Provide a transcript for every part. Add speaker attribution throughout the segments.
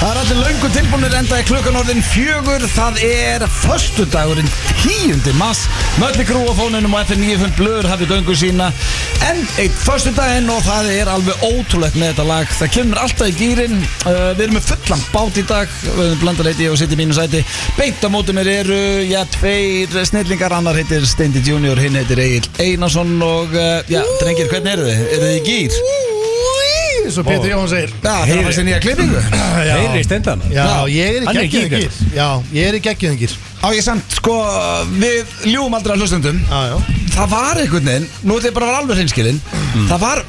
Speaker 1: orðin löngu tilbúinir enda í klukkan orðin fjögur Það er föstudagurinn 10. mass Mölli grúafóninum og FN 95 blöður hafið göngu sína En eitt föstudaginn og það er alveg ótrúlegt með þetta lag Það kemur alltaf í gýrin uh, Við erum með fullan bát í dag Blandarleiti og sitt í mínu sæti Beint á móti mér eru, já, tveir snillingar Annar heitir Steindi Junior, hinn heitir Egil Einarsson Og, uh, já, drengir, hvernig eru þið? Eru þið í gýr?
Speaker 2: Eins og Pétur Jóhann segir
Speaker 1: Já, það er þessi nýja klippingu
Speaker 2: Já.
Speaker 3: Heyri í stendan
Speaker 2: Já, ég er í
Speaker 3: Hann er í
Speaker 2: geggjöningir Já, ég er í geggjöningir
Speaker 1: Á ég samt, sko, við ljúum aldrei að hlustundum
Speaker 2: Já, já
Speaker 1: Það var einhvern veginn, nú ætlum ég bara að vera alveg hreinskilinn Það var,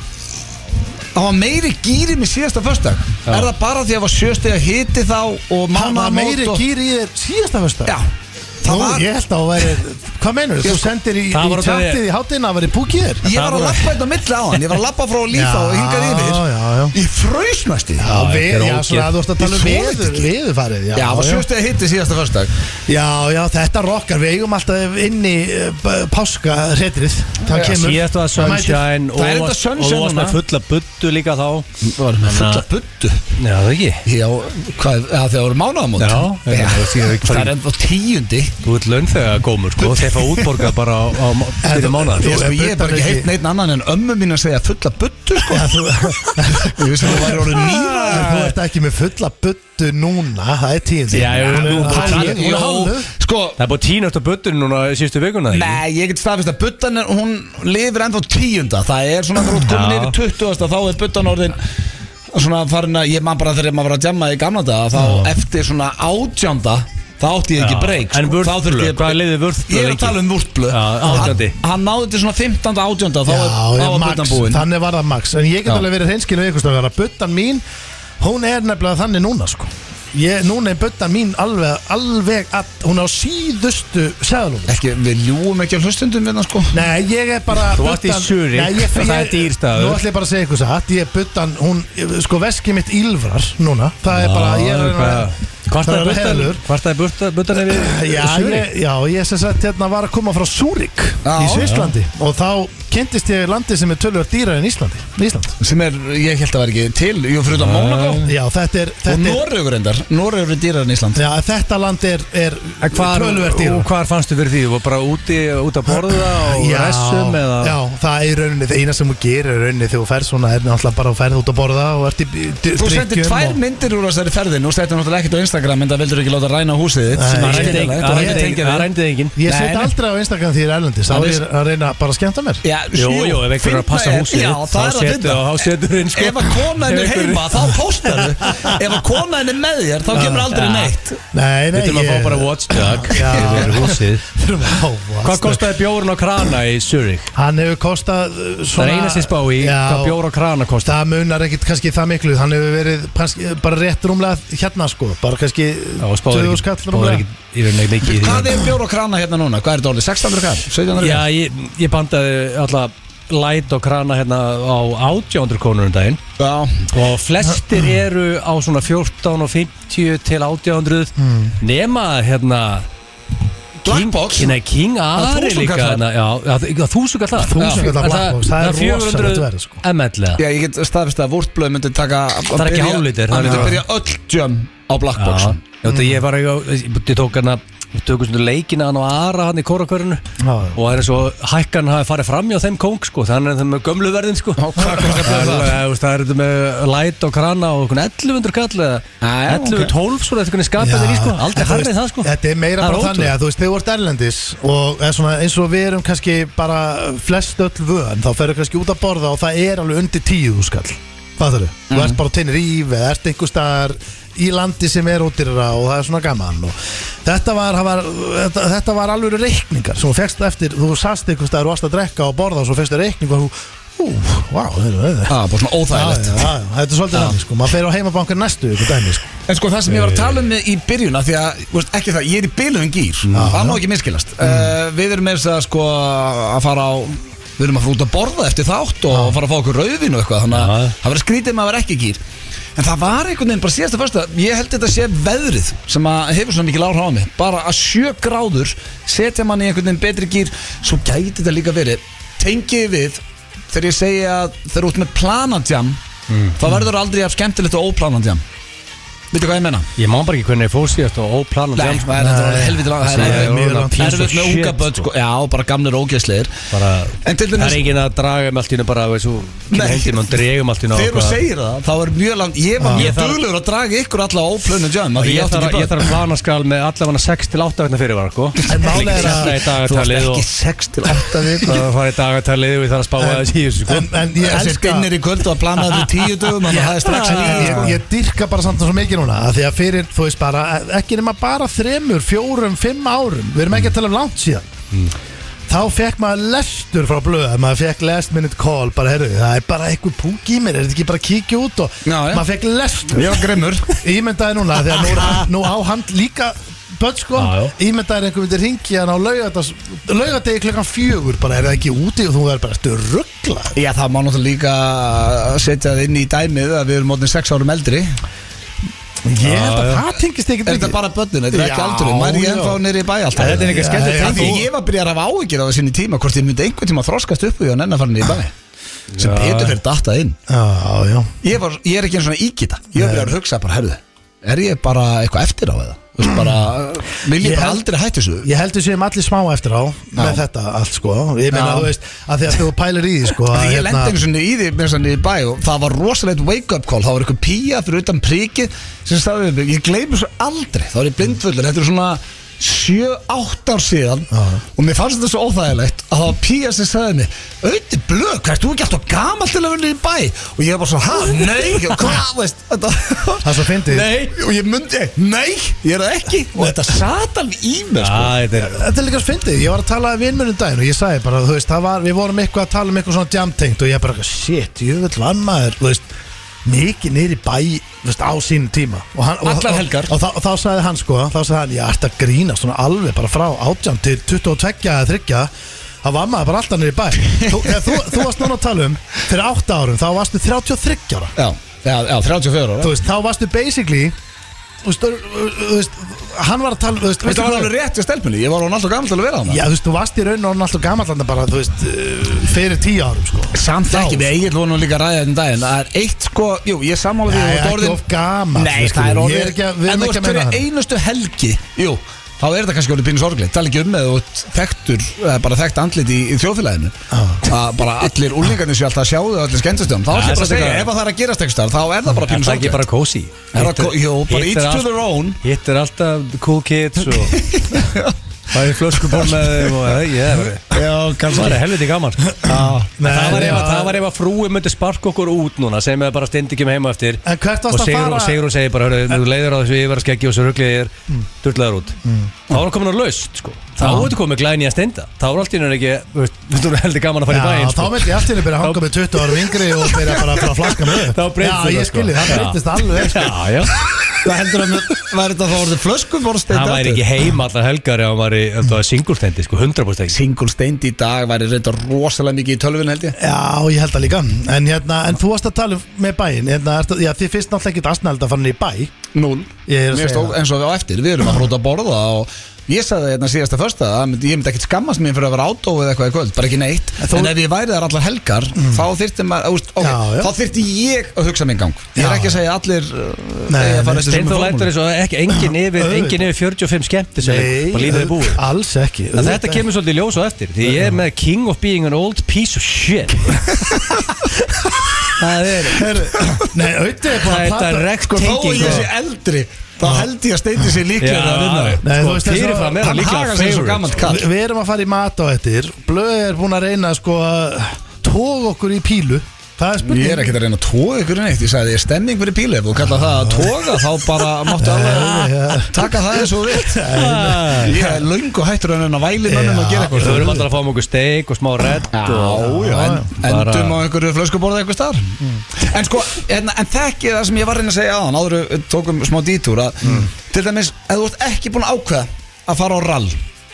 Speaker 1: það var meiri gýri með síðasta förstak Er það bara því að það var sjösteg að hiti þá og
Speaker 2: Hann var
Speaker 1: mánamót
Speaker 2: meiri
Speaker 1: og...
Speaker 2: kýr í þér síðasta fyrsta
Speaker 1: Já, það
Speaker 2: Nú,
Speaker 1: var,
Speaker 2: ég held að hún væri Hvað meinur þú?
Speaker 1: Ég-
Speaker 2: Þú sendir í,
Speaker 3: Það var
Speaker 2: í
Speaker 3: út af því-
Speaker 2: tjattið í hátinn að veri púkir
Speaker 1: ég
Speaker 3: það
Speaker 1: var að
Speaker 3: voru-
Speaker 1: lappa einn á milli á hann Ég var að lappa frá lífa og hingað yfir
Speaker 2: Já, já, já
Speaker 1: Ég fraus næstu því.
Speaker 2: Já, við,
Speaker 3: þetta er
Speaker 2: já,
Speaker 3: ógeð.
Speaker 2: svona að þú ert að tala um
Speaker 1: Ég þoli þetta
Speaker 2: veður,
Speaker 1: ekki.
Speaker 2: veðurfarið
Speaker 1: Já, það var sjösteg að hiti síðasta förstak
Speaker 2: já, já, þetta rokkar, við eigum alltaf inn í páska hretrið Það kemur
Speaker 3: Síðast var
Speaker 2: Það mætir.
Speaker 3: Sunshine og
Speaker 1: Það er
Speaker 3: varst-
Speaker 1: þetta Sunshine
Speaker 3: Og varst
Speaker 1: núna.
Speaker 3: með fulla buddu líka þá
Speaker 1: Var með
Speaker 3: fulla
Speaker 1: buddu
Speaker 3: Já, það ekki
Speaker 1: Já, hvað, að það voru mánaðamót
Speaker 3: Já,
Speaker 1: Já,
Speaker 3: það sé ekki-
Speaker 1: það er enda tíundi
Speaker 3: Þú ert launþega gómur sko Þeir fá útborgað bara á, á fyrir mánuðar
Speaker 1: Ég,
Speaker 2: Þú-
Speaker 1: sko,
Speaker 2: er
Speaker 1: ég er bara
Speaker 2: buddan
Speaker 1: ekki
Speaker 2: ekki-
Speaker 1: heitt neitt annan en ömmu mín að segja fulla buttu sko. Ég vissi að það væri orðið nýra
Speaker 2: En þú ert ekki með fulla buttu núna Það er tíðin
Speaker 3: Já, já,
Speaker 2: hún
Speaker 3: hún
Speaker 2: er
Speaker 3: er
Speaker 2: hálf-
Speaker 3: tíu-
Speaker 2: hún er
Speaker 3: já.
Speaker 2: hálf
Speaker 1: Sko,
Speaker 3: Það er búið tínast á buddun núna síðustu vikuna ekki?
Speaker 1: nei, ég get staðfist að buttan er, hún lifir ennþá tíunda Það er svona þegar þú ert komin
Speaker 3: Já.
Speaker 1: yfir 20. þá er buttan orðin svona farin að, ég man bara þegar maður var að jamma í gamla daga þá eftir svona átjánda þá átti ég ekki sko.
Speaker 3: Já.
Speaker 1: breyk
Speaker 3: En vörðblöð, hvað er liðið vörðblöð
Speaker 1: Ég er að
Speaker 3: lengi?
Speaker 1: tala um vörðblöð
Speaker 3: Já,
Speaker 1: hann,
Speaker 3: átjándi.
Speaker 1: hann náði til svona 15. átjánda þá
Speaker 2: Já,
Speaker 1: er- þá
Speaker 2: já,
Speaker 1: var
Speaker 2: Max,
Speaker 1: buttan búin
Speaker 2: þannig var það Max En ég get
Speaker 1: Já.
Speaker 2: alveg verið hreinskil við ykkur stöðar að buttan mín, hún er nefnilega þannig núna sko Ég, núna er buttan mín alveg, alveg að, hún er á síðustu seðalum
Speaker 1: Ekki, við ljúum ekki á hlustundum við það sko
Speaker 2: Nei, ég er bara
Speaker 3: Þú varst í
Speaker 2: buddan-
Speaker 3: Zurich
Speaker 2: Nei, ég-
Speaker 3: og það er
Speaker 2: ég-
Speaker 3: dýr staður.
Speaker 2: Nú ætlum ég bara að segja ykkur satt Ég er buttan, hún, sko veskið mitt ýlfrar núna Það er bara, ég er að reyna að-
Speaker 3: Hvartaði
Speaker 2: Það er heiðalur.
Speaker 3: buddan Hvartaði buddan yfir
Speaker 2: Já,
Speaker 3: Zurich?
Speaker 2: ég, já, ég sem sagt hérna var að koma frá Súrik
Speaker 1: Já.
Speaker 2: í Svislandi og þá kynntist ég landi sem er tölvöld dýrar en Íslandi Ísland
Speaker 1: sem er, ég held að vera ekki til Jú, fyrir þetta Mónaco
Speaker 2: Já, þetta er,
Speaker 1: og
Speaker 2: þetta er,
Speaker 1: Noregur endar, Noregur er dýrar en Ísland
Speaker 2: já, þetta land er, er
Speaker 3: En hvar,
Speaker 2: tölvöld dýrar
Speaker 3: og hvar fannstu fyrir því? Þú var bara úti, út að borða og
Speaker 2: Já,
Speaker 3: ressum eða
Speaker 2: já, það er í rauninni, það eina sem þú gerir er í rauninni þegar þú ferð svona er náttúrulega bara að ferð út að borða og ert í
Speaker 1: Þú sendir tvær myndir úr þessari ferðin og þetta er náttúrulega ekkert á Instagram en það vildur ekki láta ræna húsið þitt
Speaker 2: Nei,
Speaker 1: sem
Speaker 3: Það
Speaker 1: er
Speaker 2: ég-
Speaker 3: rændi enginn-
Speaker 1: skiljanlegt,
Speaker 3: það
Speaker 1: og
Speaker 2: ég-
Speaker 3: rændi
Speaker 1: ekki
Speaker 3: enginn-
Speaker 1: tengja
Speaker 3: það
Speaker 1: við.
Speaker 3: rændi enginn
Speaker 2: Ég
Speaker 1: Nei,
Speaker 2: set
Speaker 1: nei.
Speaker 2: aldrei á Instagram því ég er erlendis Þá
Speaker 1: Það
Speaker 2: er
Speaker 1: er-
Speaker 2: ég að reyna bara að skemmta mér
Speaker 1: Já,
Speaker 3: Jú, jú, ef einhver er að
Speaker 1: fyndna
Speaker 3: passa húsið
Speaker 1: Já,
Speaker 3: þá
Speaker 1: það er að
Speaker 3: setur-
Speaker 1: finna
Speaker 3: þá setur inn, sko.
Speaker 1: Ef að konan er
Speaker 3: Ef einhver- Ah,
Speaker 1: heima, þá postar Ef að konan er með þér, þá kemur aldrei
Speaker 3: Já.
Speaker 1: neitt
Speaker 2: Nei, nei,
Speaker 3: Við þurfum að fá bara watchdog
Speaker 2: Já.
Speaker 3: yfir húsið
Speaker 2: Þurfum að fá
Speaker 3: Hvað
Speaker 2: vatnstöð.
Speaker 3: kostaði bjórun á krana í Zurich?
Speaker 2: Hann hefur kostað uh,
Speaker 3: Það
Speaker 2: svona,
Speaker 3: er eina sem spá í
Speaker 2: Já,
Speaker 3: hvað bjór á krana kostaði
Speaker 2: Það munar ekkit kannski það miklu Hann hefur verið kannski, bara rétt rúmlega hérna sko Bara kannski
Speaker 3: og
Speaker 2: 20
Speaker 3: spáður ekki,
Speaker 2: skall
Speaker 3: spáður ekki
Speaker 2: rúmlega
Speaker 3: í rauninni ekki mikið í
Speaker 1: Hvað
Speaker 3: því
Speaker 1: er bjór og krana hérna núna? Hvað er þetta orðið? 600 kall? 700
Speaker 3: Já,
Speaker 1: kall?
Speaker 3: ég, ég bandaði alltaf light og krana hérna á 800 krónur um daginn
Speaker 1: Já,
Speaker 3: og flestir eru á svona 14 og 50 til 800
Speaker 2: Hmm.
Speaker 3: nema hérna King,
Speaker 1: Blackbox?
Speaker 3: nei, King
Speaker 1: er
Speaker 3: Ari
Speaker 1: 1000
Speaker 3: líka
Speaker 1: kallar.
Speaker 3: hérna, já, já, þ- já, þúsund kallar
Speaker 2: 1000 kallar
Speaker 3: En
Speaker 2: Blackbox, það er rosalegt verð, sko.
Speaker 3: 400 ml eða.
Speaker 1: Já, ég get staðfist að vúrtblöð myndi taka
Speaker 3: Það er ekki hálflítur, það
Speaker 1: Það
Speaker 3: er
Speaker 1: myndi
Speaker 3: ekki-
Speaker 1: byrja öll jam á
Speaker 3: Já,
Speaker 1: Blackbox
Speaker 3: já, þetta ég var ekki á- ég ég tók hérna við tökum svona leikina hann og Ara hann í kórakörinu
Speaker 2: Já, já.
Speaker 3: og það er eins og hækkan hafi farið fram hjá þeim kóng sko, þannig að þeim með gömlu verðin sko
Speaker 1: Á, hvað kostar
Speaker 3: Það er
Speaker 1: það?
Speaker 3: alveg, þú veist, það er þetta með light og krana og einhvern 1100 kall eða
Speaker 1: Já, já,
Speaker 3: 1112
Speaker 1: ok.
Speaker 3: sko, þetta er hvernig skapið þér í sko,
Speaker 2: en
Speaker 3: aldrei
Speaker 2: þú veist,
Speaker 3: harrið það sko
Speaker 2: Þetta er meira bara þannig að þú veist, þegar þú ert erlendis og er svona, eins og við erum kannski bara flest öll vöðan, þá ferðu kannski út að borða og það er alveg undir tíu þú skall Fattar þau?
Speaker 3: Mhm.
Speaker 2: Þú ert bara á tennir íf eða ert einhver staðar í landi sem er ódýrara og það er svona gaman og þetta var, það var þetta, þetta var alveg reikningar sem þú fegst eftir, þú sast einhver staðar og varst að drekka og borða og svo fegst þér reikning og þú, ú, vá, þetta er
Speaker 1: Já, bara svona óþægilegt
Speaker 2: Já, já, já, þetta er svolítið þannig sko, maður fer á heimabankan næstu ykkur dæmi sko.
Speaker 1: En sko það sem ég var að tala um í byrjun af Því að, þú veist, ekki það, ég er í bylum gýr Það má ekki miskilast uh, Við erum með þess að sko að fara á Við erum að fara út að borða eftir þátt Og fara að fá okkur rauðin og eitthvað Þannig að
Speaker 3: Já.
Speaker 1: það verður skrítið maður ekki í gýr En það var einhvern veginn bara síðasta fyrsta Ég held þetta sé veðrið sem að hefur svona mikil áhrá á mig Bara að sjö gráður setja mann í einhvern veginn betri gýr Svo gæti þetta líka verið Tengi við þegar ég segi að þegar þú ert með planandjam mm. Það verður aldrei af skemmtilegt og óplanandjam Veitu hvað ég menna?
Speaker 3: Ég má bara ekki hvernig ég fór síðast og óplanum
Speaker 1: Nei,
Speaker 3: sjálf, sko.
Speaker 1: það er þetta orðið helviti langt Það
Speaker 2: Nei,
Speaker 1: er
Speaker 2: mjög langt.
Speaker 1: erfitt- erfitt með
Speaker 3: Shit,
Speaker 1: unga börn
Speaker 3: sko.
Speaker 1: sko. Já, bara gamlir og ógeðslegir
Speaker 3: bara,
Speaker 1: En til
Speaker 3: Það
Speaker 1: dæmis-
Speaker 3: er enginn að draga með allt í hennu bara veist, þú,
Speaker 1: Nei.
Speaker 3: kemur heim til mann, dregum allt í hennu
Speaker 1: Þegar þú segir það, þá er mjög langt Ah. Ég var
Speaker 3: Já.
Speaker 1: mjög
Speaker 3: Ég þarf-
Speaker 1: duglegur að draga ykkur alla óplönu jam af því
Speaker 3: Ég
Speaker 1: átti
Speaker 3: þarf,
Speaker 1: ekki
Speaker 3: ég
Speaker 1: börn.
Speaker 3: þarf að plana skal með allavega 6 til 8 vegna fyrir var sko.
Speaker 2: En málið er
Speaker 1: Þú
Speaker 2: að-
Speaker 3: Þetta í
Speaker 1: varst
Speaker 3: dagatalið
Speaker 1: ekki
Speaker 3: og
Speaker 1: 6 til 8 við
Speaker 3: Það er að fara í dagatalið og ég þarf að spá
Speaker 2: En-
Speaker 3: aðeins í þessu sko.
Speaker 2: en, en ég
Speaker 1: Þessi
Speaker 2: elska-
Speaker 1: dinnir í kvöld og að plana þetta í tíu dögum Þannig að það er strax sko.
Speaker 2: En ég,
Speaker 1: nýja
Speaker 2: ég dyrka bara samt svo mikið núna að Því að fyrir, þú veist bara, ekki nema bara þremur, fjórum, fimm árum Við erum ekki að tala um langt síðan
Speaker 3: Mm.
Speaker 2: Þá fekk maður lestur frá blöð Maður fekk last minute call, bara heyrðu Það er bara eitthvað púk í mér, er þetta ekki bara að kíkja út og
Speaker 1: Já, já.
Speaker 2: Maður fekk lestur
Speaker 1: Ég var grimmur
Speaker 2: Ímyndaði núna, því að nú, er hann- nú á hann líka Böt sko,
Speaker 3: Já, já.
Speaker 2: ímyndaðir einhver myndir ringi hann á laugardags- laugardegi klukkan fjögur bara er það ekki úti og þú verður bara stu ruggla
Speaker 1: Já, það má náttúrulega líka setja það inn í dæmið að við erum mótnið 6 árum eldri Er
Speaker 2: Ég held að
Speaker 3: já.
Speaker 2: það tengist ekki
Speaker 1: þetta bara börnin, þetta er ekki
Speaker 2: Já,
Speaker 1: aldurinn Mæri ég
Speaker 2: já.
Speaker 1: ennþá nýri í bæ alltaf
Speaker 3: En þetta er líka skemmtilegt
Speaker 2: Já,
Speaker 1: Af Því
Speaker 2: tenging.
Speaker 1: ég var byrjar að hafa áhyggjur á það sinni tíma Hvort ég myndi einhvern tíma þroskast upp og ég var nenn að fara nýri í bæ Sem
Speaker 3: Já.
Speaker 1: betur fyrir datta inn
Speaker 2: Já, já
Speaker 1: ég, var, ég er ekki einn svona ígita Ég var byrjar að hugsa bara, herðu Er ég bara eitthvað eftir á það? Þú veist bara, uh, vil ég
Speaker 2: Ég
Speaker 1: bara
Speaker 2: held-
Speaker 1: aldrei hættu þessu?
Speaker 2: Ég held við séum allir smá eftir á með þetta allt sko Ég meina
Speaker 1: Já.
Speaker 2: þú veist að því að þú pælir í því sko
Speaker 1: Því
Speaker 2: að,
Speaker 1: ég lendi einu sinni í því með sannig í bæ og það var rosalegt wake up call, þá var eitthvað pía fyrir utan prikið sem staðið við mig, ég gleymi svo aldrei, þá var ég blindfullur, þetta er svona 7-8 ár síðan og mér fannst þetta svo óþægilegt að það var pía sem staðið mig, auðvitað blöð, hvað ert þú ekki alltaf gamall til að vinna í bæ og ég var bara svo, hæ, nei, hvað, veist, þetta
Speaker 2: Það er svo fyndið.
Speaker 1: Nei, og ég myndi, nei, ég er það ekki og þetta sat alveg í mig, sko
Speaker 3: Já, þetta er
Speaker 2: Þetta er líka fyndið, ég var að tala við innmjörnum daginn og ég sagði bara, þú veist, það var, við vorum eitthvað að tala um eitthvað svona jamtengt og ég bara, shit, jöfull vann maður, þú veist, mikið niður í bæ, þú veist, á sínum tíma. Og hann, og,
Speaker 1: Allar helgar.
Speaker 2: Og, og, þá- og þá sagði hann sko, þá sagði hann, ég ætti að grína svona alveg bara frá átján til 22 eða 30 Það var maður bara alltaf niður í bæ Þú, eða, þú, þú varst núna að tala um Fyrir 8 árum, þá varstu 33 ára
Speaker 1: Já, já, já 34 ára
Speaker 2: þú veist, þá varstu basically þú veist, þú þú veist hann var að tala, þú veist,
Speaker 1: Þetta
Speaker 2: veistu
Speaker 1: var
Speaker 2: hvað-
Speaker 1: alveg rétt í stelpunni, ég var hann alltaf gamall til að vera hann
Speaker 2: Já, þú veist, þú varst í raun og hann alltaf gamall hann bara, þú veist, uh, fyrir tíu árum, sko
Speaker 1: Samt
Speaker 2: Þá.
Speaker 1: ekki, við eigin vonum líka að ræða þetta um daginn Það er eitt sko, jú, ég sammála því þú
Speaker 2: Nei,
Speaker 1: ert
Speaker 2: ekki
Speaker 1: orðinn-
Speaker 2: of gamall,
Speaker 1: Nei,
Speaker 2: veistu,
Speaker 1: það er
Speaker 2: ég
Speaker 1: orðið
Speaker 2: er ekki að- við erum
Speaker 1: En þú
Speaker 2: ekki að
Speaker 1: ert
Speaker 2: meina
Speaker 1: fyrir
Speaker 2: það.
Speaker 1: einustu helgi, jú Þá er þetta kannski orðið pínu sorglegt Tala ekki um með þú ert þekktur eða Bara þekkt andlit í, í þjóðfélaginu Að bara allir úlingarnir séu alltaf að sjá þau og Allir skemmtistum, þá
Speaker 3: Já,
Speaker 1: ætlum ég bara að
Speaker 3: þetta er
Speaker 1: segja
Speaker 3: ekki-
Speaker 1: Ef að það er að gerast ekki starf, þá er það bara
Speaker 3: Er
Speaker 1: pínu
Speaker 3: það ekki bara
Speaker 1: sorglegt
Speaker 3: kósi?
Speaker 1: Er það kó- jú, bara each to their own.
Speaker 3: Hitt er alltaf cool kids og Það er flöskuból með þeim og það yeah.
Speaker 1: Já, kannski
Speaker 3: er helviti gaman sko.
Speaker 2: Nei,
Speaker 3: það, var ef,
Speaker 2: já.
Speaker 3: að- það var ef að frúi myndi sparka okkur út núna sem við bara stendi ekki með heima eftir
Speaker 2: En hvert varstu
Speaker 3: og
Speaker 2: að
Speaker 3: Sigrún,
Speaker 2: fara? Mm.
Speaker 3: Sigrún segir bara, hörru, nú leiður á þessu yfir að skeggi og svo ruglið er durlaður út þá var hann komin á laust sko. þá var þetta komið glæni að stenda þá var allt í hennar ekki, þú veist, þú veist, heldur gaman að fara
Speaker 2: Já,
Speaker 3: í bæinn
Speaker 2: þá
Speaker 3: sko.
Speaker 2: myndi ég allt í henni byrja að hanga
Speaker 3: Þá-
Speaker 2: með 20 árum yngri og byrja bara að fara að flakka með upp.
Speaker 3: Þá breytist
Speaker 2: Já,
Speaker 3: þetta,
Speaker 2: ég
Speaker 3: sko.
Speaker 2: skilji, það
Speaker 3: Já.
Speaker 2: breytist alveg sko.
Speaker 3: já, já
Speaker 1: Það heldur að var þetta þá orðið flöskuborst
Speaker 3: hann væri ekki heima allar helgar ef hann var í ef það var singulstendi, sko, 100% ekki
Speaker 1: Single steind í dag væri reynda rosalega mikið í tölvun held ég
Speaker 2: Já, ég held það líka En, hérna, en þú varst að tala um með bæinn hérna, ertu- Já, þið fyrst náttúrulega ekki asnæld að fara niður í bæ
Speaker 1: Núl
Speaker 2: Ég er að segja það.
Speaker 1: En svo við á eftir, við erum að hróta að borða og ég sagði hérna síðasta första að ég myndi ekkert skammast mér fyrir að vera átóið eitthvað í kvöld, bara ekki neitt
Speaker 2: En þó-
Speaker 1: en ef ég væri þar allar helgar þá þyrfti maður, úst, okay,
Speaker 2: Já, já.
Speaker 1: þá þyrfti ég að hugsa minn gang ég er
Speaker 2: Já.
Speaker 1: ekki að segja að allir uh,
Speaker 2: Nei,
Speaker 1: eigi að
Speaker 2: nei,
Speaker 1: fara eftir sömu
Speaker 3: Steindór lætur
Speaker 1: formúlu.
Speaker 3: eins og ekki, engin yfir,
Speaker 2: Auðvitað.
Speaker 3: engin yfir 45 skemmti sem
Speaker 2: Nei,
Speaker 3: bara lífið er búið
Speaker 2: Alls ekki
Speaker 3: En þetta kemur svolítið í ljós á eftir Því ég er með King of Being an Old Piece of Shit Það er
Speaker 2: Heyrðu, Nei, auðvitað er bara að
Speaker 3: Þetta
Speaker 2: plata-
Speaker 3: rekt
Speaker 1: Sko, þó
Speaker 3: tenging
Speaker 1: ég sé eldri þá held ég að steindi sér líklega að vinna
Speaker 2: Nei, þú
Speaker 3: Sko,
Speaker 2: veist, þessu-
Speaker 3: fyrirfram er
Speaker 1: hann
Speaker 3: hann líklega
Speaker 1: hagar sig eins og gamall
Speaker 3: favorite
Speaker 1: kall
Speaker 2: Vi, við erum að fara í mat á eftir Blöð er búin að reyna sko að tóga okkur í pílu Það er spurning
Speaker 1: Ég er ekkert að reyna að tóa ykkur neitt Ég sagði, ég er stemming fyrir píli Ef þú kallar það að tóga, þá bara máttu alveg taka það eins og þú vilt
Speaker 3: Ah.
Speaker 1: Ég er löngu hættur en að væli mönnum að gera
Speaker 3: Við
Speaker 1: eitthvað
Speaker 3: höfum alltaf að fáum okkur steik og smá redd og
Speaker 1: Já, Sko, en,
Speaker 3: Bara-
Speaker 1: endum á einhverju flöskuborða eitthvað starf En sko, en, en þekki það sem ég var reyna að segja aðan áður við tókum smá dítúr að til dæmis, ef þú ert ekki búin að ákveða að fara á rall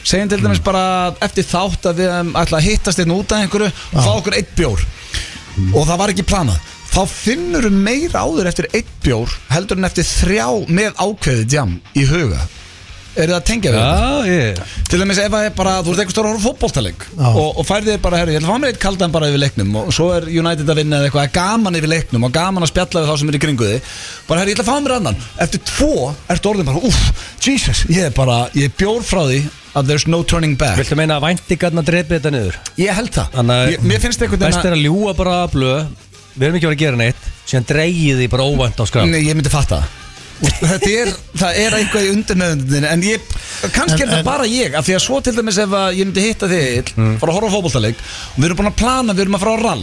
Speaker 1: segjum til dæmis bara eftir þátt að við um, ætla að hittast einn út af einhverju og fá okkur eitt bjór og það var ekki planað þá finnur þú meira áður eftir eitt bjór heldur en eftir þrjá með ákveðið jam í huga Er það að tengja við þetta?
Speaker 3: Já, ég
Speaker 1: Til dæmis ef að er bara, þú ert eitthvað stóra að horfa fótboltaleik
Speaker 2: Já.
Speaker 1: og, og færði þér bara, herri, ég ætla að fá mér eitt kaldan bara yfir leiknum og svo er United að vinna eða eitthvað, það er gaman yfir leiknum og gaman að spjalla við þá sem er í kringu þig bara, herri, ég ætla að fá mér annan Eftir tvo ertu orðin bara, uff, Jesus ég er bara, ég er bjór frá því að there's no turning back
Speaker 3: Viltu meina að væntingarna drepi þetta niður?
Speaker 1: Ég held það,
Speaker 3: Þannig að-
Speaker 1: ég, mér finnst einhvern
Speaker 3: Best
Speaker 1: veginn
Speaker 3: er að ljúa bara að blöð Við erum ekki að vera að gera neitt Síðan dreigið því bara óvænt á
Speaker 1: að
Speaker 3: skram
Speaker 1: Nei, ég myndi fatta það Úst, Þetta er, það er eitthvað í undirmeðundinu En ég, kannski
Speaker 2: En-
Speaker 1: er það
Speaker 2: en-
Speaker 1: bara ég Af því að svo til dæmis ef að ég myndi hitta þig mm. Fara að horfa á fótboltaleik Og við erum búin að plana, við erum að fara á rall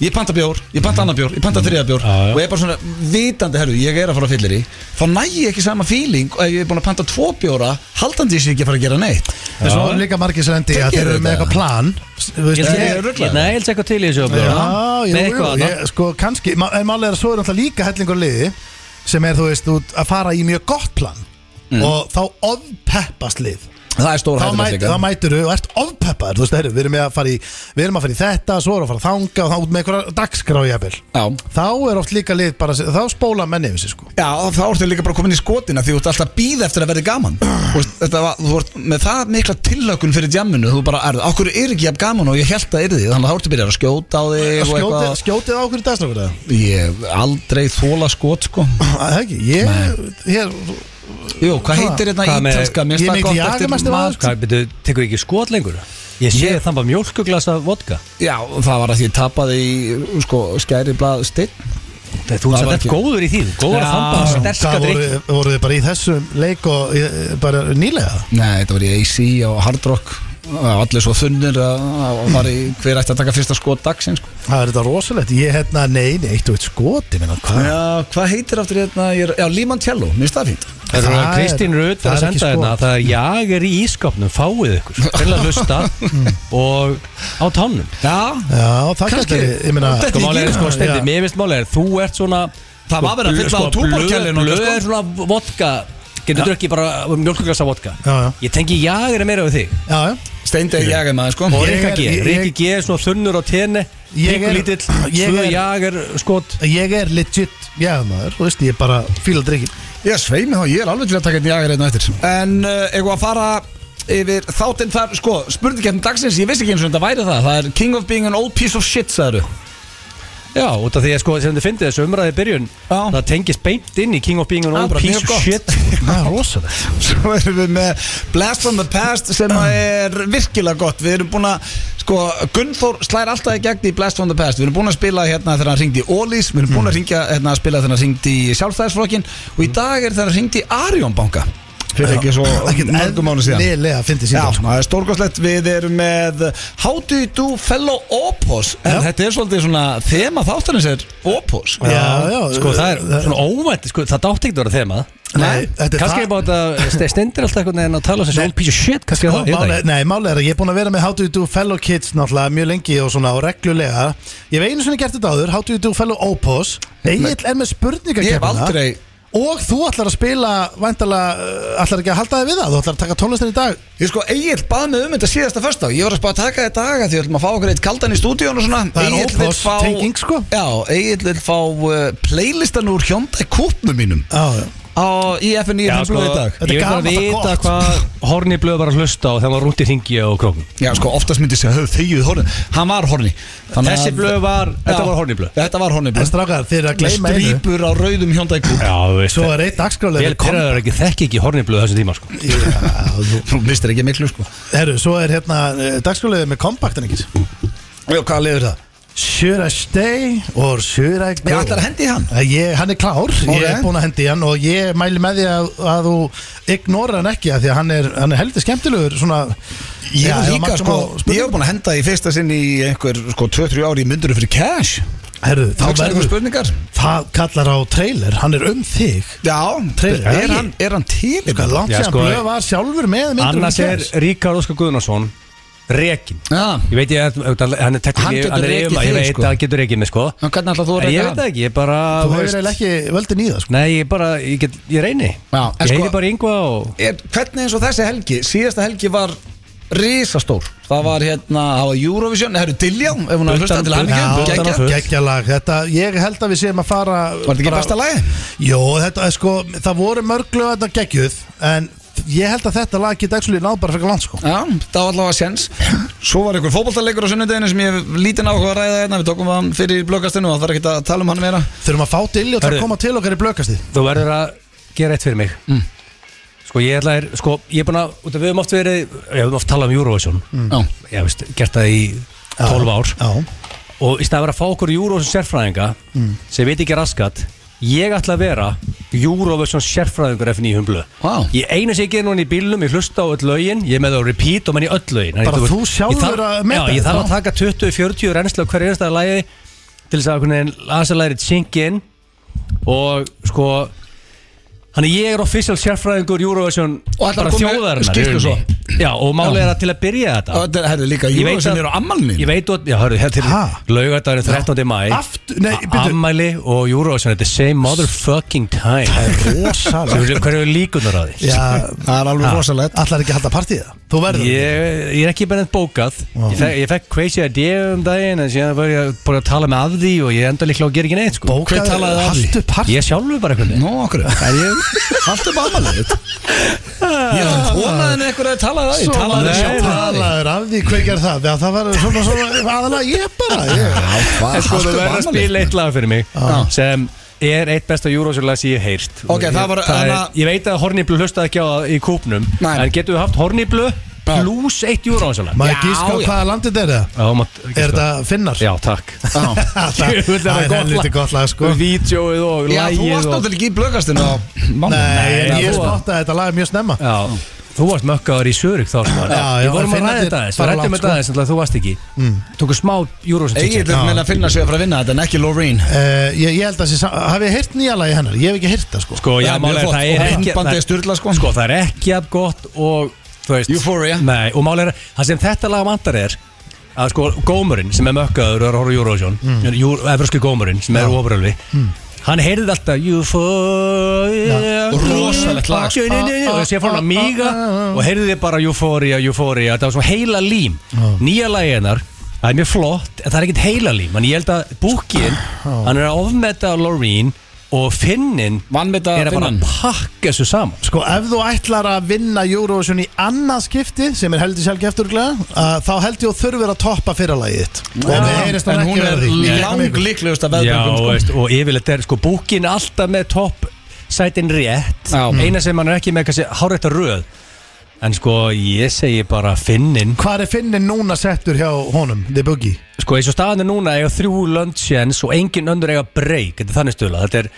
Speaker 1: Ég panta bjór, ég panta annar bjór, ég panta þriða bjór
Speaker 3: Mm. Já, já.
Speaker 1: Og ég er bara svona vitandi, herru, ég er að fara að fyllir í Þá næ ég ekki sama feeling Og ef ég er búin að panta tvo bjóra Haldandi ég sé ekki að fara að gera neitt
Speaker 2: En svo eru líka margir sem endi í að
Speaker 1: Þeir
Speaker 2: þeir
Speaker 1: gera
Speaker 2: eru með
Speaker 1: þetta.
Speaker 2: eitthvað plan Þú veist,
Speaker 3: Ég
Speaker 1: held að
Speaker 2: ég-
Speaker 3: held
Speaker 1: þeir eru ruglaðir.
Speaker 3: Nei, ég held eitthvað til í þessu að
Speaker 2: Já,
Speaker 3: blöð
Speaker 2: jú, jú,
Speaker 3: Með eitthvað annað
Speaker 2: ég, sko kannski ma- En málega er að svo er náttúrulega líka hellingur liði sem er, þú veist, út að fara í mjög gott plan og þá ofpeppast lið
Speaker 1: Það er stóra
Speaker 2: þá, mæt, þá mætur og ert ofpeppar þú veist, herru, við erum með að fara í við erum að fara í þetta, svo erum að fara að þanga og þá út með einhverja dagskrá jafnvel
Speaker 1: Já,
Speaker 2: þá er oft líka lið bara, þá spóla menn yfir sig sko
Speaker 1: Já, þá ertu líka bara komin í skotina því þú ert alltaf að býða eftir að verði gaman Þú veist, þetta var, Þú ert með það mikla tillökun fyrir djamminu þú bara erð, okkur er ekki jafn gaman og ég held að yrði þannig að þá ertu byrjar að skjóta á þig sko? og
Speaker 2: skjótið,
Speaker 1: eitthvað
Speaker 2: skjótið á okkur í dagstrákur eða?
Speaker 1: Ég aldrei þóla skot sko
Speaker 2: Það er ekki, ég, ég
Speaker 1: Jú, hvað heitir hérna
Speaker 3: Hvað með-
Speaker 1: ítalska? Mér
Speaker 2: ég
Speaker 1: finnst það
Speaker 2: mikil
Speaker 1: gott
Speaker 2: jagamesti
Speaker 1: eftir
Speaker 2: maður,
Speaker 1: mat-
Speaker 2: sko.
Speaker 3: Hvað, betur, tekur ekki skot lengur? Ég sé ég... þannig að mjölkuglasa vodka
Speaker 1: Já, það var að því ég tapaði í sko, skæri blað stinn
Speaker 3: Þegar þú
Speaker 1: Það
Speaker 3: ert
Speaker 1: var
Speaker 3: ekki...
Speaker 1: ekki-
Speaker 3: góður í því
Speaker 1: Já.
Speaker 3: Góður að þamba sterska
Speaker 2: það
Speaker 3: drikk
Speaker 2: voru, voru þið bara í þessum leik og eh, bara nýlega
Speaker 1: Nei, þetta var í AC og Hard Rock Það var allir svo þunnir að að fara í hver ætti að taka fyrsta skot dagsinn sko.
Speaker 2: það er þetta rosalegt, ég hérna, nei, nei, eitt og eitt skoti minna, hvað
Speaker 1: Já, hvað heitir aftur hérna? ég er- Já, Limantello, mér finnst það fínt
Speaker 3: Það eru
Speaker 2: Það er-
Speaker 3: Kristín Rutt
Speaker 2: það
Speaker 3: að
Speaker 2: er ekki
Speaker 3: senda
Speaker 2: skot.
Speaker 3: hérna Það er jager í ískapnum, fáið ykkur Hvernig að lusta og á tánum
Speaker 1: Já,
Speaker 2: já, það
Speaker 1: Kannski-
Speaker 2: gæti, ég minna
Speaker 1: Þetta
Speaker 3: Sko málega er sko
Speaker 2: Já,
Speaker 3: stendi,
Speaker 2: já.
Speaker 3: mér finnst málega er Þú ert svona
Speaker 1: Það var verið að fylla á túborkjælinu,
Speaker 3: sko, Blöð
Speaker 1: sko.
Speaker 3: er svona vodka Getur þú ekki bara mjölkuglasa vodka
Speaker 2: Já, já.
Speaker 3: Ég tengi jager meira við þig
Speaker 2: já, já
Speaker 1: Steindi er jægum aðeins sko
Speaker 3: Og
Speaker 2: Ég
Speaker 3: Rikki
Speaker 2: er-
Speaker 3: G,
Speaker 2: ég-
Speaker 3: Rikki G er svona þunnur á tenni
Speaker 2: Ég er-
Speaker 3: Rikku lítill,
Speaker 2: ég
Speaker 3: tvö
Speaker 2: er-
Speaker 3: jager skot
Speaker 2: ég er legit jæðmaður, þú veist, ég bara fíla drikkin
Speaker 1: Ég svei mig þá, ég er alveg til að taka einn jægur einn eftir En uh, eitthvað að fara yfir þáttinn þar Sko, spurningkjartin dagsins, ég vissi ekki eins og þetta væri það Það er king of being an old piece of shit, sagðu
Speaker 3: Já, út af því að sko sem þið fyndið þessu umræði í byrjun
Speaker 1: Já.
Speaker 3: Það tengist beint inn í King of Being an
Speaker 1: Já,
Speaker 3: Old
Speaker 1: bara mjög
Speaker 3: Piece of
Speaker 1: gott.
Speaker 3: Shit
Speaker 2: það er rosalegt
Speaker 1: sko. Svo erum við með Blast from the Past sem að er virkilega gott Við erum búin að, sko, Gunnþór slær alltaf í gegn í Blast from the Past Við erum búin að spila hérna þegar hann ringdi í Ólís Við erum búin að ringja, hérna, að spila þegar hann ringdi í Sjálfstæðisflokkin Og í dag er þegar hann ringdi í Arjón banka Mm. Fyrir ekki svo mörgum mánu síðan
Speaker 2: nýlega
Speaker 1: Já,
Speaker 2: fyndi síðan sko.
Speaker 1: það er stórkostlegt, við erum með How do you do fellow opos En
Speaker 2: Já.
Speaker 1: þetta er svolítið svona þema þáttanins er opos
Speaker 2: Já, já,
Speaker 3: Sko það er
Speaker 2: það-
Speaker 3: svona óvænt sko, Það dátt ekkert að vera þeim að
Speaker 2: Nei, þetta er
Speaker 3: Kannski er bara þetta stendir alltaf einhvern veginn að tala sem Old Piece of Shit Kannski
Speaker 2: Sko,
Speaker 3: er það, ég veit
Speaker 2: máli,
Speaker 3: það ekki.
Speaker 2: nei, máli er að ég er búin að vera með How do you do fellow kids náttúrulega mjög lengi og svona og reglulega Ég hef einu svona gert þetta áður, How do you do fellow opos Egil er með
Speaker 1: Ég hef
Speaker 2: spurningakefna
Speaker 1: aldrei-
Speaker 2: Og þú ætlar að spila, væntalega, uh, ætlar ekki að halda þig við það Þú ætlar að taka tónlistin í dag
Speaker 1: Ég sko, Egil bað mig um þetta síðasta fyrsta Ég var að spá að taka þetta daga því við ætlum að fá okkur eitt kaldan í stúdíón og svona
Speaker 2: Það er
Speaker 1: Egill vill
Speaker 2: Opus
Speaker 1: fá-
Speaker 2: tenging, sko.
Speaker 1: Já, Egil vil fá uh, playlistan úr Hyundai Coupe-num mínum
Speaker 2: Já, já
Speaker 1: á, í FN9
Speaker 3: Já,
Speaker 1: sko,
Speaker 3: sko,
Speaker 1: í dag
Speaker 2: Þetta er
Speaker 3: Ég vil bara
Speaker 2: gamalt og
Speaker 3: vita
Speaker 2: gott.
Speaker 3: hvað Horni blöð var að hlusta á þegar hann var rúnt í ringi og krókum
Speaker 1: Já, sko, oftast myndi segja, höfðu þegjuð horni Hann var horni Þannig
Speaker 3: Þessi
Speaker 1: að-
Speaker 3: blöð var,
Speaker 1: Já.
Speaker 3: þetta var horni blöð
Speaker 1: Þetta var horni
Speaker 2: En
Speaker 1: blöð
Speaker 2: strákar, þið eru að gleyma einu
Speaker 1: Strýpur á rauðum Hyundai Coupe
Speaker 3: Já, þú veist
Speaker 2: Svo
Speaker 3: það
Speaker 2: er eitt dagskrálega
Speaker 3: Ég perraður ekki, þekki ekki horni blöð þessum tíma sko
Speaker 1: Þú mistir ekki miklu, sko
Speaker 2: Herru, svo er hérna dagskrálega með kompaktan ekkert
Speaker 1: Já, hvað liður það?
Speaker 2: Should I stay or should I go?
Speaker 1: Ég ætlar að hendi í hann
Speaker 2: Eh, Ég, hann er klár, ég
Speaker 1: Ok.
Speaker 2: er búinn að hendi í hann og ég mæli með því að, að þú ignora hann ekki að því að hann er, hann er heldur skemmtilegur svona
Speaker 1: Ég
Speaker 2: Já,
Speaker 1: er
Speaker 2: ef
Speaker 1: líka
Speaker 2: margt
Speaker 1: sko,
Speaker 2: má spurning-
Speaker 1: ég hef búin að henda í fyrsta sinn í einhver sko 2-3 ári í mynduru fyrir cash
Speaker 2: Herru, þá
Speaker 1: Tókst einhver
Speaker 2: verður,
Speaker 1: spurningar?
Speaker 2: það kallar á trailer, hann er um þig
Speaker 1: Já,
Speaker 2: Trailer.
Speaker 1: er hann, er hann til í
Speaker 2: Hvað er
Speaker 1: þetta?
Speaker 2: langt
Speaker 3: Já,
Speaker 2: séðan
Speaker 3: sko,
Speaker 2: blöð var sjálfur með myndur
Speaker 3: Annars er
Speaker 1: eh,
Speaker 3: Ríkar Óskar Guðnarsson Rekin
Speaker 1: Já,
Speaker 3: Ég veit ég, að- auðvitað, hann er teknileg
Speaker 1: Hann getur
Speaker 3: er
Speaker 1: rekið
Speaker 3: yfirmaður, Ég
Speaker 1: þig,
Speaker 3: veit
Speaker 1: sko.
Speaker 3: að hann getur rekið mig sko
Speaker 1: en hvernig ætlað þú að
Speaker 3: En ég
Speaker 1: reyna
Speaker 3: veit það ekki, ég bara
Speaker 2: Þú
Speaker 3: þú
Speaker 2: hefur
Speaker 3: veist-
Speaker 2: eiginlega ekki völdin í það sko
Speaker 3: Nei, ég bara, ég, get, ég reyni
Speaker 1: Já, en
Speaker 3: Ég
Speaker 1: sko-
Speaker 3: heiti bara í yngva og
Speaker 1: er, Hvernig eins og þessi helgi, síðasta helgi var risastór Það var hérna, það var Eurovision, það eru Dilljá ef hún
Speaker 3: Bultan-
Speaker 1: er hlustað til
Speaker 3: Bultan-
Speaker 1: hæmingjum,
Speaker 3: Bultan-
Speaker 1: geggjað
Speaker 3: Bultan-
Speaker 1: Var
Speaker 2: Gekkjalag, þetta, ég held að við séum að fara
Speaker 1: þetta ekki besta lagi?
Speaker 2: eh, Jó, þetta er sko, það voru mörglu að þetta geggjuð En ég held að þetta lag geta ekki náð bara fyrir langt sko
Speaker 1: Já, það var allavega sens Svo var einhver fótboltaleikur á sunnudeginu sem ég hef lítinn áhuga að ræða hérna Við tókum hann fyrir blöggastinu og það var ekkert að tala um hann meira
Speaker 2: Þurfum að fá Dilljó til
Speaker 3: Herðu.
Speaker 2: að koma til okkar í blökastíð
Speaker 3: Þú verður að gera eitt fyrir mig
Speaker 2: Mm.
Speaker 3: Sko ég ætla þér Sko ég er búin að út af Við höfum oft verið Við höfum oft talað um Eurovision
Speaker 1: Já,
Speaker 3: Ég veist Gert það í 12 ár
Speaker 2: Mm. Já,
Speaker 3: Og í stað að vera að fá okkur Eurovision sérfræðinga
Speaker 1: Mm.
Speaker 3: Sem veit ekki raskat Ég ætla að vera Eurovision sérfræðingur F9 humblu
Speaker 1: Vá.
Speaker 3: Ég eina sem ég gerir núna í bílnum Ég hlusta á öll lögin Ég er með það á repeat og menn í öll lögin Þannig
Speaker 2: Bara
Speaker 3: veist,
Speaker 2: þú sjálfur
Speaker 3: ég þarf-
Speaker 2: að meta
Speaker 3: Já, ég
Speaker 2: þetta.
Speaker 3: þarf að taka 20-40 reynslu á hverju einasta lagi Til þess að aðsælæri tsinkin Og sko Þannig ég er official sérfræðingur Eurovision
Speaker 1: Og ætlar
Speaker 3: bara
Speaker 1: að koma með
Speaker 3: þjóðarinnar í
Speaker 1: skýrslu
Speaker 3: rauninni.
Speaker 1: svo.
Speaker 3: Já, og málið
Speaker 1: Já.
Speaker 3: er að til að byrja þetta
Speaker 1: Og þetta er herri, líka
Speaker 3: Ég veit
Speaker 1: Júru sem
Speaker 3: að-
Speaker 1: er á ammalni
Speaker 3: Ég veit að, já, hörru, hér til
Speaker 2: Ha?
Speaker 3: laugardagurinn 13. mæ
Speaker 2: Aftur- nei,
Speaker 3: a-
Speaker 2: bíddu.
Speaker 3: Ammæli og Eurovision at the same motherfucking time
Speaker 2: rosalega
Speaker 3: Hverju hverju eru líkunar á því?
Speaker 2: Já,
Speaker 1: Það er alveg rosalegt
Speaker 2: allar ekki að halda partíða Þú verður
Speaker 3: Ég, ég er ekki bennið bókað ég fekk, ég fekk crazy idea um daginn En síðan var ég búin að tala með að því Og ég enda líklega að gera ekki neitt sko.
Speaker 1: Hver talaði að því?
Speaker 2: Haldu partí
Speaker 3: Ég sjálfur bara einhvern veginn
Speaker 1: Nú, okkur Það er ég Haltu bara ammalið þitt Ég vonaði með einhver að tala það Ég talaði
Speaker 3: Nei,
Speaker 1: sjálf að því
Speaker 2: Talaður af því, hver gerð það? Já, það var svona svona aðalega ég bara ég.
Speaker 1: Já,
Speaker 3: En sko
Speaker 2: um
Speaker 3: þú verður að spila eitt lag fyrir mig Sem er eitt besta Eurovision-lag sem ég hef heyrt
Speaker 1: Ok, það var-
Speaker 3: er,
Speaker 1: hana-
Speaker 3: Ég veit að Horniblu hlustaði ekki á það í kúpnum
Speaker 1: Nei.
Speaker 3: En getum við haft Horniblu Plus eitt Eurovision-lag
Speaker 2: Má
Speaker 1: Já,
Speaker 2: ég gíska á
Speaker 1: já.
Speaker 2: hvaða landið þetta er það?
Speaker 3: Já, mátt-
Speaker 2: Er þetta finnar?
Speaker 3: Já, takk
Speaker 1: Já
Speaker 2: Það
Speaker 3: Jú, það er
Speaker 2: það er
Speaker 3: gott
Speaker 2: helviti
Speaker 3: lag.
Speaker 2: gott lag sko
Speaker 3: Vídeóið og
Speaker 1: Já, þú
Speaker 3: lagið
Speaker 1: varst
Speaker 3: og
Speaker 1: náttúrulega ekki í blöggastinu á
Speaker 2: Nei,
Speaker 1: mánudaginn.
Speaker 2: en
Speaker 3: Nei,
Speaker 2: ég
Speaker 3: þú-
Speaker 2: spottaði þetta lag mjög snemma
Speaker 3: Já, þú varst mökkaður í Sörug þá sem var
Speaker 2: Já, já,
Speaker 3: Ég
Speaker 2: en
Speaker 3: vorum að ræða
Speaker 2: Finnarnir
Speaker 3: þetta aðeins, við
Speaker 2: fara
Speaker 3: rættum
Speaker 2: langt,
Speaker 3: þetta
Speaker 2: sko.
Speaker 3: aðeins en þú varst ekki Tóku smá Eurovision
Speaker 1: Mm. Egil er meina að finna sig að fara að vinna þetta en ekki Loreen
Speaker 2: Uh, ég, ég held að þessi, hafið ég heyrt nýja lagi hennar? Ég hef ekki heyrt það sko
Speaker 3: Sko,
Speaker 1: Það
Speaker 3: já,
Speaker 1: er mjög
Speaker 3: málega
Speaker 1: flott.
Speaker 3: það
Speaker 1: Og
Speaker 3: er ekki
Speaker 1: myndbandið
Speaker 3: það-
Speaker 1: er sturlað, sko.
Speaker 3: Sko, það er ekki að gott og þú veist
Speaker 1: Euphoria.
Speaker 3: Nei, og málega er það sem þetta lag vantar er að sko gómurinn sem er mökkaður og er að horfa
Speaker 1: Mm.
Speaker 3: á Eurovision Evropski gómurinn sem er ofrölvi Hann heyrði alltaf Euphoria
Speaker 1: og rosalegt lag, sko. ah,
Speaker 3: Og þessi fór hann að míga Og heyrði bara Euphoria, Euphoria Það var svona heila lím Nýja lagi hennar Það er mjög flott En það er ekkert heila lím Þannig ég held að búkin Hann er að ofmeta Loreen Og Finnin
Speaker 1: Vanmeta
Speaker 3: Er að bara
Speaker 1: Finnan.
Speaker 3: pakka þessu saman
Speaker 2: Sko, ef þú ætlar að vinna Eurovision í annað skipti sem er heldur sjálf gefturglega uh, þá held ég að þurfir að toppa fyrralagið þitt og það heyrist hann
Speaker 1: En
Speaker 2: ekki
Speaker 1: hún er
Speaker 2: verði
Speaker 1: lang líklegust að
Speaker 3: Já,
Speaker 1: veðböngum sko.
Speaker 3: veist, og yfirleitt er sko búkin er alltaf með topp sætin rétt
Speaker 1: Já. Mm.
Speaker 3: Eina sem hann er ekki með kannski hárættar röð En sko ég segi bara Finnin
Speaker 2: Hvað er finnin núna settur hjá honum, The Boogie?
Speaker 3: Sko eins og staðan er núna eiga þrjú löndsjens og engin öndur eiga breyk Þetta er þannig stöla, þetta er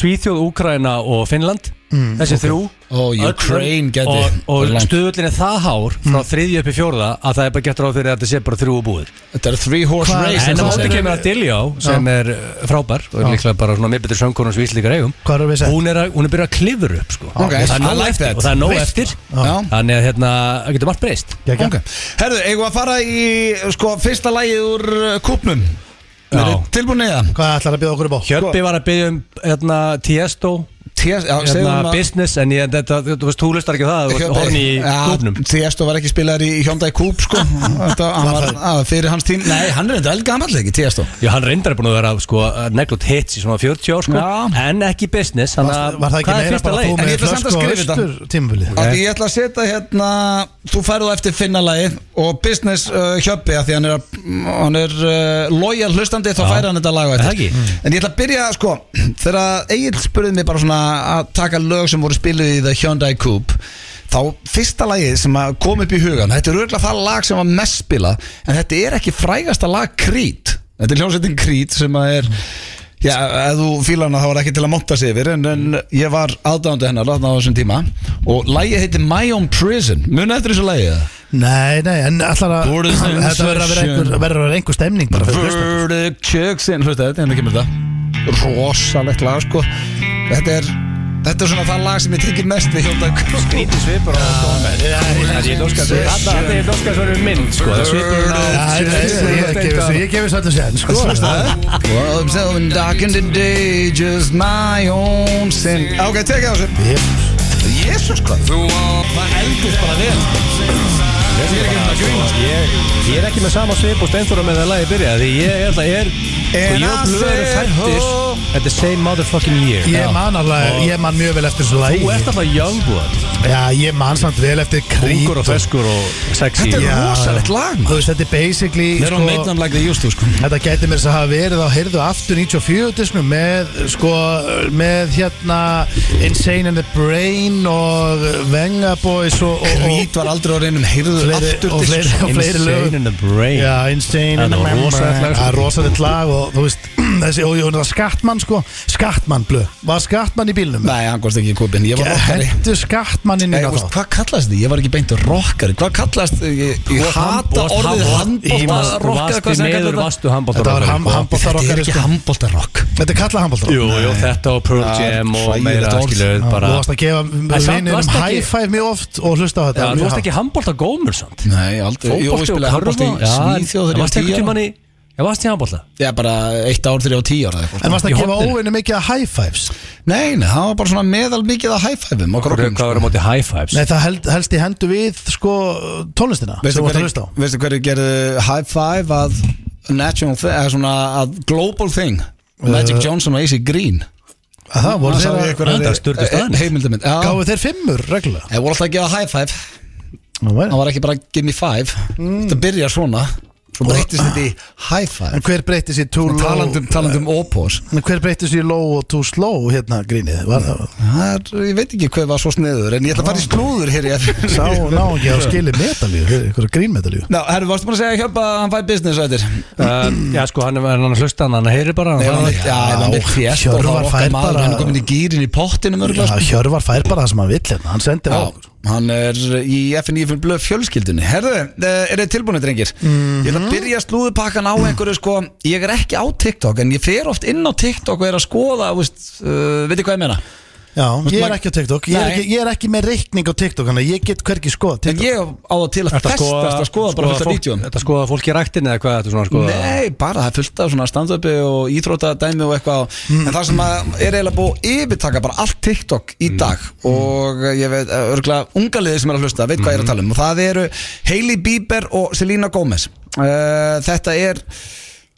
Speaker 3: Svíþjóð, Úkraina og Finnland Þessi þrjú
Speaker 1: Ó,
Speaker 3: Öll-
Speaker 1: Mm, Oh, Ukraine gæti-
Speaker 3: Og, og
Speaker 1: Langt. Mm.
Speaker 3: stöðullin er það hár frá þriðju upp í fjórða að það er bara gett ráð fyrir að þetta sé bara þrjú og búið
Speaker 1: Þetta er three horse
Speaker 2: Hvað-
Speaker 1: race
Speaker 2: Sem
Speaker 3: En á
Speaker 1: eins og
Speaker 3: móti
Speaker 1: það segir.
Speaker 3: kemur að Diljá sem er uh, frábær og er líklega bara svona mér betur söngkona sem Íslíkar eigum
Speaker 2: Hvað erum við sett?
Speaker 3: Hún er, að, hún er byrjað að klifur upp sko
Speaker 1: Ok,
Speaker 3: Það er
Speaker 1: I
Speaker 3: nóg
Speaker 1: like
Speaker 3: eftir
Speaker 1: that.
Speaker 3: og það er nóg
Speaker 1: Veist.
Speaker 3: eftir
Speaker 1: Já.
Speaker 3: Þannig að hérna, það getur margt breyst
Speaker 2: Gekka?
Speaker 1: Ok. Herðu, eigum við að fara í sko, fyrsta lagið úr uh, kúpnum
Speaker 3: Já.
Speaker 1: Eru tilbúin í það?
Speaker 2: Hvað ætlar að bjóða okkur upp á?
Speaker 1: Sko.
Speaker 3: Hjöppi var að byggja um hérna, Tiesto
Speaker 1: Tés- Já, segðu
Speaker 3: hérna,
Speaker 1: hún að-
Speaker 3: business en ég, þetta, þú veist, þú lustar ekki á það þú veist,
Speaker 1: Hjöppi-
Speaker 3: horni í
Speaker 1: Já,
Speaker 3: dúfnum
Speaker 1: Tiesto var ekki spilaður í Hyundai Coupe sko. Þetta, hann var að, fyrir hans tím Nei, hann er enda eldgamall ekki, Tiesto
Speaker 3: Já, hann reyndar er búin að vera sko, neglútt hits í svona 40 ár sko,
Speaker 1: Já.
Speaker 3: en ekki business hann,
Speaker 2: Var, var það ekki
Speaker 3: hvað er
Speaker 2: meira
Speaker 3: fyrsta
Speaker 2: bara
Speaker 3: lagið?
Speaker 1: En
Speaker 2: þú með
Speaker 1: ég ætla samt að
Speaker 2: flösku og
Speaker 1: skrifa þetta.
Speaker 2: austur tímabilið?
Speaker 1: okay. Því ég ætla að setja hérna Þú færðu eftir finnalagi og business uh, hjöppi að því hann er, að- hann er uh, loyal hlustandi þá
Speaker 3: Já.
Speaker 1: færi hann þetta lag á
Speaker 3: Er það
Speaker 1: eftir Mm.
Speaker 3: ekki?
Speaker 1: En ég ætla að byrja sko þegar Egil spurði mig bara svona að taka lög sem voru spiluð í The Hyundai Coupe þá fyrsta lagið sem að kom upp í hugan þetta er auðvitað það lag sem var mest spila en þetta er ekki frægasta lag Creed þetta er hljómsveitin Creed sem að er Já, ef þú fílar hana þá var ekki til að monta sig yfir en, en ég var aðdánandi hennar látna á þessum tíma og lagið heitir My Own Prison muna eftir þessu lagið eða?
Speaker 2: Nei, nei, en ætlar að
Speaker 1: Border
Speaker 2: þetta verður að vera
Speaker 1: sensation.
Speaker 2: einhver, verður að vera einhver stemning bara fyrir hlusta
Speaker 1: Verdict Chicks in Hlusta þetta, hérna kemur þetta Rosalegt lag sko Þetta er, þetta er svona það lag sem ég tekið mest við Hjónda
Speaker 3: Lítið svipur á Stormberg Ég dóskar svo erum minn sko, það svipur á
Speaker 2: Nei, nei, nei, ég gefi þessu- Ég gefi svolítið sér sko
Speaker 1: Well, I'm selling dark in the day Just my own sin Ah, Ok, tekið á þessu
Speaker 2: Ég-
Speaker 1: Jésus sko Það eldist bara vel
Speaker 3: Ég, ég er ekki með sama svip og steinþóra með það lagi byrja Því ég er, það er Sko, ég og Blöð eru fættir at the same motherfucking year
Speaker 2: Ég man alveg, ég man mjög vel eftir þessu lagi
Speaker 3: Þú ert alltaf young blood
Speaker 2: Já, ég man samt vel eftir krít
Speaker 3: Ungur og feskur og sexy
Speaker 1: Þetta er
Speaker 2: Já.
Speaker 1: rosalegt lag maður.
Speaker 2: Þú veist, þetta er basically
Speaker 1: They don't make them like they used to sko
Speaker 2: Þetta gæti mér þess að hafa verið á heyrðu aftur 94 disknum með, sko, með hérna Insane in the Brain og Venga Boys og, og, og,
Speaker 1: Rít var aldrei á reynum heyrðu
Speaker 2: Fleiri-
Speaker 1: aftur
Speaker 2: og fleiri-
Speaker 1: disk.
Speaker 2: og fleiri lög.
Speaker 3: Insane in the brain
Speaker 2: Já, Insane in
Speaker 3: Það
Speaker 2: the
Speaker 3: var
Speaker 2: Brain
Speaker 3: rosalegt lag, sko.
Speaker 2: Það er rosalegt lag og þú veist þessi, og ég hún var skattmann sko Skattmann blö, var skattmann í bílnum
Speaker 1: Nei, hann komst ekki í kúpin Ég var rockari
Speaker 2: Hentu skattmann inn í
Speaker 1: Nei, þú veist,
Speaker 2: það
Speaker 1: Hvað kallast þið? Ég var ekki beint rockari Hvað kallast þið? Ég, ég hata orðið
Speaker 3: Þú
Speaker 1: handbóltarokk
Speaker 3: varst í meður vastu
Speaker 2: Þetta var
Speaker 3: handbóltarokkar
Speaker 2: ham-
Speaker 1: Þetta er
Speaker 2: handbóltarokkari
Speaker 1: ekki
Speaker 2: sko.
Speaker 1: handbóltarokk
Speaker 2: Þetta er kallað handbóltarokk
Speaker 3: Jú, jú, þetta og Pearl
Speaker 1: Það er
Speaker 3: Jam og
Speaker 1: hræðilegt
Speaker 3: meira
Speaker 1: orð.
Speaker 3: skiluð
Speaker 2: Þú
Speaker 3: bara
Speaker 2: varst að gefa
Speaker 3: samt varstu
Speaker 2: vininum
Speaker 3: ekki-
Speaker 2: high five mjög oft og hlusta á
Speaker 3: Já,
Speaker 2: þetta
Speaker 3: þú varst ekki handbólta gómur samt
Speaker 1: Nei, aldrei Jú, ég
Speaker 3: Fótbolti og
Speaker 1: spilaði handbólti
Speaker 3: körfa
Speaker 1: í Svíþjóð þegar ég
Speaker 3: Já,
Speaker 1: var
Speaker 3: varst ekki
Speaker 1: tíu ára
Speaker 3: tíman í Já, varst í handbólta
Speaker 1: Já, bara eitt ár þegar ég var tíu ára eða eitthvað.
Speaker 2: En varst
Speaker 3: Í
Speaker 2: að gefa
Speaker 3: horninu.
Speaker 2: óvinni mikið að high fives
Speaker 1: Nei, nei, það var bara svona meðal mikið að hæfæfum og
Speaker 3: Hvað
Speaker 1: krokkum
Speaker 3: hvað var á móti high fives?
Speaker 2: Nei, það held, helst í hendu við sko tónlistina
Speaker 1: Veistu
Speaker 2: sem þú ert að
Speaker 1: hverju,
Speaker 2: hlusta á
Speaker 1: veistu hverju gerðu high five að national thing, eða svona að global thing Magic Johnson og AC Green Eh,
Speaker 2: Að Það Uh,
Speaker 1: sá
Speaker 2: voru þeir
Speaker 1: ég
Speaker 2: að
Speaker 1: einhverjar-
Speaker 3: Þetta er sturlu staðan.
Speaker 1: heimildamind Já,
Speaker 2: gáðu þeir fimmur reglulega
Speaker 1: það voru alltaf að gefa high five
Speaker 2: Nú væri.
Speaker 1: það var ekki bara give me five þetta byrjar svona, Mm. svo breytist þetta í high five
Speaker 2: En hver breytti sér too low
Speaker 1: talandum, talandum opos
Speaker 2: En hver breytti sér low og too slow hérna grínið Var það
Speaker 1: það er, ég veit ekki hvað var svo sniður en ég ætla að fara í slúður hér í eftir
Speaker 2: Sá ná ekki að skili metalíu Ykkur grínmetalíu
Speaker 1: Ná, herru, varstu búin að segja hjálpa að hann fæ business eftir
Speaker 3: Uh, Já, sko, hann er hann er að hlusta hann, hann heyrir bara
Speaker 1: Já,
Speaker 3: hann-
Speaker 1: já, ef hann vill fést og þá
Speaker 2: Hjörvar
Speaker 1: er
Speaker 2: fær
Speaker 1: okkar maður
Speaker 2: bara-
Speaker 1: hann er komin í gýrin í pottinum
Speaker 2: Já,
Speaker 1: örgulega
Speaker 2: Hjörvar fær bara það sem hann vill hérna Hann sendir á
Speaker 1: Já,
Speaker 2: okkur
Speaker 1: hann er í FNF blöð fjölskyldunni Herðu, eh, eru þið tilbúinu drengir? Ég ætla að byrja slúðupakkan á einhverju sko Ég er ekki á TikTok en ég fer oft inn á TikTok og er að skoða þú veist, uh, Veitir hvað ég meina?
Speaker 2: Já, ég
Speaker 1: mag-
Speaker 2: er ekki á TikTok Ég er
Speaker 1: Nei.
Speaker 2: ekki, ég er ekki með reikning á TikTok Þannig að ég get hvergi skoða
Speaker 1: En
Speaker 2: TikTok
Speaker 1: ég á það til að
Speaker 3: Ertu
Speaker 1: festast að skoða bara fullt af
Speaker 3: fólk-
Speaker 1: vídjum
Speaker 3: Ertu að skoða fólk í ræktinni eða hvað þetta svona að skoða
Speaker 1: Nei, bara það er fullt af svona standöpi og íþrótadæmi og eitthvað
Speaker 3: Mm.
Speaker 1: En það sem að er eiginlega búið að yfirtaka bara allt TikTok
Speaker 3: Mm.
Speaker 1: í dag Og ég veit, örgulega unga liðið sem er að hlusta, veit
Speaker 3: Mm.
Speaker 1: hvað ég er að tala um Og það eru Hailey Bieber og Selena Gomez uh, Þetta er,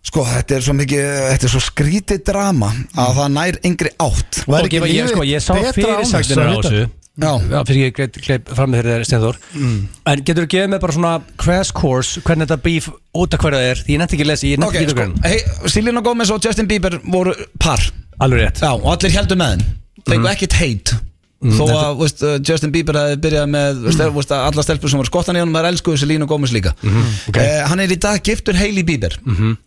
Speaker 1: sko, þetta er svo mikið, þetta er svo skrítið drama Að það nær yngri átt
Speaker 2: Væri
Speaker 3: Og
Speaker 2: ekki
Speaker 3: ég, ég,
Speaker 2: lífið
Speaker 3: sko, ég sá
Speaker 2: betra án þess
Speaker 3: fyrirsagnir á
Speaker 2: að vita?
Speaker 3: þessu
Speaker 1: Já.
Speaker 3: Já, fyrir ég greip, greip fram með þeirra steinþór
Speaker 1: Mm.
Speaker 3: En getur þú gefið mér bara svona crash course Hvernig þetta býf út af hverja það er Því ég nefndi ekki að lesa, ég
Speaker 1: Ok,
Speaker 3: nefndi ekki að
Speaker 1: sko,
Speaker 3: greina
Speaker 1: hey, Selena Gomez og Justin Bieber voru par
Speaker 3: Alveg rétt
Speaker 1: Já, og allir heldur með henn Fengu
Speaker 3: Mhm.
Speaker 1: ekkert heit
Speaker 3: Mm,
Speaker 1: Þó að veist, uh, Justin Bieber hefði byrjað með mm. veist, að alla stelpur sem var skottan í honum Það er elskuðu Selena Gomez líka
Speaker 3: Mhm, ok. Mhm.
Speaker 1: Eh, Hann er í dag giftur Hailey Bieber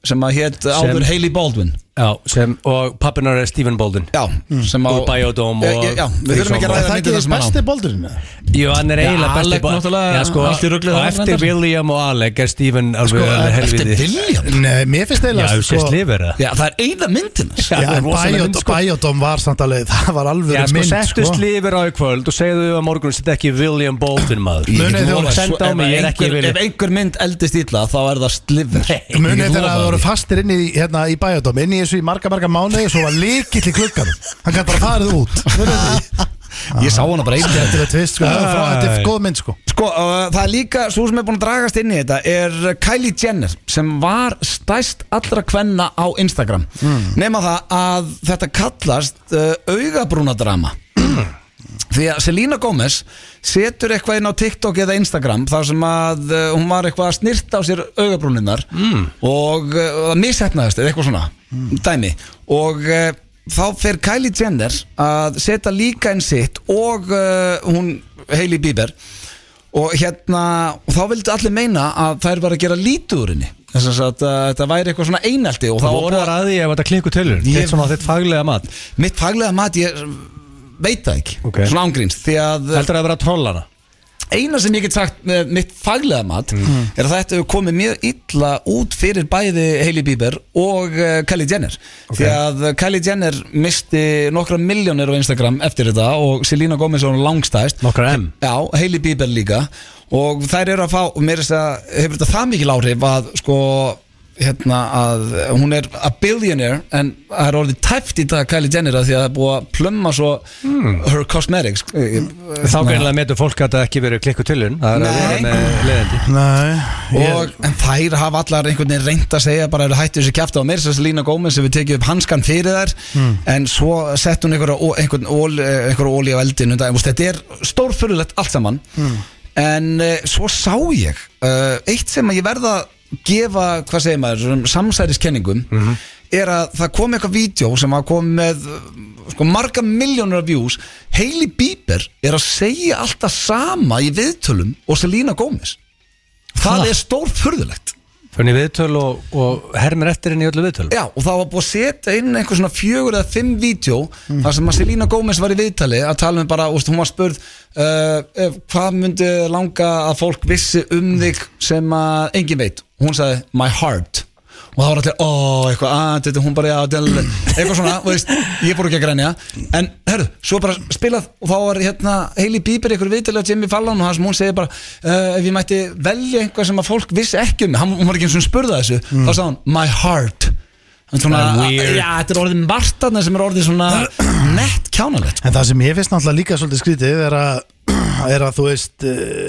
Speaker 1: Sem að hétt áður Hailey Baldwin
Speaker 3: Já, sem, og pappinar er Stephen Bolden
Speaker 1: Já, sem
Speaker 3: Og Mm. Biodome
Speaker 1: Eh,
Speaker 3: og-
Speaker 1: eh, Já, við þurfum ekki að
Speaker 2: Er
Speaker 1: ræða
Speaker 2: það
Speaker 1: myndið
Speaker 2: ekki
Speaker 1: það sem
Speaker 3: sko,
Speaker 1: hann á
Speaker 2: besti boldurinn? eða?
Speaker 3: Jú, hann er eiginlega
Speaker 1: Alec
Speaker 3: besti bo-
Speaker 1: náttúrulega,
Speaker 3: Já, sko,
Speaker 1: allt í ruglið
Speaker 3: og
Speaker 1: þar,
Speaker 3: eftir
Speaker 1: reyndar.
Speaker 3: William og Alec er Stephen alveg,
Speaker 1: Sko,
Speaker 3: alveg
Speaker 1: eftir
Speaker 3: helviti
Speaker 1: William
Speaker 2: Nei, mér finnst
Speaker 3: Já,
Speaker 2: eiginlega sko-
Speaker 3: þú
Speaker 1: sko-
Speaker 3: sést lifir það
Speaker 1: Já, það er eina myndin hans
Speaker 3: Já,
Speaker 2: Já,
Speaker 3: það er
Speaker 2: en
Speaker 3: rosaleg mynd, sko.
Speaker 2: Biodom var samt alveg, það var alveg
Speaker 3: Já, sko,
Speaker 2: mynd,
Speaker 3: settust lifir á í kvöld og segðu að morgun sitt ekki William Bolton maður
Speaker 1: Ég get
Speaker 2: Munið
Speaker 1: lofað svo-
Speaker 2: þegar-
Speaker 3: Senda á
Speaker 1: ef
Speaker 3: mig, ég er ekki
Speaker 1: einhver-
Speaker 3: William.
Speaker 1: Ef einhver mynd eldist illa þá er það slifur
Speaker 3: Nei.
Speaker 2: Munið
Speaker 3: Ég
Speaker 2: þegar
Speaker 3: lofa
Speaker 2: það
Speaker 3: því.
Speaker 2: voru fastir inn í, hérna, í Biodom Inn í þessu í marga, marga mánuði Svo var líkill í klukkanum Hann gæti bara farið út Munið þetta?
Speaker 1: Ég sá hana bara einu sinni.
Speaker 2: Þetta er tvist, sko það er frá- Þetta er góð mynd, sko
Speaker 1: Sko, uh, það er líka, svo sem er búin að dragast inn í þetta er Kylie Jenner sem var stæst allra kvenna á Instagram nema það að þetta kallast uh, augabrúnadrama því að Selena Gomez setur eitthvað inn á TikTok eða Instagram þar sem að uh, hún var eitthvað að snirta á sér augabrúninnar mm. og uh, það missetnaðist eða eitthvað svona dæmi og uh, þá fer Kylie Jenner að setja líka inn sitt og uh, hún Hailey Bieber og hérna og þá vildi allir meina að þær var að gera lítið úr henni þess að uh, þetta væri eitthvað svona einaldi og þá
Speaker 3: Það voru að ræði ef þetta klikku tilur
Speaker 1: Ég-
Speaker 3: Þetta er svona þitt faglega mat
Speaker 1: mitt faglega mat ég veit það ekki
Speaker 3: Ok.
Speaker 1: svona ángríns því að
Speaker 3: Heldur það að vera trollana
Speaker 1: eina sem ég get sagt með mitt faglega mat er að þetta hefur komið mjög illa út fyrir bæði Hailey Bieber og uh, Kylie Jenner því að Kylie Jenner misti nokkra miljónir á Instagram eftir þetta og Selena Gomez var hún langstæst
Speaker 3: Nokkra M
Speaker 1: Já, Hailey Bieber líka og þær eru að fá, og mér er þess að segja, hefur þetta það mikil áhrif að sko hérna að hún er a billionaire en það er orðið tæft í dag Kylie Jenner að því að það er búið að plömma svo her cosmetics
Speaker 3: Þá
Speaker 1: þá
Speaker 3: greinlega metur fólk að það ekki verið klikku tilun Það er að vera
Speaker 1: Nei.
Speaker 3: með leðandi
Speaker 2: Nei,
Speaker 1: Og, en þær hafa allar einhvern veginn reynd að segja bara eru hættu þessu kjæfta á mér þess að Lína Gómez hefur tekið upp hanskan fyrir þær en svo sett hún einhverja ó- einhvern ól, eh, einhverja óli á eldin um daginn. Þú veist, þetta er stórfurulegt allt saman en uh, svo sá ég uh, eitt sem að ég verða að gefa, hvað segir maður, svona samsæriskenningum er að það kom eitthvað vídeo sem að kom með uh, sko, marga miljónur af views Hailey Bieber er að segja alltaf sama í viðtölum og Selena Gomez Það
Speaker 3: Ha?
Speaker 1: er stórfurðulegt
Speaker 3: Þannig viðtöl og, og hermir eftir henni í öllu viðtöl
Speaker 1: Já, og það var búið að setja inn einhver svona fjögur eða fimm vídjó þar sem að Selena Gomez var í viðtali að tala með bara, úst, hún var spurð uh, ef- hvað myndi langa að fólk vissi um þig sem að engin veit, hún sagði my heart og það var allir, ó, eitthvað, að, þetta, hún bara, já, del, eitthvað svona, þú veist, ég búið ekki að grænja en, herru, svo bara spilað og þá var, hérna, Hailey Bieber ykkur viðtalið á Jimmy Fallon og það sem hún segir bara uh, ef ég mætti velja eitthvað sem að fólk vissi ekki um, mig," hann, hún var ekki eins og spurða þessu þá sagði hún, my heart En svona,
Speaker 3: Það er weird.
Speaker 1: já, þetta er orðið martarna sem er orðið svona nett kjánalegt
Speaker 2: En það sem ég finnst náttúrulega líka svolítið skrítið er að, er að þú veist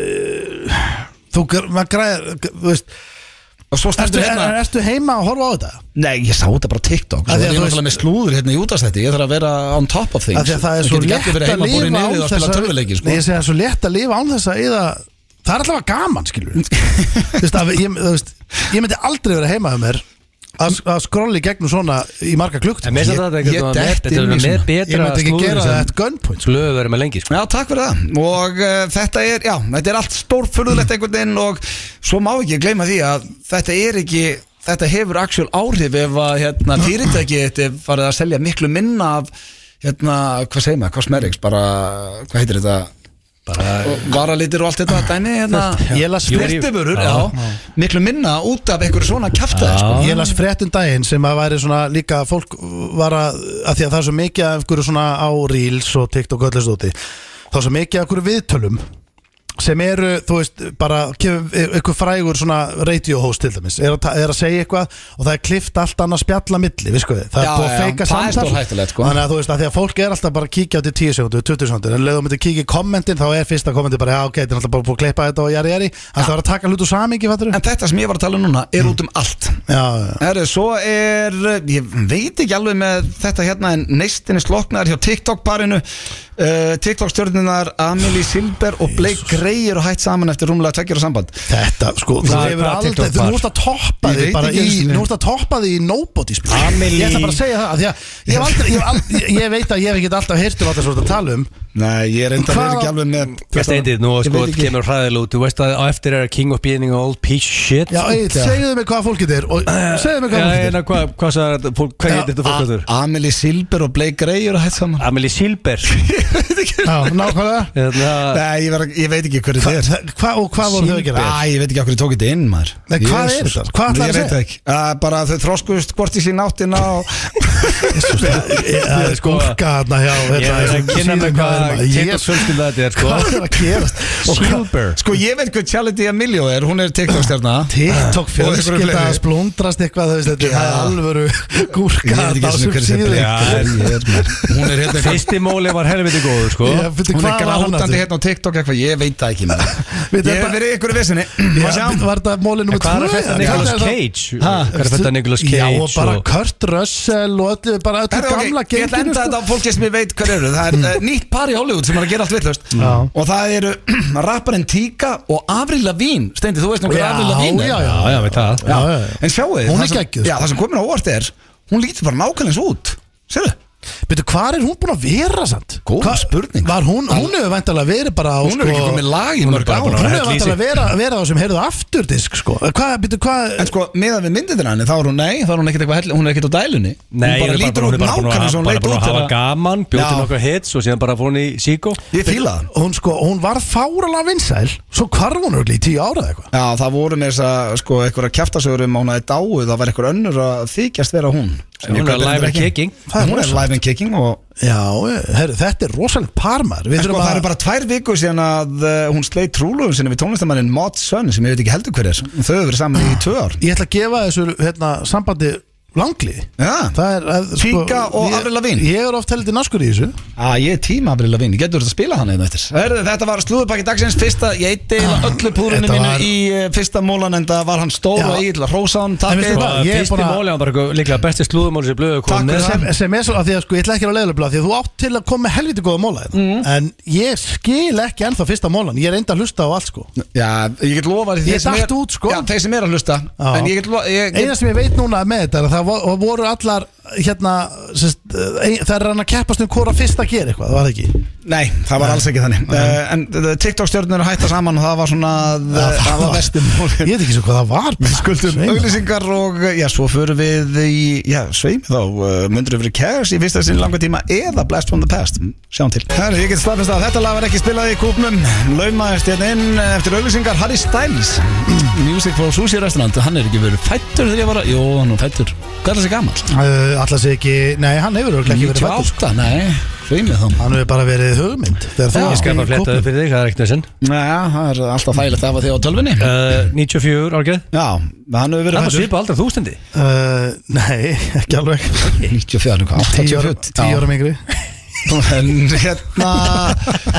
Speaker 2: uh, þú gr- maður græðir þú veist,
Speaker 1: Og svo
Speaker 2: ertu,
Speaker 1: stendur
Speaker 2: er,
Speaker 1: hérna
Speaker 2: ertu heima að horfa á þetta?
Speaker 1: Nei, ég sá þetta bara á TikTok Svo
Speaker 2: Af því að
Speaker 1: ég er
Speaker 2: þú
Speaker 1: náttúrulega með slúður hérna í útastætti Ég þarf að vera on top of things
Speaker 2: Af því að það er svo
Speaker 1: getur
Speaker 2: létt
Speaker 1: ekki verið
Speaker 2: að
Speaker 1: heima borið
Speaker 2: lifa án
Speaker 1: niður og
Speaker 2: þess
Speaker 1: spila
Speaker 2: að-
Speaker 1: tölvuleiki
Speaker 2: Nei,
Speaker 1: sko.
Speaker 2: ég segi að það er svo létt að lifa án þess að eða, það er alltaf gaman skilur þú veist, að, ég, þú veist, ég myndi aldrei vera heima um mér að, að skrolli gegnum svona í marga klukkt
Speaker 3: En mér finnst
Speaker 2: ég,
Speaker 3: þetta
Speaker 1: Ég- ég
Speaker 3: eitthvað með,
Speaker 1: detti
Speaker 3: þetta er
Speaker 1: inn í
Speaker 3: með
Speaker 1: svona.
Speaker 2: ég
Speaker 3: betra
Speaker 2: myndi ekki
Speaker 3: slúður
Speaker 2: gera það
Speaker 3: sem
Speaker 2: at gunpoint sko.
Speaker 3: Glöðu verið með lengi sko.
Speaker 1: Já, takk fyrir það Og uh, þetta er, já, þetta er allt stórfurðulegt einhvern veginn Og svo má ekki gleyma því að þetta er ekki Þetta hefur actual áhrif ef að hérna, fyrirtæki þetta er farið að selja miklu minna af Hérna, hvað segir maður, cosmetics, bara, hvað heitir þetta?
Speaker 3: Bara
Speaker 1: varalitir og allt þetta dæmi hérna,
Speaker 2: Ég las
Speaker 1: snirtivörur já, miklu minna út af einhverju svona kjaftaði
Speaker 3: Já.
Speaker 1: sko.
Speaker 2: Ég las fréttum daginn sem að væri svona líka að fólk var að, að því að það er svo mikið af einhverju svona á Reels og TikTok og öllast úti þá er svo mikið af einhverju viðtölum sem eru, þú veist, bara kemur einhver frægur svona radio host til dæmis, er að, ta- er að segja eitthvað og það er klift allt annað spjalla milli, við skoðið það
Speaker 1: Já,
Speaker 2: er búið
Speaker 1: já,
Speaker 2: að feika
Speaker 1: það er
Speaker 2: samtal
Speaker 1: stórhættulegt, sko.
Speaker 2: þannig að þú veist, að því að fólk er alltaf bara að kíkja á til 10 sekundur, 20 sekundur, en leiðum við að kíkja í kommentin þá er fyrsta kommentin bara, já ok, þetta er alltaf bara búið að klippa þetta og jari jari, þannig að það er að taka hlut og samingi, fattur
Speaker 1: en þetta sem ég var að tala um núna er út um allt
Speaker 2: Já, já.
Speaker 1: Herru, svo er, ég veit ekki alveg með þetta hérna en neistinni sloknaðar hjá TikTok-barinu uh, TikTok-stjörnunar Amelie Silber og Blake Grey eru hætt saman eftir rúmlega tveggjara samband
Speaker 2: Þetta sko, þú
Speaker 3: Það er
Speaker 2: hefur
Speaker 3: bara
Speaker 2: aldrei
Speaker 3: TikTok
Speaker 2: Þú
Speaker 3: bar.
Speaker 2: ert að toppa
Speaker 1: Ég
Speaker 2: þig
Speaker 1: veit
Speaker 2: bara
Speaker 1: ekki
Speaker 2: í
Speaker 1: einu sinni.
Speaker 2: Þú ert að toppa þig í nobody spil
Speaker 3: Amelie-
Speaker 2: Ég ætla bara að segja það af Því að ég hef aldrei Ég, hef aldrei, ég veit að ég hef ekkert alltaf heyrt um alltaf svona að tala um
Speaker 1: Nei, ég er enda
Speaker 2: Hvað-
Speaker 1: ekki alveg með
Speaker 3: Ég steindið nú
Speaker 1: Ég
Speaker 3: sko,
Speaker 1: veit
Speaker 3: þetta
Speaker 1: ekki.
Speaker 3: kemur hræðilega út Þú veist að á eftir er að King of Being All Piece of Shit
Speaker 2: Já, Egil, segðu mig hvað fólkið er Og segðu mig hvað fólkið
Speaker 3: Já, en
Speaker 2: er
Speaker 3: að hvað hvað sagði þetta fólk- Hvað heitir þetta fólk að þurr?
Speaker 1: A- Amelie Silber og Blake Grey eru hætt
Speaker 2: Ah.
Speaker 1: saman
Speaker 3: Amelie Silber
Speaker 2: Já, nákvæmlega
Speaker 3: Hérna,
Speaker 1: Nei, ég, ver, ég veit ekki hverju
Speaker 2: Hva,
Speaker 1: þetta er
Speaker 2: hva, Og hvað voru þau að gera?
Speaker 1: Æ, ég veit ekki okkur ég tók þetta inn maður
Speaker 2: Nei, hvað
Speaker 1: Jesus.
Speaker 2: er þetta? Hvað ætlarðu
Speaker 1: Ég veit
Speaker 2: að segja?
Speaker 1: það ekki að, Bara að þau þróskust hvort í sín áttina og
Speaker 2: Það er skúrka þarna hjá hérna,
Speaker 3: Ég er að kynna mig hvað Tittar
Speaker 2: Jésus,
Speaker 3: fjölskylda þetta er sko
Speaker 2: hvað er að gerast? Og hvað-
Speaker 3: Silber
Speaker 1: Sko ég veit hvað Charlie D'Amelio er Hún er TikTok-stjarna
Speaker 2: TikTok
Speaker 1: Og einhverju
Speaker 2: fjölskylda
Speaker 1: fleiri.
Speaker 2: að splundrast eitthvað þú veist, þetta er- það er alvöru
Speaker 1: Ég
Speaker 2: gúrka
Speaker 1: veit ekki
Speaker 2: á
Speaker 1: svona
Speaker 2: sem
Speaker 1: hverju sem
Speaker 2: síðu
Speaker 1: Blake Grey er maður. Hún er hérna eitthvað-
Speaker 3: Fyrsti móli var helviti góður sko
Speaker 2: Já, veitu,
Speaker 1: Hún er
Speaker 2: hvað var hann
Speaker 1: grátandi
Speaker 2: aftur?
Speaker 1: hérna á TikTok eitthvað Ég veit það ekki maður Ég
Speaker 2: Við þetta-
Speaker 1: hef verið í einhverju vissinni
Speaker 2: Já, Var þetta móli
Speaker 3: En
Speaker 2: nummer
Speaker 3: Hvað er
Speaker 2: tvö?
Speaker 3: að fætta
Speaker 2: eða?
Speaker 3: Nicolas
Speaker 2: Hvað er það- Ha?
Speaker 3: Cage? Hvað er að fætta Nicolas Cage? sko?
Speaker 2: Já, og bara
Speaker 3: og-
Speaker 2: Kurt Russell og öllu, bara öllu gamla sko. Mm.
Speaker 1: Ég ætla að enda þetta á fólki sem ég veit hver eru Það er eh, nýtt par í Hollywood sem er að gera allt villust
Speaker 2: Já.
Speaker 1: Og það eru rapparinn Tíka og Avril Lavín Steindi, þú veist nú hver
Speaker 2: Já,
Speaker 1: Avril Lavín er
Speaker 2: já,
Speaker 3: Já, já, veit það
Speaker 1: já,
Speaker 2: Já, já.
Speaker 1: En sjáu þið
Speaker 2: Hún er
Speaker 1: það sem-
Speaker 2: geggjuð, sko.
Speaker 1: Já, það sem komin á óvart er Hún lítur bara nákvæmleins út Sérðu?
Speaker 2: Býtu, hvað er hún búin að vera samt?
Speaker 1: Góð
Speaker 2: Hva-
Speaker 1: spurning.
Speaker 2: Var hún, hún hefur væntalega verið bara á
Speaker 1: sko, Hún er
Speaker 2: sko-
Speaker 1: ekki komið lag í
Speaker 3: hún er
Speaker 1: mörg
Speaker 3: bara
Speaker 1: ár
Speaker 3: búin að
Speaker 2: Hún
Speaker 3: vera
Speaker 2: hefur
Speaker 3: hella í sig.
Speaker 2: væntalega verið, verið á sem heyrðu afturdisk sko Hvað, býtu, hvað
Speaker 1: En sko, meðan við myndirna henni, þá er hún, nei, þá er hún ekkert eitthvað hell- Hún er ekkert á dælunni Hún
Speaker 3: Nei, hún
Speaker 1: bara
Speaker 3: er bara
Speaker 1: lítur
Speaker 3: hún
Speaker 1: út
Speaker 3: er bara búin
Speaker 1: nákvæmleins
Speaker 3: að-
Speaker 1: hún
Speaker 3: bara
Speaker 1: leit
Speaker 3: búin
Speaker 1: út
Speaker 3: að hafa
Speaker 1: þegar-
Speaker 3: gaman Bjóti
Speaker 1: Já.
Speaker 3: nokkuð hits og síðan bara fór hún í Sigo
Speaker 1: Ég fíla það
Speaker 2: Hún sko, hún var fáralega vinsæl Svo hvarf hún öll í tíu ára eða eitthvað
Speaker 1: Já, það voru með þess að, sko, einhverja kjaftasögur um að hún aðeins dáið, það var einhver önnur að þykjast vera hún Sem ég
Speaker 3: Hún er
Speaker 1: kaupi
Speaker 3: live
Speaker 1: reyndar
Speaker 3: and
Speaker 1: ekki.
Speaker 3: kicking
Speaker 1: Hún er live and kicking og
Speaker 2: Já,
Speaker 3: eh,
Speaker 2: herri, þetta er rosalega parmar
Speaker 1: En sko, það eru bara tvær vikur síðan að uh, hún sleit trúlöfum sinni við tónlistamannin Mott Sönn sem ég veit ekki heldur hver er þau hefur verið saman í tvö ár
Speaker 2: Ég ætla að gefa þessu hérna, sambandi langli
Speaker 1: Já.
Speaker 2: Það er að, sko,
Speaker 1: Pika og
Speaker 2: ég-
Speaker 1: Avril Lavigne.
Speaker 2: Ég er oft heldur naskur í þessu
Speaker 1: að ég er tíma að brilla vinn, ég getur þetta að spila hann einu eftir Herðu, þetta var slúðupakki dagsins fyrsta, ég eitti eiginlega öllu púrunni
Speaker 2: Þetta
Speaker 1: mínu
Speaker 2: var-
Speaker 1: í eh, fyrsta mólan en það var hann stór
Speaker 2: Já.
Speaker 1: og eiginlega rósan,
Speaker 2: En
Speaker 1: takk
Speaker 2: veistu
Speaker 1: Egill.
Speaker 2: hvað? Ég er
Speaker 3: Fyrsti
Speaker 2: bara-
Speaker 3: móli hann bara eitthvað líklega besti slúðumóli sem blöðu
Speaker 1: Takk
Speaker 3: kom
Speaker 1: fyrir
Speaker 3: með
Speaker 1: það.
Speaker 2: sem, sem er svo að því að sko, ég ætla ekki að leiðilega blá því að þú átt til að koma með helviti góða móla mm.
Speaker 1: Mhm.
Speaker 2: en ég skil ekki ennþá fyrsta mólan ég er enda að hlusta á allt sko
Speaker 1: Já, ég get lofa
Speaker 2: Ég datt út, sko.
Speaker 1: Já, þeir sem er að hlusta
Speaker 2: Já.
Speaker 1: En ég get lofa ég get-
Speaker 2: eina sem ég veit núna með þetta er að það vo- voru allar hérna sest, ein, það er hann að keppast um hvora fyrst að gera eitthvað, það var það ekki
Speaker 1: Nei, það var alls ekki þannig uh, En uh, TikTok stjórnir hætta saman og það var svona uh, Það var vestum
Speaker 2: ég veit ekki svo hvað það var bara.
Speaker 1: Skuldum
Speaker 2: Sveina.
Speaker 1: auglýsingar og uh, já, svo förum við í, já, sveimi þá uh, myndur við verið kæðs í fyrsta sinni langa tíma eða Blast from the Past, Mm, sjáum til Herru, ég get staðfest að þetta lag var ekki spilað í kúpnum laumaðist hérna inn uh, eftir auglýsingar Harry Styles
Speaker 3: Mm, Music for Sushi Restaurant Hann er ekki verið fættur þegar ég var að Jó, hann var fættur Hvað er þessi gammal?
Speaker 2: Uh, allar sé ekki, nei hann hefur örugglega ekki verið fættur
Speaker 3: 98, nei Sveimið þá
Speaker 2: hann hefur bara verið hugmynd þegar þú
Speaker 3: Ég
Speaker 2: varst
Speaker 3: skal
Speaker 2: í
Speaker 3: bara fletta
Speaker 2: kópnum.
Speaker 3: það fyrir þig, það er ekkert þessin
Speaker 1: Já, það er alltaf þægilegt af að þið á tölvunni
Speaker 3: Eh, 94 árgeð
Speaker 1: Já, hann hefur verið
Speaker 3: Það var
Speaker 1: fæddur-
Speaker 3: svipa aldrei þústindi
Speaker 2: Uh, nei, ekki alveg
Speaker 1: 94, hvað,
Speaker 2: 10 ára-
Speaker 1: 84
Speaker 2: 10
Speaker 1: Já.
Speaker 2: ára mingri
Speaker 1: En hérna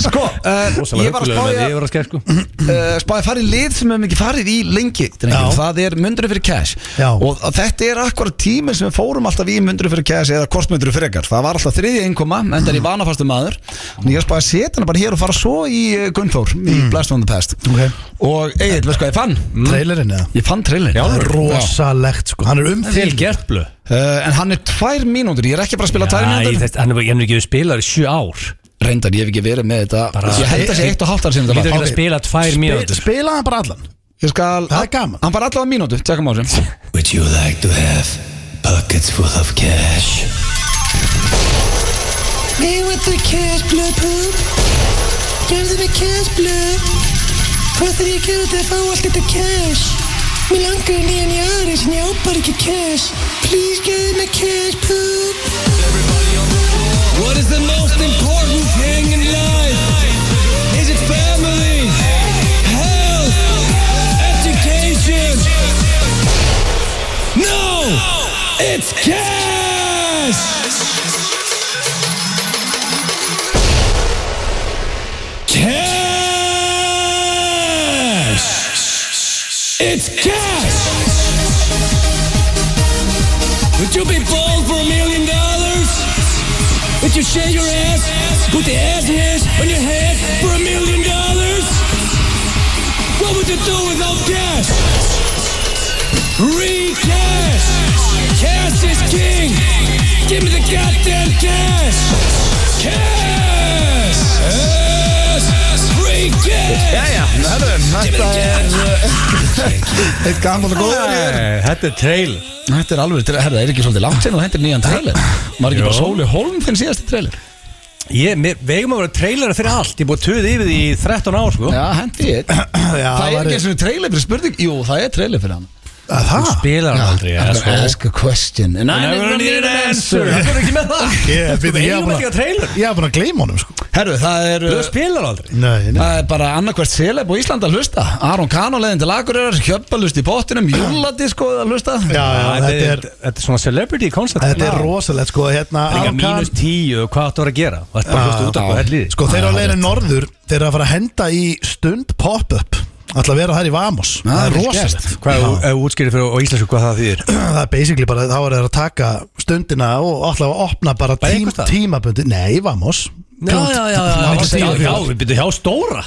Speaker 1: Sko, uh, ég var að spája
Speaker 3: Ég var að skæða sko
Speaker 1: uh, Spája að fara í lið sem við hefum ekki farið í lengi drengjum.
Speaker 2: Já.
Speaker 1: Það er mundurinn fyrir cash
Speaker 2: Já.
Speaker 1: Og að þetta er akkurat tími sem við fórum alltaf í mundurinn fyrir cash Eða kortmundurinn fyrir ekkar Það var alltaf þriðja einkoma En það
Speaker 2: Mm.
Speaker 1: er í vanafastu maður En ég spája að setja hana bara hér og fara svo í uh, Gunnþór Í Blast on the Past
Speaker 2: Mm. Ok.
Speaker 1: Og Egil, veist hvað ég fann?
Speaker 3: Mm.
Speaker 2: trailerinn eða
Speaker 1: Ég fann trailer
Speaker 2: Það er rosalegt sko, hann er um
Speaker 3: Til gert blö
Speaker 1: Eh, En hann er tvær mínútur, ég er ekki bara að spila tvær
Speaker 3: Æ,
Speaker 1: mínútur
Speaker 3: þess- Hann er bara- ég hef ekki spilar í sjö ár
Speaker 1: Reyndar, ég hef ekki verið með þetta
Speaker 3: Bara-
Speaker 1: Ég held að sé eitt og hálft ár sinni
Speaker 3: Lítur ekki
Speaker 2: Ok.
Speaker 3: að spila tvær
Speaker 2: Spi-
Speaker 3: mínútur
Speaker 2: Spilaði hann bara allan
Speaker 1: Ég skal
Speaker 2: Það er gaman.
Speaker 1: Hann var allavega mínútu, tjekkum á þessu
Speaker 4: Would you like to have pockets full of cash?
Speaker 5: Me with the cash blue poop. Give them a cash blue. Hvað þarf ég að gera til að fá allt þetta cash? Mér langar nýjan í aðeins en ég á bara ekki cash. Please give them a cash poop.
Speaker 4: What is the most important thing in life? Is it family? Health? Education? No! It's cash! Cash! It's cash! Would you be bold for a million dollars? Would you shave your ass? Put the ass hairs on your head for a million dollars? What would you do without cash? Re-cash! Cash is king! Give me the goddamn cash! Cash! Cash! Re-cash!
Speaker 1: Jæja, herru, þetta er uh, eitt gammal og góður í þér.
Speaker 3: Æ, Þetta er trail
Speaker 1: Þetta er alveg, herru, það er ekki svolítið langt sinn og hendur nýjan trailer Var ekki
Speaker 3: Jó.
Speaker 1: bara Sóli Holm þinn síðasti trailer
Speaker 3: Ég, mér, við eigum að vera trailera fyrir allt Ég er búið að töði yfir því í 13 ár sko
Speaker 1: Já, hendi ég
Speaker 2: Já,
Speaker 1: Það er
Speaker 2: væri-
Speaker 1: ekki svona trailer fyrir spurning Jú, það er trailer fyrir hann
Speaker 2: Að Það?
Speaker 3: Spilar hann aldrei eða,
Speaker 1: Sko.
Speaker 3: sko.
Speaker 1: Ask a question And I never need an answer
Speaker 3: Það er ekki með það
Speaker 2: Ég
Speaker 3: Sko,
Speaker 2: við-
Speaker 3: við
Speaker 2: ég var
Speaker 3: eigum
Speaker 2: búin
Speaker 3: ekki að trailer
Speaker 2: Ég hef bara að gleyma honum sko
Speaker 1: Herru, það er
Speaker 3: Þú spilar aldrei
Speaker 2: Nei, nei
Speaker 1: Það er bara annarkvært seleb og Ísland að hlusta Aron Kano leðin til Akureyrar, Hjöppalust í pottinum Júladisko að hlusta
Speaker 2: Já, já, þetta er
Speaker 3: þetta er svona celebrity concept
Speaker 2: Þetta er rosalegt sko Hérna
Speaker 3: Það
Speaker 2: Aron
Speaker 3: er líka
Speaker 2: Kahn-
Speaker 3: mínus tíu og hvað áttu að vera að gera Það er
Speaker 2: Já,
Speaker 3: bara að hlusta út af hvað þetta líði
Speaker 2: Sko þeir eru að leiðin norður Þeir eru að fara að henda í stund pop-up Ætla að vera þær í Vamos Það
Speaker 1: það er
Speaker 2: er
Speaker 1: vel
Speaker 2: rosalegt
Speaker 1: gert.
Speaker 3: Hvað er útskýrið fyrir á íslensku hvað það þýðir?
Speaker 2: Það er basically bara Þá eru þeir að taka stundina Og ætla að opna bara
Speaker 3: Bara
Speaker 2: tím,
Speaker 3: einhvers staðar?
Speaker 2: tímabundi Nei, Vamos
Speaker 3: Já, já, já, já,
Speaker 2: Það er ekki
Speaker 3: já, já,
Speaker 2: segja
Speaker 3: já,
Speaker 2: fyrir.
Speaker 3: við byrjum hjá stóra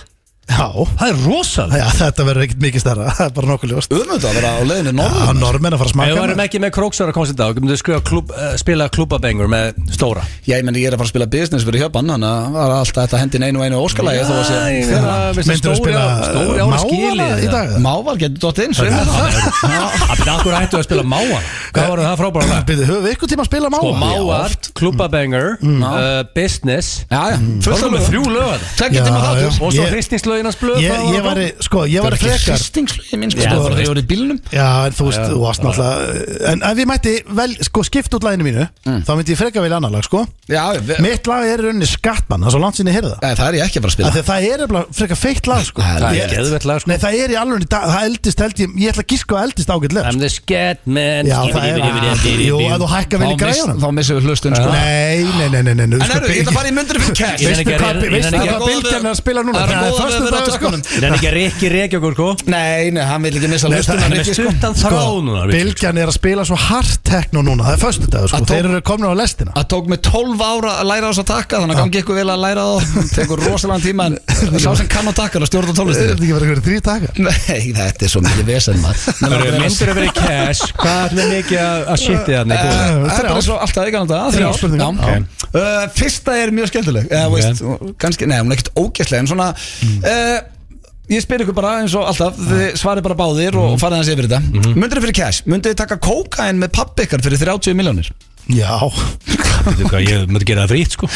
Speaker 2: Já,
Speaker 3: Það er rosalega
Speaker 2: já, þetta verður ekkert mikið stærra Það er bara nokkuð ljóst
Speaker 1: Öfnvöld að vera á leiðinu norður
Speaker 2: Já, normenn að fara að
Speaker 3: Ef við
Speaker 2: smaka
Speaker 3: varum ekki með króksvara koncept á Gjöndum við skrifa klub, uh, spila klúbabengur með stóra
Speaker 1: Já, ég meni, ég er að fara að spila business fyrir hjöpan Þannig að það er alltaf þetta hendin einu og einu óskalagi Þó að sé
Speaker 3: ég meina, veist það,
Speaker 2: Myndirðu
Speaker 3: stóri
Speaker 2: spila,
Speaker 3: á- Stóri ára
Speaker 2: mávala
Speaker 3: skilið
Speaker 2: í dag?
Speaker 1: Mávar getur dótt inn sveinu það.
Speaker 3: Það byrja akkur ættu að spila máa Hvað var það frábæra lag?
Speaker 2: Býðu, höfum við ykkur tíma að spila máa?
Speaker 3: Sko máar, klúbabengur, uh, business
Speaker 1: Já, já, Mm.
Speaker 3: Það
Speaker 1: fullt
Speaker 3: var
Speaker 1: af
Speaker 3: með
Speaker 1: lögum.
Speaker 3: þrjú lög að
Speaker 1: Tveggja
Speaker 2: Já,
Speaker 1: tíma
Speaker 2: já.
Speaker 1: þáttur
Speaker 3: Og svo
Speaker 2: Ég-
Speaker 3: hans blöð
Speaker 2: Ég, ég var, sko, ég var frekar
Speaker 1: Hristingslögin minn sko
Speaker 3: Já,
Speaker 1: Það var
Speaker 3: þú veist.
Speaker 1: þegar ég voru í bílnum
Speaker 2: Já, en þú veist, þú varst náttúrulega En ef ég mætti, vel, sko, skipt út læginu mínu Þá myndi ég freka vel annar lag, sko
Speaker 1: Já, við,
Speaker 2: Mitt lag er í rauninni skattmann, það er svo langt sinni heyrða
Speaker 1: Nei, það er ég ekki að fara að spila
Speaker 2: Þegar það er eflag freka feitt lag, sko
Speaker 1: Það er
Speaker 2: Ég-
Speaker 3: ekki eðvægt lag sko
Speaker 2: Nei, það er í alveg, það eldist, held ég Ég ætla að gíska að eldist ágætlega,
Speaker 3: I'm
Speaker 2: sko
Speaker 3: the scat man
Speaker 2: Já, það er- Jú, að þú hækka vel í
Speaker 1: Þá miss-
Speaker 2: græjunum.
Speaker 1: Þá missum við hlustun sko
Speaker 2: Nei, nei, nei, nei, sko, nei, nei
Speaker 1: En erðu, ég ætla að fara í myndunum fyrir
Speaker 3: Ég
Speaker 1: cash
Speaker 3: nenni
Speaker 2: Veistu
Speaker 3: ekki að-
Speaker 2: hvað,
Speaker 3: ég nenni
Speaker 2: veistu
Speaker 3: ekki að-
Speaker 2: hvað bylgjarni er að spila
Speaker 1: Það
Speaker 2: núna
Speaker 1: er
Speaker 2: Það er
Speaker 1: góða
Speaker 2: förstu
Speaker 1: veður á
Speaker 2: dag, sko
Speaker 1: tökkunum
Speaker 3: Það er ekki að rekki rekja okkur sko
Speaker 1: Nei, nei, hann vil ekki missa sko. hlustun
Speaker 2: það
Speaker 3: er með stuttan
Speaker 2: sko,
Speaker 3: þrá núna Rikki.
Speaker 2: Bylgjarni er að spila svo hart tekno núna Það er förstu dag, sko,
Speaker 1: Að tó-
Speaker 2: þeir eru komin á lestina
Speaker 1: Það tók mig 12 ára að læra á þess að taka Þannig að gangi ykkur vel að læra á það Tekur rosalega tíma En sá sem kann á takkar að stjórna
Speaker 2: Er
Speaker 1: tólestinu
Speaker 2: þetta ekki verið þrý taka?
Speaker 1: Nei, þetta er svo mikið vesen maður
Speaker 3: Það
Speaker 1: Menn
Speaker 3: eru
Speaker 1: aldrei að-
Speaker 3: myndir að vera í cash Hvað ætlum við mikið að- að shitið þarna í búið?
Speaker 1: Það er
Speaker 2: Þrjár.
Speaker 1: bara svo alltaf ekki annað
Speaker 2: Þrjár spurningar.
Speaker 1: Uh, Fyrsta er mjög skemmtileg eða,
Speaker 3: Ok. Mm.
Speaker 1: veist, kannski, Nei, hún er ekkert ógæslega En svona eh, Ég spyr ykkur bara eins og alltaf Þið svarið bara báðir og farið hans yfir þetta mm Mundur þið fyrir cash, mundur þið taka kókain með pappi ykkar fyrir 30 miljónir
Speaker 2: Já
Speaker 3: Veitu hvað, Ég myndi gera það frýtt sko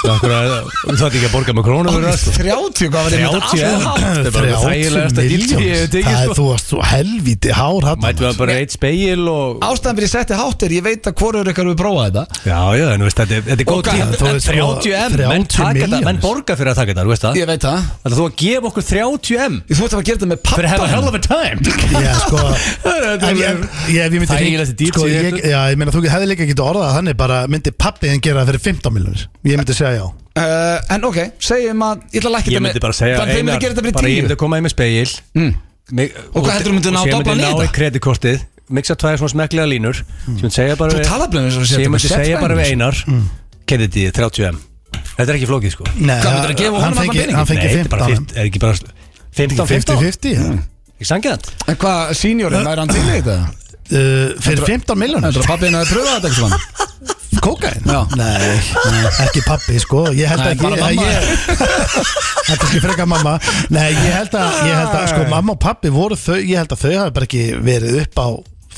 Speaker 3: Akkur að Þú þátt ekki að borga með krónu fyrir það sko
Speaker 1: 30, hvað var ég myndi
Speaker 3: 30
Speaker 1: alltaf hátt?
Speaker 3: Þetta er bara þægilegasta dýrt sem ég hef tekið,
Speaker 2: Það er
Speaker 3: sko.
Speaker 2: þú varst svo helvíti hár hann
Speaker 3: Mættu að bara eitt speil og
Speaker 1: Ástæðan fyrir ég setti hátt er, ég veit að hvorur ykkar við prófa þetta
Speaker 3: Já, já, en þú veist, þetta er- þetta er góð
Speaker 1: Og
Speaker 3: tíð
Speaker 2: hvað, þú
Speaker 3: En
Speaker 2: veist, sko,
Speaker 3: 30M, menn
Speaker 2: 30
Speaker 3: taka þetta, menn
Speaker 2: milljónir.
Speaker 3: borga fyrir að taka þetta, þú veist það
Speaker 1: Ég veit það
Speaker 3: Þetta þú að gefa okkur 30M
Speaker 1: Þú ætti að fara að gera þetta með pappa
Speaker 3: Fyrir að hafa hell of a time
Speaker 2: Já, sko
Speaker 3: Þetta
Speaker 2: ef
Speaker 3: er-
Speaker 2: ég- ég- ef ég myndi
Speaker 3: Það er
Speaker 2: hring-
Speaker 3: eiginlega þessi dýrt
Speaker 2: sko,
Speaker 3: sem ég
Speaker 2: ég- Já, ég meina þú hefði líka ekki orðað að hann er bara myndi pappi en gera það fyrir 15 miljonir Ég myndi segja já
Speaker 1: uh, En ok, segjum að Ég ætla að lækka
Speaker 3: Ég
Speaker 1: þetta
Speaker 3: myndi bara segja
Speaker 1: Þannig að þið myndi
Speaker 3: Einar,
Speaker 1: gera þetta fyrir
Speaker 3: bara
Speaker 1: 10
Speaker 3: Ég myndi koma í með speil mm. mig,
Speaker 1: Og hvað heldurðu myndir ná
Speaker 3: Og
Speaker 1: doblan í
Speaker 3: ég myndi ná í
Speaker 1: þetta?
Speaker 3: kreditkortið Mixa tvæði svona smekklega línur Sem ég myndi segja bara
Speaker 1: Þú
Speaker 3: við-
Speaker 1: talar bara eins og þú sért
Speaker 3: sem Ég
Speaker 1: eitthvað
Speaker 3: myndi segja bara við
Speaker 1: sérfræðingur.
Speaker 3: Einar Kennedy 30M Þetta er ekki flókið sko
Speaker 2: Nei,
Speaker 1: Hvað, myndirðu að gefa honum
Speaker 2: hann
Speaker 1: allan
Speaker 2: fengi-
Speaker 1: peninginn?
Speaker 2: Hann fengi
Speaker 3: þetta er bara
Speaker 2: 15
Speaker 3: 50 Er ekki bara 15-15
Speaker 2: 50-50 já.
Speaker 3: Ekki sangjant
Speaker 1: En hvað, seniorinn, væri hann til í þetta?
Speaker 2: Uh, Fyrir 15 miljonir
Speaker 1: Heldur að pappin að pröfa þetta eitthvað?
Speaker 2: Kókain?
Speaker 1: Já.
Speaker 2: Nei, ekki pappi sko Ég held
Speaker 1: Nei,
Speaker 2: að
Speaker 1: bara mamma.
Speaker 2: Þetta er ekki freka mamma Nei, ég held að, ég held að sko, mamma og pappi voru þau Ég held að þau hafi bara ekki verið upp á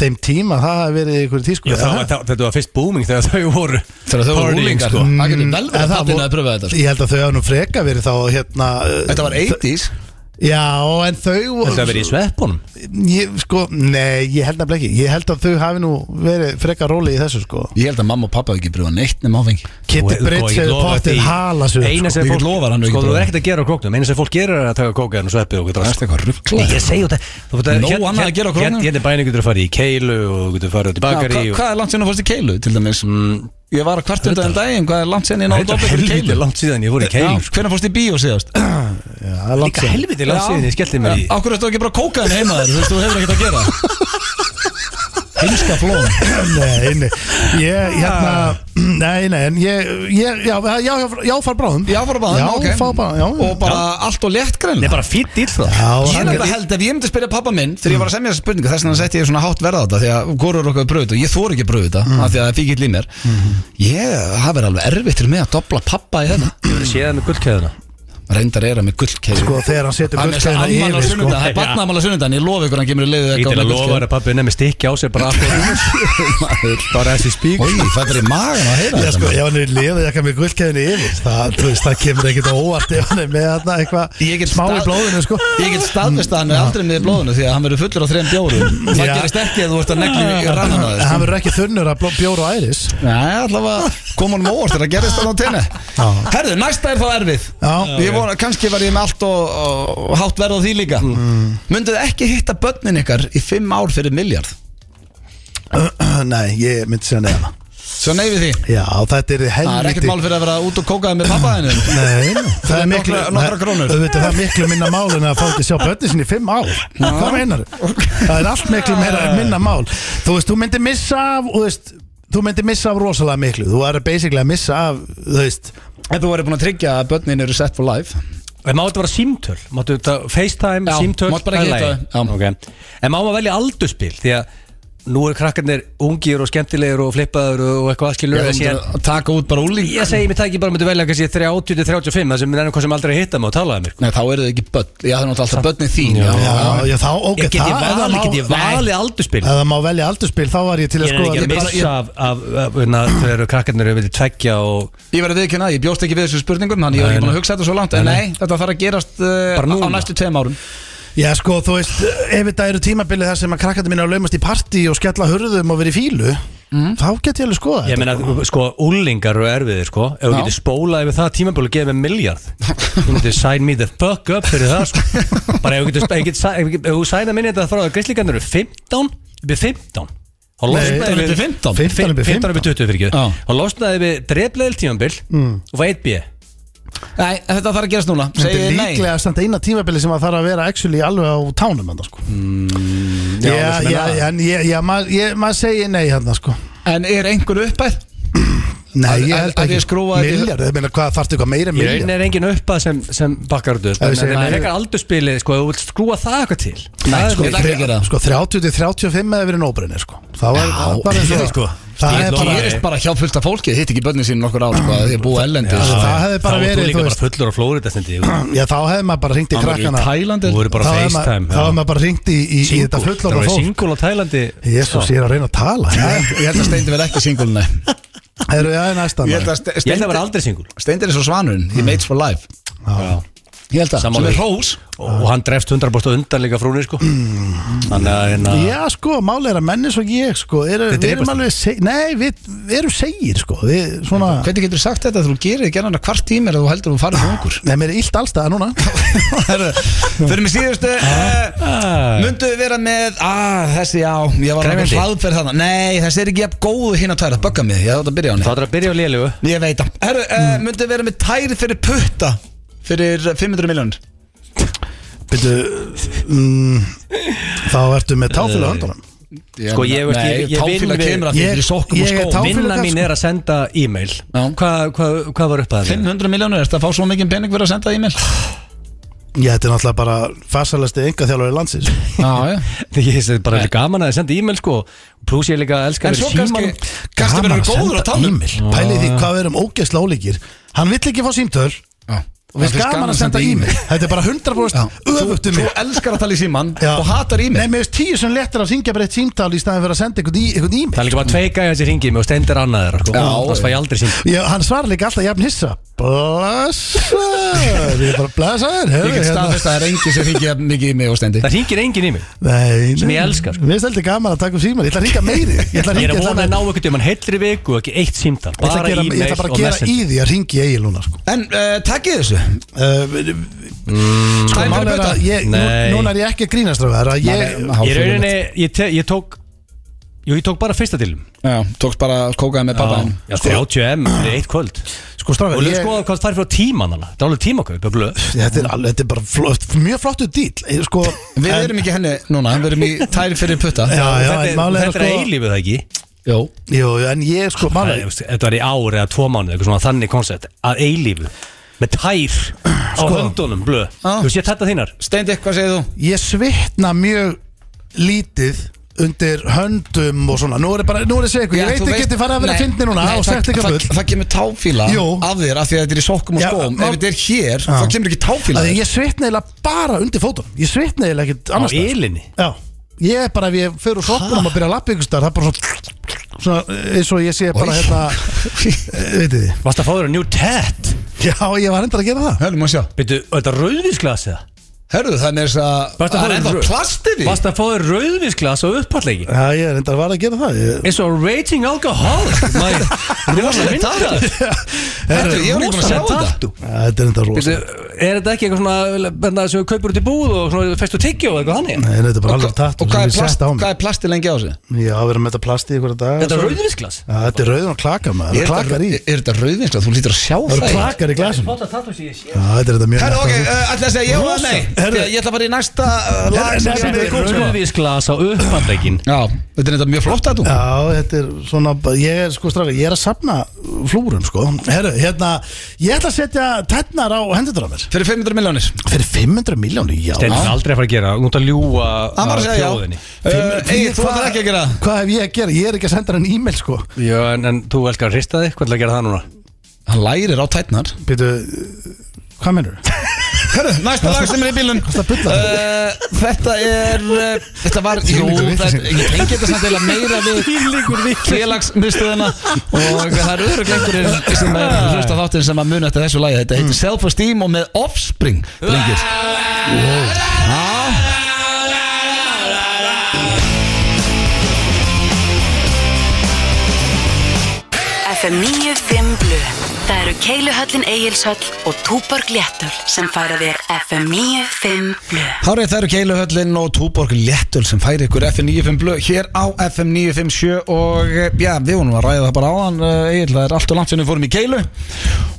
Speaker 2: þeim tíma Það hafi verið ykkur tísku
Speaker 3: Já, það var- það- Þetta var fyrst booming þegar þau voru
Speaker 1: Þegar þau voru
Speaker 3: partying,
Speaker 1: úlingar
Speaker 3: sko.
Speaker 1: Það getur vel verið
Speaker 2: Mm, En
Speaker 1: að
Speaker 2: það
Speaker 1: pappin
Speaker 2: vor-
Speaker 1: að pröfa þetta sko.
Speaker 2: Ég held að þau hafi nú freka verið þá hérna uh,
Speaker 1: Þetta var 80s
Speaker 2: Já, en þau
Speaker 3: Þetta var verið í sveppunum
Speaker 2: ég, sko, Nei, ég held nefnilega ekki Ég held að þau hafi nú verið freka róli í þessu sko
Speaker 1: Ég held að mamma og pappa ekki pröfa neitt nema áfengi
Speaker 2: Kitty
Speaker 3: Þú-
Speaker 2: Bridge
Speaker 3: sko, ég
Speaker 2: hefur
Speaker 3: lofa
Speaker 2: pottið
Speaker 3: því.
Speaker 2: hala sig upp,
Speaker 3: Eina
Speaker 2: sko.
Speaker 3: sem
Speaker 1: Ég get
Speaker 3: fólk
Speaker 1: lofað hann, ég
Speaker 3: Sko
Speaker 1: get
Speaker 3: þú
Speaker 1: lofað.
Speaker 3: er ekkert að gera á króknum Eina sem fólk gerir er að taka kókaðan og sveppi og eitthvað
Speaker 1: Það er eitthvað
Speaker 3: Nei,
Speaker 1: ruggla
Speaker 3: ég segi þetta Þú veit
Speaker 1: Nóg annað að gera á króknum.
Speaker 3: Hérna bæni getur að fara í keilu og þú getur að fara út í Mm. bakari og
Speaker 1: Hvað er langt sérna fórst í keilu til dæmis? Ég var að kvart undan en daginn Hvað er langt sérna ég náðu
Speaker 3: Þetta er
Speaker 1: dobbið fyrir
Speaker 3: helviti
Speaker 1: keilu?
Speaker 3: langt síðan ég fór í keilu sko.
Speaker 1: Hvernig fórst í bíó síðast?
Speaker 2: Já, það er langt
Speaker 3: Líka
Speaker 2: síðan.
Speaker 3: helviti langt síðan ég skellti mér í
Speaker 1: Akkur ertu ekki bara að kóka henni heima þér Þú veist, þú hefur ekkert að gera Heimska flón
Speaker 2: Nei, nei, ég, hérna Nei, nei, en ég, ég já, já, já, já, far bráðum
Speaker 1: Já, fara bara
Speaker 2: Já,
Speaker 1: ok
Speaker 2: far bráðum, já
Speaker 1: Og bara allt og létt
Speaker 3: Nei,
Speaker 1: greinlega
Speaker 3: bara sko. fýtt dýr það
Speaker 2: Já,
Speaker 1: Ég er
Speaker 2: hann-
Speaker 1: nefnilega held ef ég myndi spyrja pappa minn þegar ég var að semja þessa spurningu þess vegna setti ég svona hátt verða á þetta því að hvorur okkur bröðu þetta og ég þóru ekki að bröðu þetta
Speaker 2: Mm.
Speaker 1: af því að það fíkir líf mér
Speaker 2: Mm-hmm.
Speaker 1: ég hafa verið alveg erfitt fyrir mig að dobla pappa í þetta
Speaker 3: Ég verið að séða með gullkæðuna
Speaker 1: reyndar er að með gullkeið
Speaker 2: Sko, þegar hann setur
Speaker 1: hann er þess
Speaker 2: gullkeðjuna
Speaker 1: að amman á
Speaker 2: yfir, sko.
Speaker 1: sunnundan það er barnamal á sunnundan ég lofi ykkur hann kemur í leiðu
Speaker 3: Ég til að lofa þér að pabbi nefnir stikki á sér bara aftur Bara þessi spík
Speaker 1: Ói, það er í magan að heyra
Speaker 2: Já,
Speaker 1: þetta
Speaker 2: sko,
Speaker 1: maður.
Speaker 2: ef hann er liðið eitthvað með gullkeðinu yfir það, þú veist, það kemur ekkert á óvart ef hann er með þarna
Speaker 1: Ég
Speaker 2: eitthvað
Speaker 1: get
Speaker 2: smá í
Speaker 1: stað-
Speaker 2: blóðinu, sko
Speaker 1: Ég get staðvist að hann er aldrei með í blóðinu því að hann verður fullur á þrejum bjórum Það
Speaker 2: Já.
Speaker 1: gerist ekki að þú ert að negli í sko. rannan á
Speaker 2: En
Speaker 1: þér
Speaker 2: Ah, hann verður ekki þunnur að bló- bjóra á æris
Speaker 1: Nei, allavega kom hann móast þegar gerist það á tenni
Speaker 2: Já.
Speaker 1: Herðu, næsta er þá erfið
Speaker 2: Já.
Speaker 1: Ég vona, kannski var ég með allt og, og, og hátt verð á því líka Munduð þið ekki hitta börnin ykkar í fimm ár fyrir miljard Ah,
Speaker 2: Nei, ég myndi segja nefna
Speaker 1: Svo nei við því
Speaker 2: Já, þetta er
Speaker 1: Það er ekkert
Speaker 2: helviti
Speaker 1: mál fyrir að vera út og kókaði með pappaðinu
Speaker 2: Nei, það
Speaker 1: er
Speaker 2: er miklu
Speaker 1: nokkra- nokkra krónur.
Speaker 2: auðvitað, Það er miklu minna mál en að fá ekki að sjá börnin sinni í fimm ár Hvað meinar Það er allt miklu meira,
Speaker 1: Ah.
Speaker 2: minna mál Þú veist, þú myndir missa af og þú veist, Þú myndir missa af rosalega miklu Þú er basically að missa af Þú veist,
Speaker 1: Ef þú væri búin að tryggja að börnin eru set for life
Speaker 3: En má þetta vera símtöl? Máttu þetta FaceTime,
Speaker 1: Já,
Speaker 3: símtöl?
Speaker 1: mátt bara
Speaker 3: það er
Speaker 1: hitta
Speaker 3: lagi.
Speaker 1: þau, já.
Speaker 3: Ok. En má maður velja aldurspil? Því að nú er krakkarnir ungir og skemmtilegir og flippaður og eitthvað skilur en síðan,
Speaker 6: að taka út bara úling
Speaker 3: ég segi mér það ekki bara myndi velja kannski 30-35 það sem er eitthvað sem aldrei hitta mig og talaði mér
Speaker 1: Nei, þá eru þau ekki börn Já, það er náttúrulega alltaf börnin þín Já,
Speaker 2: Já, já, þá, ok,
Speaker 3: ég get ég
Speaker 2: það ef það
Speaker 3: valið,
Speaker 2: má-
Speaker 3: get ég valið aldurspil
Speaker 2: Ef það má velja aldurspil, þá var ég til að
Speaker 3: ég er
Speaker 2: skoða
Speaker 3: ekki að
Speaker 2: bara- ég-
Speaker 3: missa af, af, af na, þegar krakkarnir eru við tveggja og
Speaker 1: Ég verði viðkjöna, ég bjóst ekki við þessu spurningum Þannig ég var
Speaker 3: Nei,
Speaker 1: ekki búin
Speaker 3: nei.
Speaker 1: að hugsa þetta svo langt En
Speaker 3: Nei,
Speaker 1: nei, þetta þarf að gerast uh,
Speaker 3: Bara
Speaker 1: á- á
Speaker 3: núna.
Speaker 1: næstu tveim árum
Speaker 2: Já, sko, þú veist, ef þetta eru tímabilið þar sem að krakkandi mín er að laumast í partí og skella hurðum og vera í fílu þá get ég alveg skoða
Speaker 3: Mm. ég meina sko úlingar eru erfiðir sko ef þú
Speaker 1: Já.
Speaker 3: getur spólað yfir það tímabölu og gefið mig miljard þú myndir sign me the fuck up fyrir það sko bara ef þú getur ef þú getur- ef þú getur- ef þú signar minni þetta frá að gríslingarnir eru 15 upp í 15 þá
Speaker 2: 15 upp
Speaker 3: losnaði
Speaker 2: í
Speaker 3: 15
Speaker 2: 15 upp í
Speaker 3: 15 upp í 20 fyrir
Speaker 1: Já.
Speaker 3: ekki þá losnaði við drefleðil tímabil
Speaker 2: Mm.
Speaker 3: og var 1B
Speaker 1: Nei, þetta þarf að gerast núna
Speaker 2: Þetta
Speaker 1: Segir
Speaker 2: er
Speaker 1: nei
Speaker 2: líklega samt eina tímabilið sem að þarf að vera actually alveg á tánum enda, sko.
Speaker 3: Mm, já,
Speaker 2: Já,
Speaker 3: það sem er
Speaker 2: já,
Speaker 3: að-
Speaker 2: já, en ég- já, maður ég- maður segir nei hérna, sko
Speaker 1: En er einhver uppæð?
Speaker 2: Nei,
Speaker 1: Að-
Speaker 2: ég
Speaker 1: að-
Speaker 2: held
Speaker 1: að
Speaker 2: ekki
Speaker 1: ég skrúfa þetta-
Speaker 2: Milljarð, ég meina, hvað þarftu eitthvað meira en
Speaker 3: Í rauninni
Speaker 2: milljarð?
Speaker 3: er engin uppa sem, sem bakkar þetta
Speaker 2: Ef
Speaker 3: upp,
Speaker 2: við
Speaker 3: en
Speaker 2: segjum
Speaker 3: það
Speaker 2: að-
Speaker 3: er eitthvað aldurspilið sko, ef þú vilt skrúa það eitthvað til
Speaker 1: Nei,
Speaker 3: Það er
Speaker 1: sko,
Speaker 3: bara-
Speaker 1: ætla ekki að gera það.
Speaker 2: Sko, 30 til 35 eða verið nóbrunni, sko Það var það var
Speaker 3: ég
Speaker 2: eins og
Speaker 3: veit, sko.
Speaker 2: Það
Speaker 3: Ég
Speaker 2: er
Speaker 3: lofa
Speaker 2: bara
Speaker 3: þér.
Speaker 1: Gerist bara hjá fullt af fólki, hitt ekki börnin sín nokkur ár sko, að Þið er búið ellendis
Speaker 2: Já. það hefði bara
Speaker 3: Þá ert
Speaker 2: verið,
Speaker 3: þú
Speaker 2: þú
Speaker 3: líka bara
Speaker 2: veist.
Speaker 3: fullur á Flórida stendi
Speaker 2: Já, þá hefði maður bara hringt í
Speaker 1: Hann var í
Speaker 2: krakkana
Speaker 1: Tælandi.
Speaker 3: Þú voru bara
Speaker 2: Þá hefði maður-
Speaker 3: FaceTime
Speaker 2: Þá hefði maður bara hringt í, í, í þetta fullorða fólk
Speaker 3: Singul á Tælandi
Speaker 2: Jésús,
Speaker 3: Já.
Speaker 2: ég er að reyna að tala
Speaker 1: Ég held að steindi verð ekki singulunni
Speaker 2: Það eru aðeins næsta
Speaker 1: Ég held
Speaker 2: maður.
Speaker 1: að Ste-
Speaker 3: Ég held að það var
Speaker 1: Steindi-
Speaker 3: aldrei singul
Speaker 1: Steindi er svo svanurinn, he mates for life Ég held að, sem
Speaker 3: Sammála
Speaker 1: er
Speaker 3: því.
Speaker 1: hrós
Speaker 3: Og hann drefst 100% undan líka frúni sko
Speaker 2: Mm.
Speaker 3: Þannig að hérna
Speaker 2: Já sko, máli er að menni svo ég sko er, Við
Speaker 3: Þið
Speaker 2: erum
Speaker 3: drepast.
Speaker 2: alveg seg, Nei, við, við erum segir sko við, svona,
Speaker 1: Hvernig getur þú sagt þetta þegar þú gerir gerðan að hvart tími er að þú heldur að þú farið ungur?
Speaker 2: Nei, mér er illt allstað núna
Speaker 1: Fyrir mig síðustu
Speaker 3: Ah.
Speaker 1: Mundu við vera með ah, Þessi já, ég var
Speaker 3: Krefjandi.
Speaker 1: alveg hlaðferð þarna Nei, þessi er ekki jafn góð hérna tæra Bögga mig, ég þátt að byrja á henni
Speaker 3: Þá þarf að byrja á lélugu
Speaker 1: Ég veit það Herru, mm. uh, myndu vera með tæri fyrir putta Fyrir eh, 500 miljónir
Speaker 2: Byrju, mm, Þá ertu með táfélag höndunum
Speaker 3: Sko, ég veist, ég- ég vinn
Speaker 1: táfíla
Speaker 3: við-
Speaker 1: kemur að því
Speaker 2: Ég-
Speaker 1: fyrir sokkum og
Speaker 2: ég er
Speaker 1: skóm
Speaker 2: táfýla- fyrir
Speaker 3: Vinna sko, mín
Speaker 2: það,
Speaker 3: er að senda e-mail
Speaker 1: Já.
Speaker 3: Hvað hva, hva var upp að það?
Speaker 1: 500 miljónir, ertu að fá svo mikið pening fyrir að senda e-mail?
Speaker 2: Já, þetta er náttúrulega bara farsalasti enga þjálfur í landsins
Speaker 1: Já, já
Speaker 3: Ég finnst þetta bara líka gaman að senda e-mail sko Plus ég líka elska
Speaker 1: En
Speaker 3: að
Speaker 1: svo
Speaker 3: vera í símanum.
Speaker 1: kannski Kannski verður góður á tánum
Speaker 2: Pæli því hvað við erum ógeðsla ólíkir Hann vill ekki fá símtöl Og við gaman að senda e-mail Þetta er bara 100% öfugt um
Speaker 1: Þú
Speaker 2: mig
Speaker 1: elskar að tala í síman
Speaker 2: Já.
Speaker 1: og hatar
Speaker 2: Nei,
Speaker 1: e-mail
Speaker 2: mér finnst tíu sem lettir að syngja bara eitt símtál í staðin fyrir að senda einhvern í- einhvern
Speaker 3: Það er
Speaker 2: e-mail
Speaker 3: líka bara tvei gæja sem ringið mig og stendir annað þeirra sko.
Speaker 1: Já.
Speaker 3: Það fæ ég aldrei sínt
Speaker 2: Já, hann svarar líka alltaf jafn hissa Blessaður Ég er bara blessaður hérna.
Speaker 1: Ég get staðfest að það er engi sem hringir jafn mikið í mig og stendi
Speaker 3: Það ringir enginn í mig
Speaker 2: Nei,
Speaker 3: Sem
Speaker 2: nei.
Speaker 3: ég elska, sko.
Speaker 2: Mér finnst heldur gaman að taka um síman Ég ætla að ringa meiri Ég ætla
Speaker 3: Ég er
Speaker 2: hringja-
Speaker 3: að
Speaker 2: ætla
Speaker 3: vona að ná einhvern tímann heilri viku og ekki eitt símtal
Speaker 2: Ég ætla
Speaker 3: Bara
Speaker 2: að gera- ég
Speaker 3: e-mail
Speaker 2: ætla bara
Speaker 3: og
Speaker 2: að gera í
Speaker 3: messenger
Speaker 2: því að ringi í eigin núna sko.
Speaker 1: En uh, takkið þessu
Speaker 2: uh, Sko,
Speaker 1: Tæm fyrir
Speaker 2: mál er
Speaker 1: bauta.
Speaker 2: að ég, nú,
Speaker 3: Nei.
Speaker 2: Núna er ég ekki að grínast af það Ég,
Speaker 3: Ég er rauninni, ég, te, ég tók Jú, ég tók bara fyrsta tilum
Speaker 1: Já, tókst bara kókaði með pappa þinn.
Speaker 3: Já, sko, 30M, eitt kvöld
Speaker 2: sko,
Speaker 3: Og
Speaker 2: strafið
Speaker 3: lög
Speaker 2: ég,
Speaker 3: skoða hvað það fær frá tíman hana Það er alveg tímakaup, ég blöð
Speaker 2: þetta, er, alveg- þetta er bara flott, mjög flottu dýl Ég, sko,
Speaker 1: Við erum ekki henni núna, við erum í tæri fyrir putta
Speaker 2: Já, já,
Speaker 3: Þetta
Speaker 2: en málið
Speaker 3: er,
Speaker 2: er
Speaker 3: þetta er
Speaker 2: sko-
Speaker 3: eilífið það ekki
Speaker 1: Jó
Speaker 2: Jú, en ég sko
Speaker 3: Það
Speaker 2: mál,
Speaker 3: er, þú veist, Þetta var í ár eða tvo mánuð Eitthvað svona þannig koncept Að eilífu Með tær á höndunum, blöð
Speaker 1: Já.
Speaker 3: Þú sé þetta þínar
Speaker 1: Steindi, hvað segir þú?
Speaker 2: ég svitna mjög lítið undir höndum og svona Nú er ég bara, nú er ég segið, ég veit ekki getið farið að vera fyndni núna og sagt eitthvað
Speaker 1: full
Speaker 2: full
Speaker 1: Það kemur táfíla
Speaker 2: Jú.
Speaker 1: af þér af því að þetta er í sokkum og
Speaker 2: Já,
Speaker 1: skóm
Speaker 2: má-
Speaker 1: Ef þetta er hér, þá kemur ekki táfíla
Speaker 2: Af
Speaker 1: af
Speaker 2: því
Speaker 1: þér.
Speaker 2: Ég svitna eiginlega bara undir fótum Ég svitna eiginlega ekkert
Speaker 3: Á
Speaker 2: annars staðar.
Speaker 3: eilinni
Speaker 2: Já, ég er bara ef ég fyrir úr sokkunum að byrja að lappa ykkur starf Það er bara svona, svona eins og ég sé bara
Speaker 1: Oj.
Speaker 2: hérna eh, Veitir þið
Speaker 3: Varst að fá þér að njú tett
Speaker 2: Já, ég var hendur að gera það
Speaker 1: Hörðu, maður sjá
Speaker 3: Byrju, þetta rauðvísglas eða
Speaker 1: Hörðu, það er með þess að
Speaker 3: Varstu að
Speaker 1: Það er
Speaker 3: fá
Speaker 1: ennþá
Speaker 3: rauð-
Speaker 1: plastir í
Speaker 3: Varst að fá þér rauðvísglas á uppallegi
Speaker 2: Já, ég er hendur að vara að gera það ég,
Speaker 3: Eins og raging alcoholic maður. Rosaleg myndaður.
Speaker 1: Hörðu, ég var ekki búin að sjá
Speaker 3: Rosaleg
Speaker 1: þetta
Speaker 3: tattoo.
Speaker 2: ja, Þetta er hendur rosa
Speaker 3: Bíddu, Er þetta ekki eitthvað svona benda, sem við kaupur út í búð og svona festu tyggjó og eitthvað hannig?
Speaker 2: Nei, þetta er bara alveg tatt
Speaker 1: Og hvað er plast-
Speaker 2: á mig
Speaker 1: hvað er plastir lengi á sig?
Speaker 2: Já, við erum með þetta plasti í hverja dag
Speaker 3: Þetta er
Speaker 2: svo-
Speaker 3: rauðvísglas
Speaker 2: Já, þetta er rauðin og klaka maður Það
Speaker 1: Er
Speaker 2: eru klakar í
Speaker 1: þetta- er þetta rauðvinsla? Þú lítur að sjá
Speaker 2: Það
Speaker 1: það
Speaker 2: eru
Speaker 1: í-
Speaker 2: klakar í glasum Já,
Speaker 3: Þetta tattu sem ég sé
Speaker 2: þetta er þetta mjög
Speaker 1: Herru, ok,
Speaker 2: nett,
Speaker 1: eh,
Speaker 2: sko.
Speaker 1: alltaf að segja já og
Speaker 2: Rosa.
Speaker 1: nei
Speaker 2: Herru.
Speaker 1: Ég ætla að fara í næsta uh, lag sem ég er með í kók, sko.
Speaker 3: Rauðvísglas á upphandlegin
Speaker 1: Já, þetta er þetta mjög flott að þú
Speaker 2: Já, þetta er svona, ég er sko strafið, ég er að sapna safna flúrum sko Heru, hérna, Ég ætla að setja tennar á hendutur á mér
Speaker 1: Fyrir 500 miljónir
Speaker 2: Fyrir 500 miljónu, já Eh,
Speaker 3: Þetta er aldrei að fara að gera, hún út að ljúa
Speaker 1: Hann var að segja já
Speaker 2: Fimm-
Speaker 1: Egið, þú ætlar ekki að gera það.
Speaker 2: Hvað hef ég að gera? Ég er ekki að senda hann e-mail sko
Speaker 3: Já, en, en þú elskar að hrista þig, hvernig að gera það núna?
Speaker 1: Hann lærir á tætnar
Speaker 2: Býtu, hvað mennur?
Speaker 1: Hörru, næsta lag sem er í bílun
Speaker 2: Hvað er það að bulla?
Speaker 1: Eh, Þetta er uh, Þetta var, jú,
Speaker 2: Þvílíkur
Speaker 1: þetta
Speaker 2: vitleysingur.
Speaker 1: ég tengi þetta samt eða meira við félagsmiðstöðina og það eru öðru glengur sem er að hlusta á þáttinn sem að muna eftir þessu lagi Þetta
Speaker 2: Mm.
Speaker 1: heitir Self Esteem og með Offspring drengir
Speaker 7: FM 95 Blu Það eru Keiluhöllin Egilshöll og Túborg Léttöl sem færa þér FM 95 Blu
Speaker 1: Hárið það eru Keiluhöllin og Túborg Léttul sem færi ykkur FM 95 blöð hér á FM 957 og eh, já, við vorum að ræða það bara áðan Egil, það er allt og langt sem við fórum í Keilu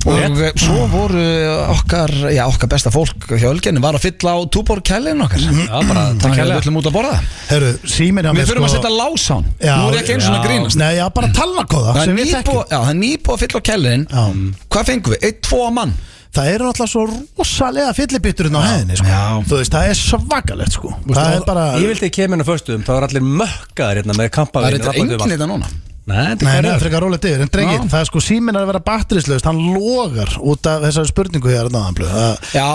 Speaker 1: og eh, svo voru eh, okkar, já okkar besta fólk hjá Ölgenni var að fylla á Túborg Kælin okkar
Speaker 2: Mm.
Speaker 1: Já, bara takk
Speaker 3: kærlega.
Speaker 1: Við ætlum út að borða
Speaker 2: Heru, símin hjá
Speaker 1: Uh,
Speaker 2: mér
Speaker 1: Við þurfum að
Speaker 2: sko-
Speaker 1: setja lásán
Speaker 2: Já,
Speaker 1: Nú er ég ekki eins og svona
Speaker 3: já.
Speaker 1: grínast
Speaker 2: Nei, já, bara talnakóða
Speaker 1: Það er
Speaker 2: sem við
Speaker 1: nýbúið-
Speaker 2: þekkjum
Speaker 1: já, það er nýbúið að fylla á Kælin
Speaker 2: Já.
Speaker 1: Hvað fengum við? Eitt, tvo mann
Speaker 2: Það eru náttúrulega svo rosalega fyllibitturinn á hæðinni sko.
Speaker 1: Já.
Speaker 2: Þú veist, það er svakalegt sko Það er bara
Speaker 3: Ég vildi ekki kemur inn á föstuðum, þá er allir mökkaðir hérna með
Speaker 1: Það
Speaker 3: kampavín
Speaker 1: er þetta enginn þetta núna
Speaker 3: Nei, þetta
Speaker 2: Nei,
Speaker 3: er
Speaker 2: nei,
Speaker 3: bara-
Speaker 2: frekar rólegt yfir, en drengir,
Speaker 1: Já.
Speaker 2: það er sko síminn er að vera batterislaust, hann logar út af þessari spurningu hér að náðan blöð það,
Speaker 1: Já,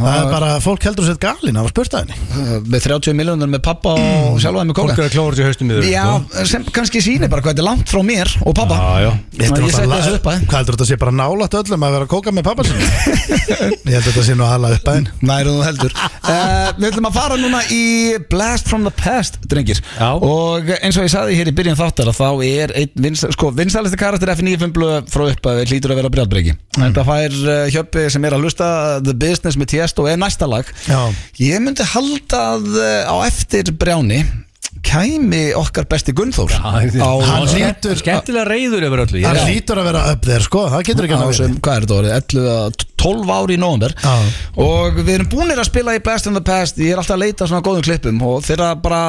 Speaker 2: það er bara, fólk heldur sér galinn af að spurta henni
Speaker 1: með 30 miljónir með pappa
Speaker 2: Mm.
Speaker 1: og sjálfaði með
Speaker 3: Fólk
Speaker 1: kóka
Speaker 3: er að klóra þessu sko. haustum yfir
Speaker 1: Já, sem kannski sýnir bara hvað þetta er langt frá mér og pappa
Speaker 3: Já, já.
Speaker 1: Ég
Speaker 2: Þetta er
Speaker 1: seti
Speaker 2: náttúrulega-
Speaker 1: þessu upp að
Speaker 2: Hvað heldur þetta sé bara nálægt öllum að vera að kóka með pappa sinni? Ég heldur þetta sé nú aðalega upp að henni
Speaker 1: Næru þú heldur uh, Við ætlum að fara núna í Blast from the Past, drengir
Speaker 3: Já.
Speaker 1: Og eins og ég saði hér í byrjun þáttar að Þá er einn vins, sko, vinstalisti karakter F95 blöð frá upp að við hlýtur að vera brjálbreki mm. En það fær uh, Hjöppi sem er að lusta The Business með Tiesto er næsta lag
Speaker 2: Já.
Speaker 1: Ég myndi halda að eh, á eftir brjáni Kæmi okkar besti Gunnþór
Speaker 3: Já,
Speaker 1: á-
Speaker 2: Hann
Speaker 3: hann
Speaker 2: lítur-
Speaker 3: lítur Skemmtilega reyður yfir
Speaker 2: Það
Speaker 3: öllu Ég er
Speaker 2: hlýtur að vera upp þér, sko, það getur ekki
Speaker 1: á
Speaker 2: að
Speaker 1: sem, hvað er þetta orðið, 11 eða 12 ári í november
Speaker 2: Já.
Speaker 1: og við erum búinir að spila í Blast in the Past ég er alltaf að leita að svona góðum klippum og þegar bara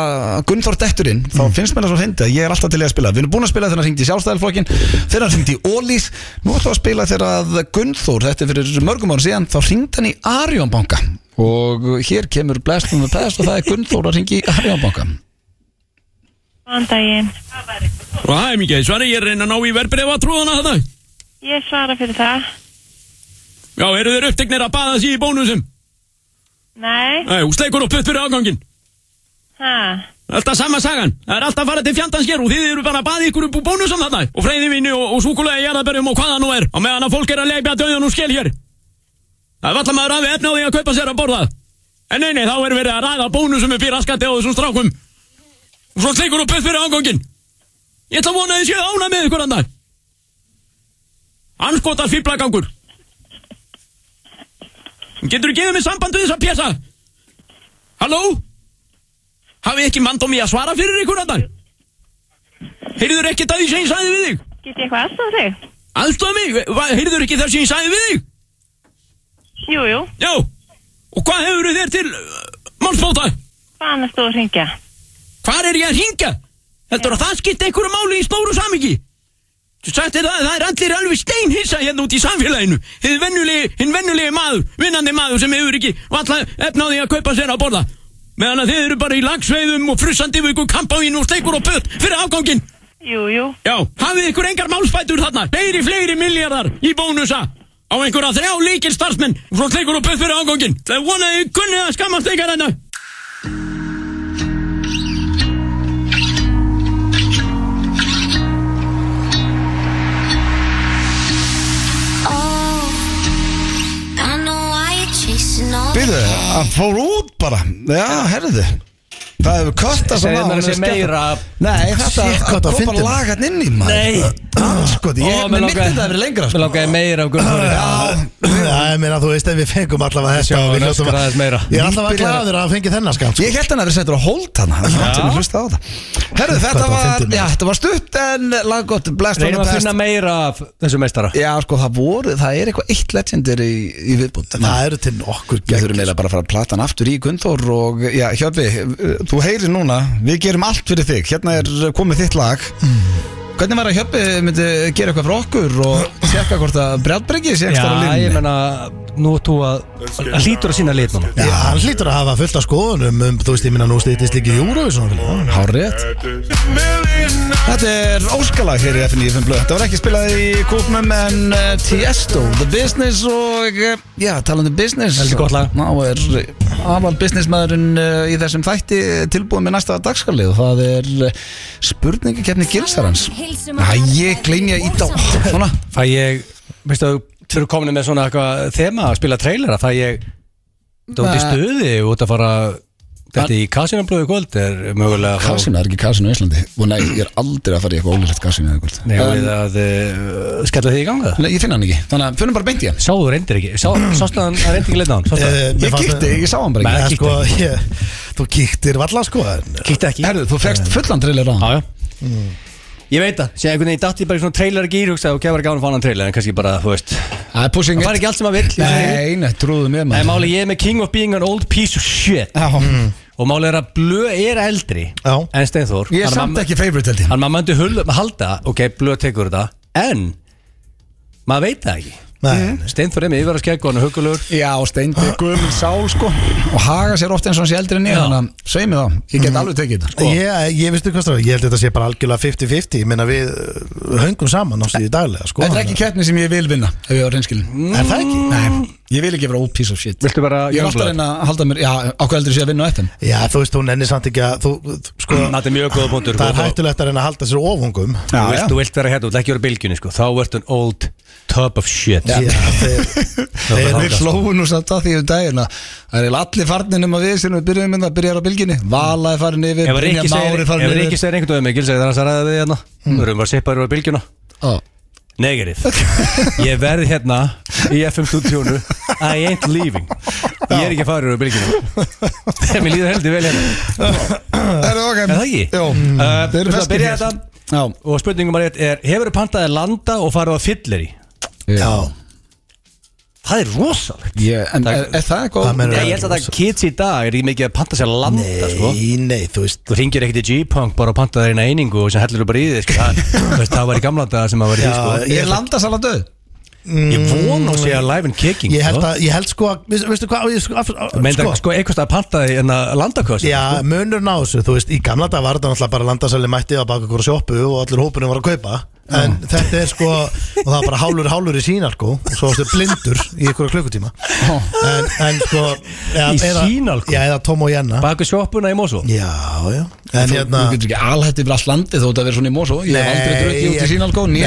Speaker 1: Gunnþór detturinn þá finnst mér það svo fyndið að ég er alltaf til í að spila við erum búin að spila þegar hann hringdi í sjálfstæðalflokkin þegar hann hringdi í Ólís nú ætlum við að spila þegar að Gunnþór, þetta er fyrir mörgum árum síðan þá hringdi hann í Arjónbanka og hér kemur Blast in the Past og það er Gunnþór að hringi í Arjónbanka
Speaker 8: Góðan daginn.
Speaker 4: Hæ, mikið, svara ég er að reyna að ná í verbreyfa trúðana þarna
Speaker 8: Ég svara fyrir það.
Speaker 4: Já, eru þeir uppteknir að baða sér í bónusum?
Speaker 8: Nei.
Speaker 4: Nei, hún sleikur og putt fyrir afgangin
Speaker 8: Ha.
Speaker 4: Alltaf sama sagan, það er alltaf að fara til fjandans hér og þið eru bara að baða ykkur upp úr bónusum þarna og freyðivinni og, og súkulega jarðabörjum og hvaða nú er og meðan að fólk er að leipja döðan og skil hér Það er vallar maður aðeins efni á því að kaupa sér að borða En neini, þá er verið að ræða bónusum upp í raskandi á þessum strákum og svo sleikur og putt fyrir afgangin Ég ætla að vona að þið séu ána með ykkur andan Anskotar fýblagangur Getur þú gefið mér sambandu þess að pjasa? Halló? Hafið ekki mandum í að svara fyrir ykkur andan? Heyrður ekkert að því sem ég sagði við þig?
Speaker 8: Get ég eitthvað aðstofa þig?
Speaker 4: Aðstofa mig, heyrður ekki það sem ég sagði við þig?
Speaker 8: Jú, jú.
Speaker 4: Já, og hvað hefur þér til uh, málsbóta?
Speaker 8: Hvaðan er þú að ringja?
Speaker 4: Hvar er ég að hringja? Heldur að það skipti einhverju máli í stóru samingi? Þú sagt er það, það er allir alveg steinhissa hérna út í samfélaginu. Hinn vennulegi, hinn vennulegi maður, vinnandi maður sem hefur ekki valla efna á því að kaupa sér að borða. Meðan að þið eru bara í lagsveiðum og frussandi við ykkur kampáin og sleikur og pött fyrir afgangin.
Speaker 8: Jú, jú.
Speaker 4: Já, hafið ykkur engar málsbætur þarna. Fleiri, fleiri miljardar í bónusa á einhverja þrjá líkil starfsmenn og svo sleikur og pött fyrir afgangin. Það er vonað að þið kunnið að skammast ykkar hérna. þetta.
Speaker 1: Býðu, hann fór út bara Já, herðu Það hefur köttað
Speaker 3: Segðu mér að sé meira af-
Speaker 1: Nei, þetta
Speaker 2: Shit, hvað það
Speaker 1: kom
Speaker 2: fyndið.
Speaker 1: bara lagat inn í maður
Speaker 2: Nei Sko, ég
Speaker 1: Mér
Speaker 3: Ó,
Speaker 1: myndi
Speaker 3: mig langaði-
Speaker 1: þetta að vera lengra
Speaker 3: Mér
Speaker 1: sko.
Speaker 3: langaði meira af Gunnþóri
Speaker 2: Já, ég meina, þú veist, ef við fengum allavega þetta
Speaker 3: Sjá,
Speaker 2: og við
Speaker 3: hann
Speaker 2: hljótum
Speaker 3: öskrar
Speaker 2: að-
Speaker 3: aðeins meira.
Speaker 2: Ég er alltaf að glæður að fengi þennan sko. skam
Speaker 1: Ég held hann að vera settur að hold hann Herðu, þetta
Speaker 2: það var
Speaker 1: var,
Speaker 2: fyndið,
Speaker 1: já, þetta var stutt En laggott, blast on
Speaker 3: Reynum
Speaker 1: the
Speaker 3: að finna
Speaker 1: past
Speaker 3: meira af þessu meistara
Speaker 1: Já, sko, það voru, það er eitthvað eitt legendir í, í viðbúnd
Speaker 2: Það eru til nokkur
Speaker 1: Við
Speaker 2: gegn
Speaker 1: þurfum eiginlega bara að fara að plata hann aftur í Gunnþór og já,
Speaker 3: Mm.
Speaker 1: Hjörfi, eh, þú heyrir núna, við gerum allt fyrir þig, hérna er komið þitt lag. Hvað Hvernig var að Hjöppi myndi gera eitthvað frá okkur og tjekka hvort að brjálbreggið sé ekstra
Speaker 3: Já, ég
Speaker 1: linn?
Speaker 3: menna, nú ert þú að, að hlýtur að sína lit núna
Speaker 2: Já, hann hlýtur að hafa fullt af skoðunum um, þú veist, ég minna nú stýttist líka í Eurovision sko. fyrir.
Speaker 1: Hárið Þetta er óskalag hér í FNÍ 5 blöð Þetta var ekki spilað í kúpnum en uh, Tiesto, The Business og uh, já, talandi um Business
Speaker 3: Heldur gott lag.
Speaker 1: Ná er afal businessmaðurinn uh, í þessum þætti tilbúin með næsta dagskalið og það er uh, spurningakefni gilsarans Æ, ég gleymi að íta á Svona,
Speaker 3: Fæ ég, veistu að þú eru komin með svona eitthvað þema að spila trailera Fæ ég, þú ert í stuði og út að fara Þetta í kasinamblöðu kvöld er mögulega að fá-
Speaker 1: kasinu, það er ekki kasinu í Íslandi og nei, ég er aldrei að fara í eitthvað ólýrætt kasinu
Speaker 3: Nei,
Speaker 1: um,
Speaker 3: við að uh, skella því í ganga
Speaker 1: Nei, ég finna hann ekki, þannig að fyrir bara beint í hann
Speaker 3: Sáðu reyndir ekki, sá, sástu hann hann reyndi ekki leitna á hann sástu hann?
Speaker 2: Eh, mér
Speaker 1: Ég
Speaker 2: fannst-
Speaker 1: kíkti, ég sá hann bara
Speaker 2: Nei,
Speaker 1: ekki
Speaker 2: sko, ég, þú kíktir valla sko en-
Speaker 3: Kíkti ekki
Speaker 1: Herðu, Mm. þú fegst fullan trailer á hann
Speaker 3: Já, já Ég veit það, sé einhvern veginn datt ég bara í svona trailer gýr hugsaði og kefar ekki á hann að fá annan trailer en kannski bara, þú veist
Speaker 1: Það er pushing
Speaker 3: Það fari ekki allt sem að vill
Speaker 1: Nei, nei, trúðu mér
Speaker 3: Nei,
Speaker 1: maður
Speaker 3: máli ég er með King of Being an Old Piece of Shit
Speaker 1: Já,
Speaker 3: og máli er að Blö er eldri
Speaker 2: Já.
Speaker 3: en Steinþór
Speaker 1: Ég er
Speaker 3: Hann
Speaker 1: samt
Speaker 3: mamma-
Speaker 1: ekki favorite held ég
Speaker 3: Hann maður myndi hull, halda, ok, Blö tekur þetta en maður veit það ekki
Speaker 2: Nei,
Speaker 1: Mm.
Speaker 3: Steinþór er með yfir að skeggu hann er hugulegur
Speaker 1: Já, og steindi gömul sál sko Og haga sér ofta eins og hans ég eldri en ég
Speaker 3: Já.
Speaker 1: Þannig að segja mig þá, Mhm. ég get alveg tekið þetta sko.
Speaker 2: Ég, ég veistu hvað stráð, ég held að þetta sé bara algjörlega 50-50, ég meina við uh, höngum saman á síðu daglega, sko
Speaker 1: Þetta er ekki Mm. keppni sem ég vil vinna Ef ég var reynskilin
Speaker 2: Er það ekki?
Speaker 1: Nei, ég vil ekki vera old piece of shit
Speaker 3: Viltu vera
Speaker 1: Ég er alltaf að
Speaker 3: youngblood?
Speaker 1: reyna að halda mér Já, á hvað heldur sé að vinna á FM
Speaker 2: Já, þú veist, hún ennir samt ekki að, þú, þú- sko,
Speaker 3: Þetta er mjög góða búndur
Speaker 2: það er hættulegt að reyna að halda sér ofungum
Speaker 3: Þú vilt, þú vilt vera hérna, þú vilt ekki vera í bylgjunni sko Þá ert an old tub of shit
Speaker 2: Já, þeir, þeir,
Speaker 1: Við hlóðum nú samt að því um daginn að Það er eiginlega allir farnir nema við sem við byrjuðum með það Byrjar á bylginni, Vala er farin yfir
Speaker 3: Ef
Speaker 1: Brynjar
Speaker 3: Rikki segir,
Speaker 1: Már er
Speaker 3: ef
Speaker 1: farin
Speaker 3: Rikki
Speaker 1: yfir
Speaker 3: segir einhvern veginn mikil segir þannig að það ræða við hérna Þú erum bara sippaður á bylgjuna
Speaker 1: Ó.
Speaker 3: Negative Ég verð hérna í FM stúdíónu I ain't leaving Ég er ekki að fara úr bylgjuna Mér líður heldur vel hérna
Speaker 1: Er það
Speaker 3: Er
Speaker 1: ok?
Speaker 3: það ekki?
Speaker 1: Jó,
Speaker 3: Uh,
Speaker 1: Þeir
Speaker 3: Við
Speaker 1: eru
Speaker 3: erum að
Speaker 1: feskir
Speaker 3: byrja
Speaker 1: hér.
Speaker 3: þetta
Speaker 1: Já.
Speaker 3: Og spurningum er, er Hefur þú pantaði landa og farið á fyllir í?
Speaker 1: Já
Speaker 3: Það er rosalegt
Speaker 1: Ég, en er, er það góð?
Speaker 2: Það meina-
Speaker 3: Ég held að það kids í dag er ekki mikið að panta sér landa sko.
Speaker 2: Nei, nei, þú veist
Speaker 3: Þú ringir ekkert í G-Punk bara og pantaði eina einingu og sem hellur þú bara í þig sko. það, þú veist, það var í gamla daga sem það var í því sko.
Speaker 2: Já, mm,
Speaker 1: Er landasala döð?
Speaker 3: Ég von og sé að live and kicking
Speaker 2: Ég held, að, ég held sko að, veist- veistu hvað, ég sko, að- að-
Speaker 3: Meindar
Speaker 2: sko,
Speaker 3: sko eitthvað að panta því en að landa hvað
Speaker 2: Já, munurinn á þessu, þú veist, í gamla dag var þetta náttúrulega bara landasæli mætti á baka okkur sjoppu og allir hópunum var að kaupa En þetta er sko, og það var bara hálur hálur í sínalkó og svo varstu blindur í ykkur klukkutíma En, en sko ja,
Speaker 3: Í
Speaker 2: eða-
Speaker 3: Sýnalkó?
Speaker 2: Já, eða Tom og Jenna
Speaker 3: Baku sjoppuna í Mosó
Speaker 2: Já, já, en
Speaker 1: Þú,
Speaker 2: hérna
Speaker 1: þú getur ekki alhætti yfir allt landið þó þetta verður svona í Mosó Ég hef
Speaker 2: Nei,
Speaker 1: aldrei drukkið út í
Speaker 2: ég-
Speaker 1: sínalgó Né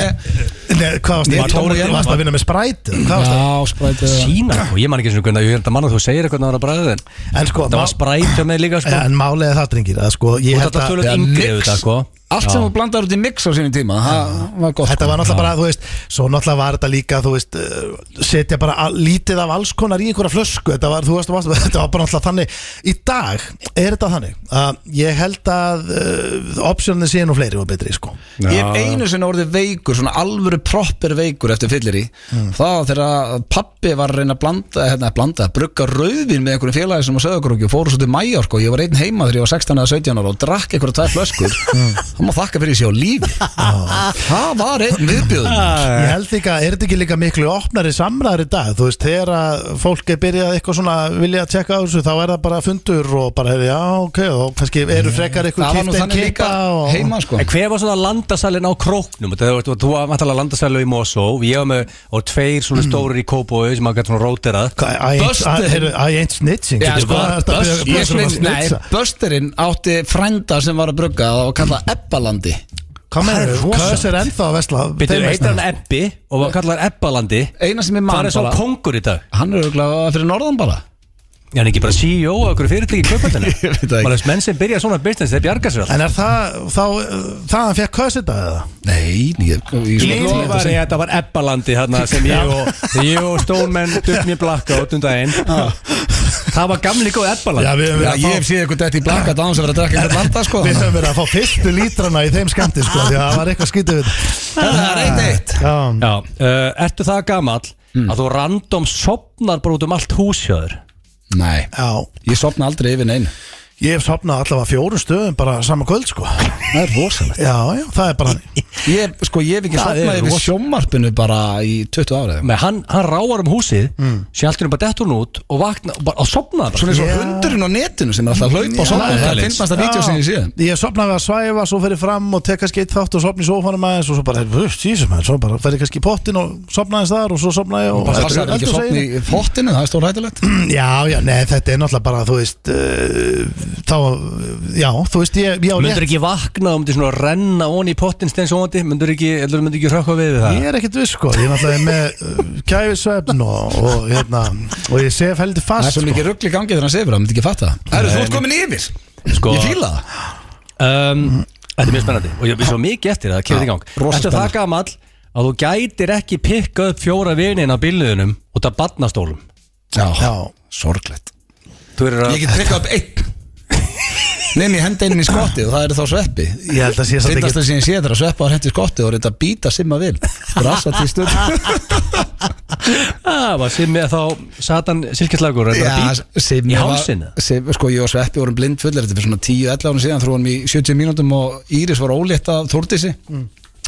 Speaker 2: Nei, hvað varstu,
Speaker 1: Ég-
Speaker 2: var Tom og Jenna, varstu að vinna með spræt Hvað varstu?
Speaker 1: sprætið
Speaker 3: Sína og sko, ég man ekki svona hvernig ég held að manna þú segir eitthvað náður að bræða þenn
Speaker 2: En sko,
Speaker 3: Það var
Speaker 2: má-
Speaker 3: spræt hjá mig líka sko
Speaker 2: ja, en málega það, drengir, að sko ég
Speaker 3: Þú
Speaker 2: held
Speaker 3: þetta
Speaker 2: að-
Speaker 3: tölum
Speaker 1: Já,
Speaker 3: yngri
Speaker 1: mix.
Speaker 3: auðvitað sko
Speaker 1: Allt sem þú blandar út í mix á sínum tíma Það var gott sko.
Speaker 2: Þetta var náttúrulega bara, þú veist, svo náttúrulega var þetta líka, þú veist, uh, setja bara al- lítið af alls konar í einhverja flösku, þetta var, þú veist, þú veist, þetta var bara náttúrulega þannig, í dag er þetta þannig að ég held að uh, optionin séu nú fleiri og betri, sko.
Speaker 1: Ég hef einu sinni orðið veikur, svona alvöru proper veikur eftir fyllir í
Speaker 2: Hmm.
Speaker 1: Það var þegar pappi var að reyna að blanda, hérna, blanda Brugga rauðvin með einhverjum félagi sem á Söðakróki og fóru svo til Mæjork og sko. ég var einn heima þegar ég var 16 eða 17 ára og drakk einhverja tvær flöskur
Speaker 2: Hmm.
Speaker 1: Það má þakka fyrir þessi á lífi Það var einn viðbjöðum
Speaker 2: Ég held líka, er þetta ekki líka miklu opnari samræðar í dag, þú veist, þegar að fólk er byrjað eitthvað svona, vilja að tjekka á þessu, þá er það bara fundur og bara, heyrðu, já, ok, og kannski eru frekar eitthvað
Speaker 1: Mm. Það var nú
Speaker 2: kipta en
Speaker 1: þannig líka
Speaker 2: kippa og...
Speaker 1: heima sko
Speaker 3: En hver var svona landasalinn á króknum? Þetta var- Þú þú var vantalega landasalinn í Mosó Ég var með og tveir svona stórir í Kópói sem maður gætt svona róterað
Speaker 2: Mm. Hvað, I ain't-
Speaker 1: Busted.
Speaker 2: I- heyrðu, I ain't snitching
Speaker 1: Já,
Speaker 2: Getur
Speaker 1: sko,
Speaker 2: bara- þetta
Speaker 1: Böst-
Speaker 2: byrjar-
Speaker 1: ég
Speaker 2: byrjar að
Speaker 1: snitch- Nei,
Speaker 2: snitcha.
Speaker 1: Bösterinn átti frænda sem var að brugga og kallað Ebbalandi
Speaker 2: Hvað með
Speaker 3: er
Speaker 2: þau?
Speaker 3: rosalegt.
Speaker 2: Kös er ennþá að vesla
Speaker 3: Býttu,
Speaker 2: þeim
Speaker 3: heitir
Speaker 2: versnar.
Speaker 3: hann Ebbi og var kallar Ebbalandi
Speaker 1: Eina sem ég
Speaker 3: Það
Speaker 1: man
Speaker 3: er svo kongur í dag
Speaker 1: Hann er auðvitað fyrir norðan bara
Speaker 3: Já, en ekki bara E CEO og okkur fyrirtæki í kaupöldinu
Speaker 1: Ég veit það ekki.
Speaker 3: Bara þess menn sem byrja svona business, þeir bjarga sér alltaf
Speaker 2: En er það þá, það hann fekk kös þetta eða?
Speaker 1: Nei, ég, ég,
Speaker 3: Ég
Speaker 1: ég,
Speaker 3: lofa því að þetta var Ebbalandi þarna sem ég og, ég og Stoneman dutt mér blakka út um daginn Það var gamli góð Ebbalandi
Speaker 2: við höfum
Speaker 1: Já, ég hef séð eitthvað þetta í blakka dáns að vera að drakka eitthvað landa sko
Speaker 2: Við höfum verið að fá fyrstu lítrana í þeim skemmti sko Því að það var eitthvað skítið við
Speaker 1: Það er eitt eitt
Speaker 2: Já,
Speaker 3: Já, uh, ertu það gamall
Speaker 1: Hmm.
Speaker 3: að þú random sopnar bara út um allt húsjöður
Speaker 1: Nei,
Speaker 2: já
Speaker 1: ég sopna aldrei yfir neinu
Speaker 2: Ég hef sopnað allavega fjórum stöðum bara saman kvöld sko
Speaker 1: Það er rosalegt
Speaker 2: Já, já, það er bara þannig.
Speaker 1: Ég, sko, ég hef ekki
Speaker 3: Það er
Speaker 1: sopnað yfir
Speaker 3: rosa-
Speaker 1: sjómarpinu bara í 20 árið
Speaker 3: Með hann, hann ráar um húsið mm. Sér alltaf bara dettur hún út Og vakna og bara, og sopnaði bara
Speaker 1: Hmm. Svona eins og
Speaker 2: Já.
Speaker 1: hundurinn á netinu sem er alltaf að hlaupa og sopna
Speaker 3: Já,
Speaker 1: Það
Speaker 3: Alex.
Speaker 1: finnst næsta vídeo sem ég síðan
Speaker 2: Ég hef sopnað við að svæfa, svo fer ég fram og tek kannski eitt þátt og sopna í sófanum aðeins og svo bara, hust, jísum aðeins, svo bara fer ég kannski í pottin og sopna aðeins þar og svo sopna ég og
Speaker 1: Það passar ekki að sopna í fottinu, það er stór hættulegt
Speaker 2: Já, já, nei, þetta er náttúrulega bara, þú veist, uh, þá, já, þú veist, ég, ég á
Speaker 3: Möndur ekki vakna og myndir svona renna ón í pottin steins óandi Möndur ekki, eða möndur ekki rökkva við við það
Speaker 2: Ég er ekkert viss sko, ég er náttúrulega með uh, kæfisvefn og, og hérna og ég sef heldur
Speaker 1: Það er
Speaker 2: fast sko.
Speaker 1: svo mikið rugl í gangi þegar hann sefur, það myndi ekki fatta Það eru þú ert komin yfir,
Speaker 3: Sko,
Speaker 1: ég fíla það
Speaker 3: um, Þetta er mjög spennandi og ég við svo mikið eftir að það kemur í gang
Speaker 1: rosa
Speaker 3: Þetta er það
Speaker 1: spennandi.
Speaker 3: gamall að þú gætir ekki pikka upp fjóra vinin á bílniðunum út af badnastólum
Speaker 1: Já,
Speaker 2: Já,
Speaker 1: sorglegt
Speaker 3: Þú eru
Speaker 1: Ég
Speaker 3: að
Speaker 1: get pikkað upp einn Nefn ég henda einum í skotti og það eru þá sveppi
Speaker 2: ég held að sé satt
Speaker 1: Sindast
Speaker 2: ekki
Speaker 1: það sem ég sé þetta að sveppa á hendi skotti og reynda að býta simma vil Brassa til stund
Speaker 3: Það Ah, var sem með þá satan silkislagur að bít
Speaker 1: Simmi
Speaker 3: í
Speaker 1: var-
Speaker 3: hálsinn?
Speaker 1: Sim- Sko ég og Sveppi vorum blind fullir Þetta er fyrir svona 10-11 árum síðan Þrjóðum í 70 mínútum og Íris var ólétt af Þórdísi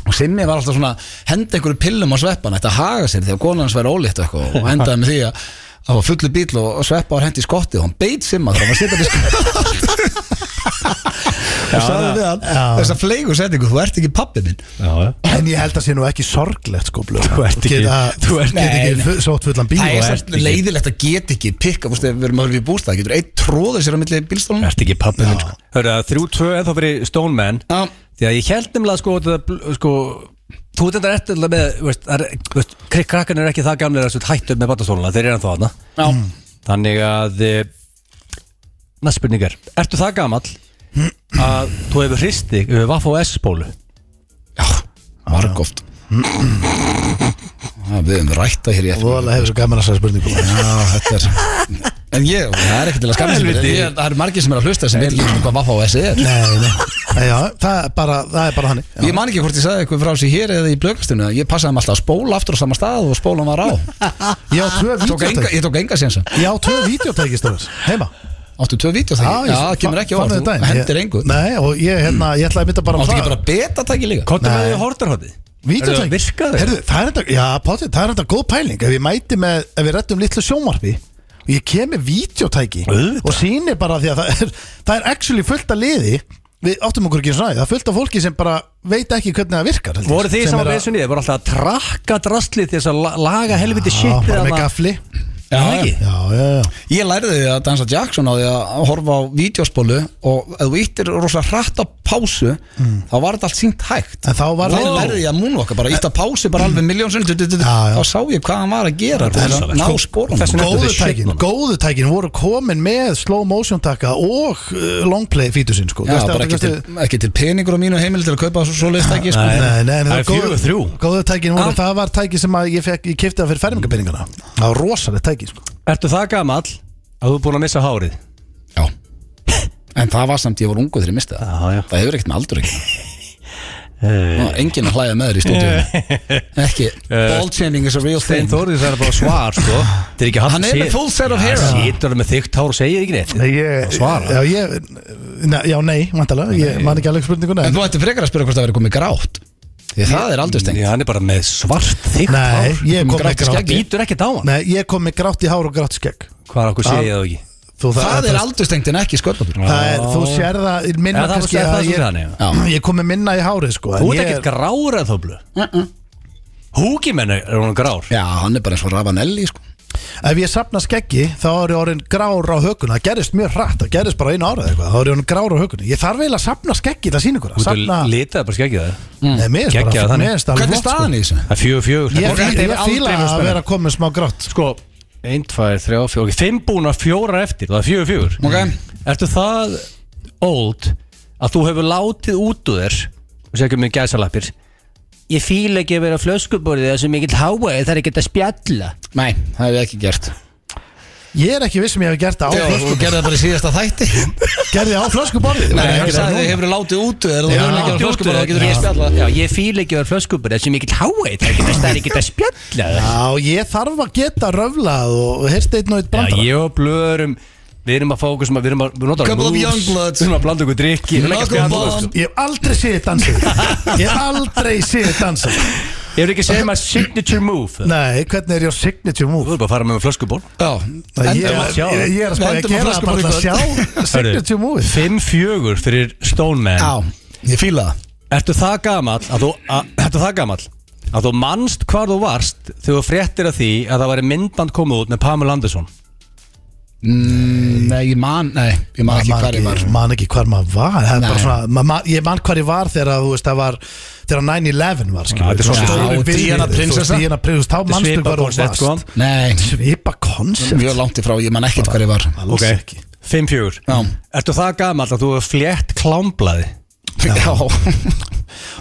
Speaker 1: Og Simmi var alltaf svona Henda einhverju pillum á Sveppan Þetta haga sér þegar konan hans væri ólétt og eitthvað Og endaði með því að það var fullu bíl og, og Sveppa var hendi í skotti og hann beit Simma þegar hann var sittandi í skotti Og sagði við hann
Speaker 2: Já.
Speaker 1: Þess að fleigu setningu, þú ert ekki pabbi minn
Speaker 3: Já, já
Speaker 2: En ég held að sé nú ekki sorglegt sko blöð
Speaker 3: Þú ert ekki-
Speaker 2: Geta-
Speaker 3: þú ert
Speaker 2: get
Speaker 1: ekki-
Speaker 2: ekki fu- sótt fullan bíl
Speaker 1: Það
Speaker 2: og
Speaker 1: er
Speaker 2: ert
Speaker 1: samt leiðilegt að geta ekki pikka, þú veist, við erum að vera í bústað, getur einn tróður sér á milli bílstólunum
Speaker 3: Ertu ekki pappi minn sko Hörru, það er 3-2 eða fyrir Stone Man
Speaker 1: Já.
Speaker 3: Því að ég held nefnilega sko, þetta bl- sko Þú veit þetta eftir með þú veist, það er- þú veist, krik- Krakkarnir er ekki það gamlega að þessu hættu með badastóluna Þeir eru ennþá þarna Mm. Þannig að eh, Næst spurning er Ertu það gamall að þú hefur hrist þig yfir Vaff og S-bólu
Speaker 1: Margóft Við höfum rætt það hér í eftir
Speaker 2: Vola hefur svo gaman að sæða spurningu
Speaker 1: Já, þetta er En ég, það er ekki til að skamma sem
Speaker 3: Helviti.
Speaker 1: Það eru margir sem er að hlusta sem veit ekki einu sinni hvað Vaffa og S er
Speaker 2: Nei, nei, Nei, já, það er bara, það er bara hannig
Speaker 1: Ég man ekki hvort ég sagði eitthvað frá sér hér eða í blöggastunni að Ég passaði þeim alltaf að spóla aftur á sama stað og spólan var á
Speaker 2: Ég á tvö
Speaker 1: Tók enga,
Speaker 2: videotæki
Speaker 1: Ég tók enga sénsa
Speaker 2: Ég á tvö videotæki stöðus, heima
Speaker 1: Áttu tvö vídeo þegar Já, það kemur ekki á
Speaker 2: fann
Speaker 1: orð
Speaker 2: þetta daginn.
Speaker 1: Þú hendir
Speaker 2: Ég-
Speaker 1: engu
Speaker 2: Nei, og ég, hérna, ég ætlaði að mynda bara
Speaker 1: Áttu ekki
Speaker 2: það.
Speaker 1: bara betatæki líka
Speaker 3: Kottum
Speaker 2: Nei.
Speaker 3: við í hortarhótti
Speaker 2: Vítjótæk
Speaker 3: Virkaður
Speaker 2: Herðu, það er þetta, já, potið, það er þetta góð pæling Ef ég mæti með, ef við rettum litlu sjónvarpi Og ég kem með vítjótæki
Speaker 3: Auðvitað.
Speaker 2: Og sýnir bara því að það er Það er actually fullt að liði Við áttum okkur ekki eins og næði Það er fullt af fólki sem bara veit ekki hvernig það virkar held ég,
Speaker 3: Voru þið
Speaker 2: sem
Speaker 3: sem
Speaker 2: er
Speaker 3: að
Speaker 2: að-
Speaker 3: reysunni Þið voru alltaf að trakka drastlið til þess að la- laga helviti
Speaker 2: Já,
Speaker 3: shit
Speaker 2: bara með gafli
Speaker 3: Já,
Speaker 1: Já,
Speaker 3: ekki
Speaker 2: Já, já, já
Speaker 1: Ég lærði að dansa Jackson á því að horfa á vídeospólu og ef þú íttir rosalega hratt á pásu þá var þetta allt sínt hægt
Speaker 2: En þá Hmm. var Eh.
Speaker 1: Þá lærði ég að múnvaka bara ítt á pásu bara alveg miljónsund
Speaker 2: Já, já.
Speaker 1: þá sá ég hvað hann var að gera
Speaker 2: Rosalegt.
Speaker 1: ná spórunum
Speaker 3: Þessi- Snertu
Speaker 2: Góðu
Speaker 3: þau shit
Speaker 2: tækin,
Speaker 3: núna.
Speaker 2: góðu tækin voru komin með slow motion taka og uh, long play fítusinn sko
Speaker 1: Já,
Speaker 2: Veistu,
Speaker 1: bara ekki
Speaker 2: veistu-
Speaker 1: til, ekki til peningur á mínu heimil til að kaupa svo, svo leistæki sko.
Speaker 3: Nei.
Speaker 2: Nei, nei, en
Speaker 3: Það er
Speaker 2: góðu-
Speaker 3: fjögur þrjú. Ah.
Speaker 2: Góðu tækin voru, það var tæki sem að ég, fekk, ég kipti það fyrir fermingapinningana Það var rosalega tæki sko.
Speaker 3: Ertu það gamall að þú er búin að missa hárið?
Speaker 1: Já En það var samt ég voru ungu þegar ég misti það
Speaker 3: Já, já.
Speaker 1: Það hefur ekkert með aldur ekki
Speaker 2: Eh.
Speaker 1: Engin að hlæja með þér í stúdíu Ekki Ball chaining is a real thing
Speaker 3: Steinn Þórið það er bara svar sko Þetta er ekki hann
Speaker 1: Hann er með full set of hair
Speaker 3: Það situr alveg með þykkt hár og segir ekki neitt
Speaker 2: ég,
Speaker 3: svara.
Speaker 2: Já, ég, na, já nei, vantalega Ég man ekki alveg spurninguna
Speaker 1: En
Speaker 2: en,
Speaker 1: þú ætti frekar að spyrja hvort það verið komið grátt Því það er aldrei stengt
Speaker 3: Já, hann er bara með svart þykkt
Speaker 2: Nei,
Speaker 3: hár
Speaker 2: ég kom með
Speaker 1: grátt
Speaker 2: grátt
Speaker 3: Það býtur ekkert á hann
Speaker 2: Nei, Ah. ég kom með grátt í hár og grátt skegg
Speaker 3: Hvað okkur segir það ekki?
Speaker 2: Þú,
Speaker 1: Það er aldrei stengt en ekki sköldlóttur
Speaker 2: Það er, þú sér það, er minna
Speaker 3: Ja, það var-
Speaker 2: kannski
Speaker 3: það- það
Speaker 2: að
Speaker 3: sem
Speaker 2: ég,
Speaker 3: það, nei, já.
Speaker 1: Já.
Speaker 2: ég kom með minna í hárið sko en
Speaker 3: Þú ert
Speaker 2: ég-
Speaker 3: ekkert grár að þóblu Húkimenn er hún grár
Speaker 1: Já, hann er bara eins og Ravanelli sko.
Speaker 2: Ef ég sapna skeggi þá er ég orðin grár á hökunna Það gerist mjög hratt, það gerist bara einu árað eitthvað Þá er ég orðin grár á hökunna Ég þarf eiginlega að sapna skeggi, það sýnir ykkur að
Speaker 3: Þú ert
Speaker 2: Safna
Speaker 3: að litað bara skeggið það
Speaker 2: Nei, mér finnst
Speaker 3: Geggjað
Speaker 2: bara,
Speaker 3: þannig.
Speaker 2: mér finnst alveg
Speaker 1: Hvernig er
Speaker 2: flott, sko.
Speaker 1: staðan í þessu?
Speaker 3: Það er fjögur fjögur
Speaker 2: Ég, ég,
Speaker 1: Þetta er
Speaker 2: ég fíla
Speaker 1: aldrei verið
Speaker 2: að
Speaker 1: spennandi.
Speaker 2: vera komið smá grátt
Speaker 3: Sko, 1, 2, 3, 4 5 búna fjórar eftir, það er fjögur fjögur Mm.
Speaker 1: Ok.
Speaker 3: Ertu það old að þú hefur látið út úr þér og segja mig gæsalappir Ég fíla ekki að vera flöskuborðið það sem ég get háa það er ekki að spjalla
Speaker 1: Nei, það hef ég ekki gert
Speaker 2: Ég er ekki viss sem ég hef gert það á
Speaker 1: Þú
Speaker 2: flösku
Speaker 1: gerði það bara í síðasta þætti
Speaker 2: Gerði ég á flöskuborðið
Speaker 1: Nei,
Speaker 2: Ég
Speaker 1: hann
Speaker 2: gerði það
Speaker 1: sagði
Speaker 2: núna.
Speaker 1: þið hefur látið útu Þegar þú
Speaker 2: Já.
Speaker 1: verður ekki að
Speaker 3: Látið út úr
Speaker 1: flöskuborða
Speaker 3: þér.
Speaker 1: þá getur ekki
Speaker 3: Já.
Speaker 1: spjalla
Speaker 3: Já, ég fíla ekki að vera flöskuborðið það sem ég get háa það er ekki að- það er ekki að spjalla
Speaker 2: Já, ég þarf að geta röflað og heyrst einn og einn
Speaker 3: Já,
Speaker 2: brandara
Speaker 3: ég og blöðurum Við erum að fókusum að við erum að Við notar
Speaker 1: Couple of
Speaker 3: moves,
Speaker 1: Youngbloods.
Speaker 3: Við erum að blanda okkur drikki Við erum ekki að
Speaker 1: Knuckle
Speaker 3: spjalla
Speaker 1: bomb.
Speaker 3: sko.
Speaker 2: Ég hef aldrei séð þið dansa Ég hef aldrei séð þið dansa
Speaker 3: Ég er ekki að segja maður signature move eða?
Speaker 2: Nei, hvernig er your signature
Speaker 3: Þú
Speaker 2: move?
Speaker 3: er bara að fara með flöskuból
Speaker 1: Já,
Speaker 2: Það ég,
Speaker 1: endum
Speaker 3: að sjá.
Speaker 2: ég, ég er að spá að
Speaker 1: Endum á
Speaker 2: gera það bara
Speaker 1: flöskuborði
Speaker 2: til að sjá signature move
Speaker 3: 5-4 fyrir Stone Man
Speaker 1: Já, ég fíla það
Speaker 3: Ertu það gamall að þú, að, ertu það gamall að þú manst hvar þú varst þegar þú fréttir að því að það væri myndband komið út með Pamela Anderson
Speaker 1: Mm, Nei, ég man, nei, ég man ekki hvar ég var
Speaker 2: man ekki hvar maður var Það er bara
Speaker 1: Nei.
Speaker 2: svona, ma, ma, ég man hvar ég var þegar að, þú veist, það var þegar 9-11 var skilur
Speaker 3: Já, þetta er
Speaker 2: við,
Speaker 3: svona-
Speaker 2: stóru
Speaker 1: Já, og
Speaker 2: viðburðir,
Speaker 1: Díana
Speaker 2: þú veist,
Speaker 1: prinsessa.
Speaker 2: Díana prinsessa, þá
Speaker 3: Þetta er
Speaker 2: manstu
Speaker 3: svipað
Speaker 2: hvar þú
Speaker 3: koncept, sko.
Speaker 2: varst
Speaker 1: Nei,
Speaker 2: Svipa koncept
Speaker 1: mjög langt í frá, ég man ekkert hvar ég var
Speaker 2: Alls ekki
Speaker 3: 5-4
Speaker 1: Já.
Speaker 3: Ertu það gamall að þú hefur flétt klámblaði
Speaker 1: Já,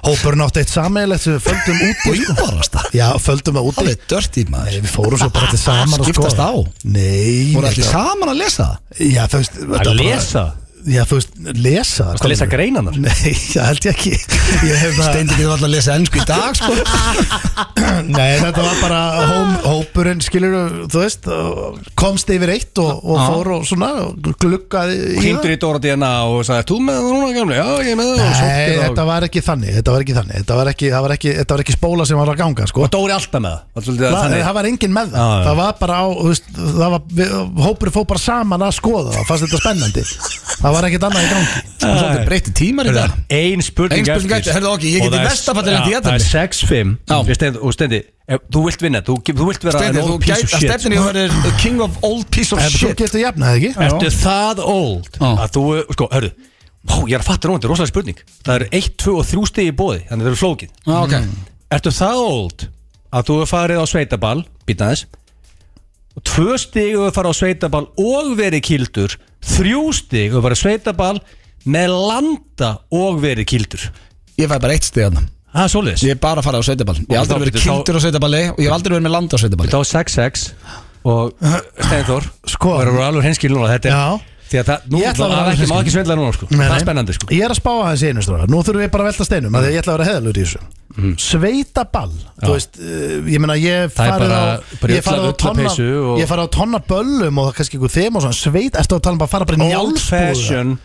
Speaker 2: Hópurinn átti eitt sammeilegt sem við földum út í sko.
Speaker 1: íbarast það
Speaker 2: Já, földum að út
Speaker 1: Það
Speaker 2: í
Speaker 1: er dört í maður
Speaker 2: Við fórum svo bara til saman og sko.
Speaker 1: Skiptast á
Speaker 2: Nei
Speaker 1: Voru allir
Speaker 2: þetta-
Speaker 1: saman að lesa það?
Speaker 2: Já, þú veist þetta
Speaker 3: Að
Speaker 2: bara-
Speaker 3: lesa
Speaker 2: Já, þú veist, lesa Þú
Speaker 3: Að lesa greinanar
Speaker 2: Nei, það held ég ekki Ég hef það
Speaker 1: Steindi getur alltaf að lesa ennsku í dag, sko
Speaker 2: Nei, þetta var bara hóm, hópurinn, skilur þú veist og komst yfir eitt og, og fór og svona og gluggaði í
Speaker 3: Hindur í Dóra DNA og sagði Þú með það núna gamli? Já, ég er með það og sótti
Speaker 2: Nei,
Speaker 3: það og-
Speaker 2: þetta var ekki þannig Þetta var ekki þannig Þetta var ekki, það var ekki, þetta var ekki spóla sem var að ganga, sko
Speaker 3: Og Dóri alltaf með það. það
Speaker 2: La,
Speaker 3: Þannig
Speaker 2: það var enginn með það
Speaker 3: Já, já.
Speaker 2: Það var bara á, þú veist, það var, við, hópurinn fór bara saman að skoða það Fannst þetta spennandi Það var ekkert annað í gangi
Speaker 1: Svolítið breyti tímar í
Speaker 3: Hörðu,
Speaker 1: dag
Speaker 3: Ein spurning
Speaker 1: Ein spurning eftir, hörðu, ok, ég
Speaker 3: Og
Speaker 1: get
Speaker 3: það
Speaker 1: í
Speaker 3: er-
Speaker 1: versta fallinu
Speaker 3: Já,
Speaker 1: lent í
Speaker 3: Það er
Speaker 1: jafntefli.
Speaker 3: 6-5
Speaker 1: Já.
Speaker 3: Ég steindi- Og Steindi, ef þú vilt vinna Þú þú vilt vera
Speaker 1: Steindi,
Speaker 3: an
Speaker 1: þú
Speaker 3: old piece
Speaker 1: gæt
Speaker 3: of
Speaker 1: að
Speaker 3: shit
Speaker 1: stefnir í að vera king of old piece of
Speaker 2: En þú
Speaker 1: shit
Speaker 2: getur jafnað ekki
Speaker 3: Ertu það old
Speaker 1: Já.
Speaker 3: að þú, sko, hörru Ó, ég er að fatta núna, þetta er rosalega spurning Það eru 1, 2 og 3 stegi í bóði, þannig það eru flókið
Speaker 1: Já, Ah, ok
Speaker 3: Ertu það old að þú er farið á sveitaball Býtna þess Og 2 stegi og farið á sveitaball og verið kildur 3 stegi og farið á sveitaball með landa og verið kildur
Speaker 1: Ég fæ bara eitt stið hann
Speaker 3: Það er svoleiðis
Speaker 1: Ég er bara að fara á sveitaball Ég hef aldrei
Speaker 3: Þá-
Speaker 1: verið
Speaker 3: þá-
Speaker 1: kildur á sveitaballi Og ég hef aldrei verið með land á sveitaballi
Speaker 3: Þá er 6-6 og Steinþór
Speaker 2: Sko.
Speaker 3: Það eru alveg hinskil núna þetta er-
Speaker 2: Já.
Speaker 3: Því að það, nú,
Speaker 2: Ég ætla að
Speaker 3: það
Speaker 2: vera
Speaker 3: er
Speaker 2: alveg
Speaker 3: ekki, má
Speaker 2: hreinskilinn.
Speaker 3: ekki svindla núna sko.
Speaker 2: Nei,
Speaker 3: Það er
Speaker 2: nei.
Speaker 3: spennandi sko
Speaker 2: Ég er að spá aðeins í einu stráðar Nú þurfum við bara að velta steinum mm. Ég ætla að vera heðalur í þessu Sveitaball Þú veist, uh, ég meina ég
Speaker 3: Mhm. Það er
Speaker 2: farið
Speaker 3: bara-
Speaker 2: á
Speaker 3: bara
Speaker 2: Ég farið á
Speaker 3: ulla-
Speaker 2: tonna
Speaker 3: ullapeysu og-
Speaker 2: Ég farið á tonna böllum og það er kannski einhver þeim og svona Sveit, ertu að tala um að fara bara í
Speaker 3: Old
Speaker 2: njálsbúða
Speaker 3: fashion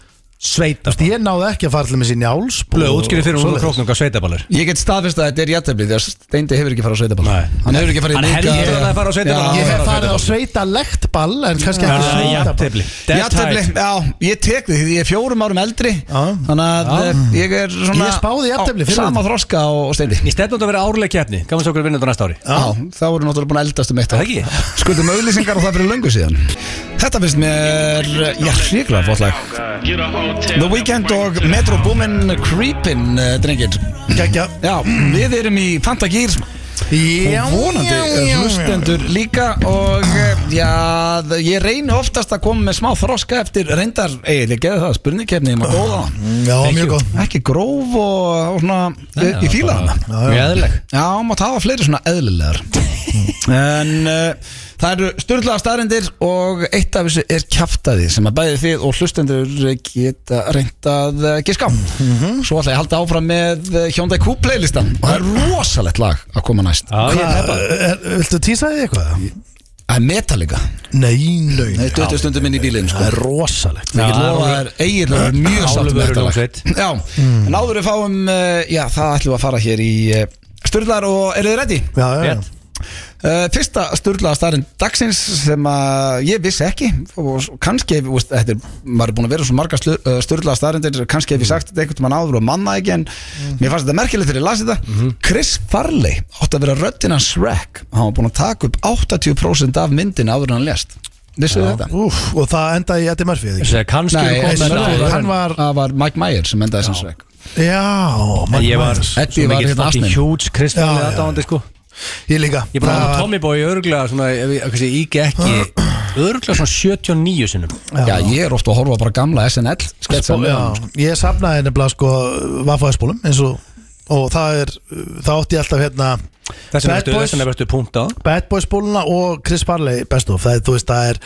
Speaker 3: sveita
Speaker 2: Ég náði ekki að fara til með sér njálsbúða
Speaker 3: Blöð, útskýri fyrir hún króknunga sveitaballar
Speaker 1: Ég get staðfist að þetta er jættefli Þegar Steindi hefur ekki farið á sveitaball
Speaker 3: Nei.
Speaker 1: Hann hefur ekki farið
Speaker 3: Hann heldur að það fara á sveitaball.
Speaker 2: Ég
Speaker 3: Já,
Speaker 2: hef
Speaker 3: já,
Speaker 2: farið á
Speaker 3: sveitaball.
Speaker 2: sveitalegt ball En kannski ekki sveitaball
Speaker 3: Jafntefli
Speaker 1: Jættefli, já, ég tek því Því ég er fjórum árum eldri
Speaker 2: Já.
Speaker 1: Þannig að eh, ég er svona
Speaker 2: Ég spáði jafntefli
Speaker 1: á
Speaker 2: fyrir
Speaker 1: Sama
Speaker 2: þetta.
Speaker 1: þroska og og Steindi
Speaker 3: Í stefnum þetta að vera árlega kjarni Gaman svo okkur að vinna þetta næsta ári
Speaker 1: Já, þá voru náttúrulega búin að eldast um eitt
Speaker 3: Það ekki?
Speaker 1: Skuldum auðlýsingar og það fyrir löngu síðan Þetta finnst mér, eh, já, hriglega fótlag The Weeknd og Metro Boomin Creepin, eh, drengir
Speaker 2: Kækja
Speaker 1: Já, við erum í Fantagýr
Speaker 2: Já,
Speaker 1: og vonandi eh, hlustendur líka og eh, já, þ- ég reyni oftast að koma með smá þroska eftir reyndar, eiginlega, geðu það, spurningkefni ég má góða,
Speaker 2: já mjög góð
Speaker 1: ekki gróf og, og svona, ég, ég fíla hana
Speaker 3: Mjög eðlileg
Speaker 1: Já, Mm. mátt hafa fleiri svona eðlilegar En uh, það eru styrlaða staðrendir og eitt af þessu er kjaftaði sem að bæði þið og hlustendur geta reynt að eh, giska á Svo ætla ég að halda áfram með eh, Hyundai Q playlistan og það er rosalegt lag að koma næst
Speaker 3: Já, ég
Speaker 2: Hvað,
Speaker 3: hef bara-
Speaker 2: er- Eh, Viltu tísa því eitthvað?
Speaker 1: Það er Metallica
Speaker 2: Nei, laun
Speaker 1: Nei, 20 stundum inn í bílinn sko.
Speaker 2: Það er rosalegt
Speaker 1: Ég get
Speaker 3: Já,
Speaker 1: lofa þær eiginlega mjög sátt með
Speaker 3: Álfur
Speaker 1: þetta lag
Speaker 3: Rúmsveit.
Speaker 1: Já, en áður við fáum eh, Já, það ætlum við að fara hér í uh, Sturlar og eru þið ready?
Speaker 2: Já, já, já
Speaker 3: Rétt.
Speaker 1: Uh, fyrsta sturglaða starinn dagsins sem að ég vissi ekki og s- kannski ef, veist, þetta er, maður er búin að vera svo marga sturglaða starindir kannski ef ég sagt þetta einhvern mann áður og manna ekki en mér fannst þetta merkilegt þegar ég lasi þetta
Speaker 3: Mhm.
Speaker 1: Chris Farley átti að vera röddina Shrek hann var búin að taka upp 80% af myndin áður en hann lést vissu þetta?
Speaker 2: Úf, og það endaði í Eddie Murphy eða ekki?
Speaker 3: Þessi, Kannski
Speaker 1: Nei,
Speaker 3: er komið
Speaker 1: Eddie
Speaker 3: með
Speaker 1: Murphy,
Speaker 3: það.
Speaker 2: hann var,
Speaker 1: Það var Mike Myers sem endaði sem Shrek
Speaker 2: já
Speaker 3: En
Speaker 2: Mike
Speaker 3: Ég var
Speaker 2: Myers.
Speaker 1: Eddie var
Speaker 3: mikið
Speaker 1: hérna
Speaker 3: fucking
Speaker 1: asninn.
Speaker 3: huge
Speaker 2: Já,
Speaker 3: Kristján
Speaker 2: já,
Speaker 3: með
Speaker 2: já.
Speaker 3: aðdáðandi sko
Speaker 2: ég líka
Speaker 3: Ég bara
Speaker 2: Það-
Speaker 3: hann Tommy Boy örglega svona ef ég- kannski Ígi ekki örglega svona 79 sinnum
Speaker 1: já. ég er ofta að horfa bara á gamla SNL
Speaker 3: sko.
Speaker 1: sketsa með
Speaker 2: já,
Speaker 1: hann
Speaker 2: ég safnaði nefnilega sko vaffaðspólum eins og og það er, það átti ég alltaf hérna
Speaker 3: Þess vegna
Speaker 2: Bad
Speaker 3: ertu-
Speaker 2: Boys.
Speaker 3: þess vegna ertu punkt á
Speaker 2: Bad Boys spóluna og Chris Farley best of, það er, þú veist, það er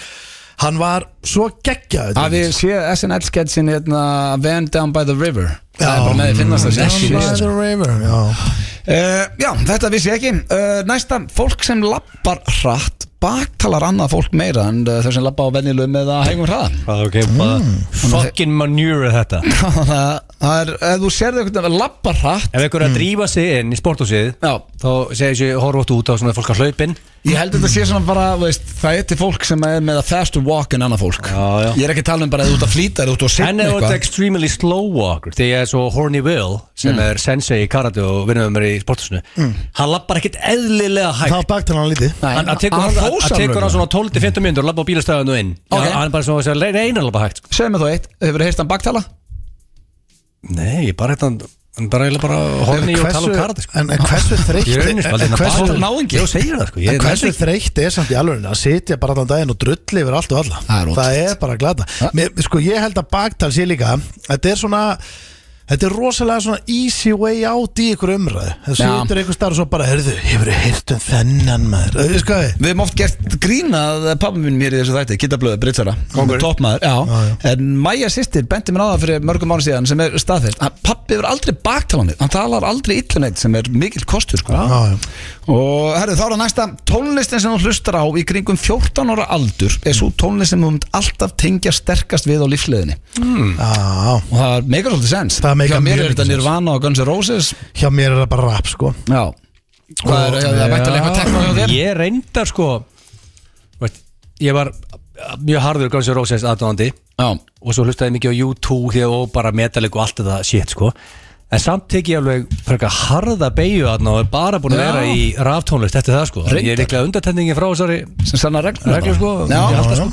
Speaker 2: hann var svo geggjaður
Speaker 1: að við sé SNL sketsin hérna Van Down by the River það
Speaker 2: Já.
Speaker 1: er bara með því finnast
Speaker 3: Mm.
Speaker 1: það
Speaker 2: Down by the
Speaker 1: uh,
Speaker 2: river, já
Speaker 1: Eh, Já, þetta vissi ég ekki uh, Næsta, fólk sem lappar hratt baktalar annað fólk meira en uh, þau sem labba á venjulum eða hægum hraða
Speaker 3: Hvað ok, bara Fucking manure er þetta
Speaker 1: Þannig að það er, ef þú sérðu einhvern veginn labba hratt
Speaker 3: Ef einhver er að drífa sig inn í sporthúsið
Speaker 1: Já.
Speaker 3: Þá segir sér horfótt út á svona fólk að hlaupin
Speaker 1: Ég held að þetta sé svona bara, þú veist, það er til fólk sem er með að faster walk en annað fólk
Speaker 3: Já, já.
Speaker 1: Ég er ekki að tala um bara að þú ert að flýta, þér, þú ert að
Speaker 3: En
Speaker 1: sinna
Speaker 3: ef þetta
Speaker 1: eitthvað
Speaker 3: er extremely slow walker Þegar ég er svo horny Will Sem er sensei í karate og vinnum með mér í sporthúsinu Hann lappar ekkit eðlilega hægt
Speaker 2: Það var baktalan hann lítið
Speaker 1: Nei,
Speaker 3: Hann hann tekur
Speaker 1: hann
Speaker 3: hann hann
Speaker 1: hrósar
Speaker 3: tekur hann
Speaker 1: alveg.
Speaker 3: svona 12-15 minnur og labba á bílastæðinu inn
Speaker 1: Ok.
Speaker 3: okay. Hann er bara svona að segja reyna að labba hægt sko.
Speaker 1: Segðu mér þá eitt, hefur þú heyrt hann baktala?
Speaker 3: Nei, ég bara hægt hann Hann bara eiginlega bara horny og tala um karate sko.
Speaker 2: en, en hversu þreytt
Speaker 3: Ég er unnist
Speaker 2: en, en hversu,
Speaker 3: bara náingi Ég segir það sko
Speaker 2: en
Speaker 3: Ég
Speaker 2: hversu
Speaker 3: nenni ekki.
Speaker 2: þreytt er samt í alveg að sitja bara allan daginn og drulli yfir allt og alla
Speaker 1: Það er ótrúlegt.
Speaker 2: bara glata Mér, sko ég held að baktal sé líka þetta er svona Þetta er rosalega svona easy way out í ykkur umræðu Það
Speaker 1: Já.
Speaker 2: situr einhver starf og svo bara, heyrðu, hefur þið heyrt um þennan maður Það er sko,
Speaker 1: Við hefum oft gert grína að pabbi minn mér í þessu þætti, Kittablöðu, Britsara Toppmaður, já.
Speaker 2: Já,
Speaker 1: En Maja sýstir bendi mér á það fyrir mörgum mánu síðan sem er staðfest Hann- Pabbi hefur aldrei baktalanir, hann talar aldrei illuneitt sem er mikill kostur sko.
Speaker 2: já, já.
Speaker 1: Og herru, þá er það næsta Tónlistin sem þú hlustar á í kringum 14 ára aldur er svo tónlist sem þú mynd alltaf tengja sterkast við á lífsleðinni Mm.
Speaker 2: Já, já.
Speaker 1: Og það meikar svolítið sens
Speaker 2: Það meikar
Speaker 1: Hjá mér
Speaker 2: mjög
Speaker 1: er þetta
Speaker 2: mikið sens.
Speaker 1: Nirvana og Guns N' Roses
Speaker 2: hjá mér er það bara rap sko
Speaker 1: Já Hvað er, það er væntanlega eitthvað tekno hjá þér?
Speaker 3: Ég reyndar sko veit, Ég var mjög harður Guns N' Roses aðdóðandi
Speaker 1: Já,
Speaker 3: og svo hlustaði ég mikið á U2 því og bara metalik og allt þetta shit sko en samt tek ég alveg frekar harða beigju aðna og er bara búin að
Speaker 1: Já.
Speaker 3: vera í raftónlist eftir það sko Þannig ég er
Speaker 1: Reyndar.
Speaker 3: líklega undartendingin frá þessari
Speaker 1: sem sannar reglur
Speaker 3: Reglur, sko.
Speaker 1: Já,
Speaker 3: Já,
Speaker 1: já, já.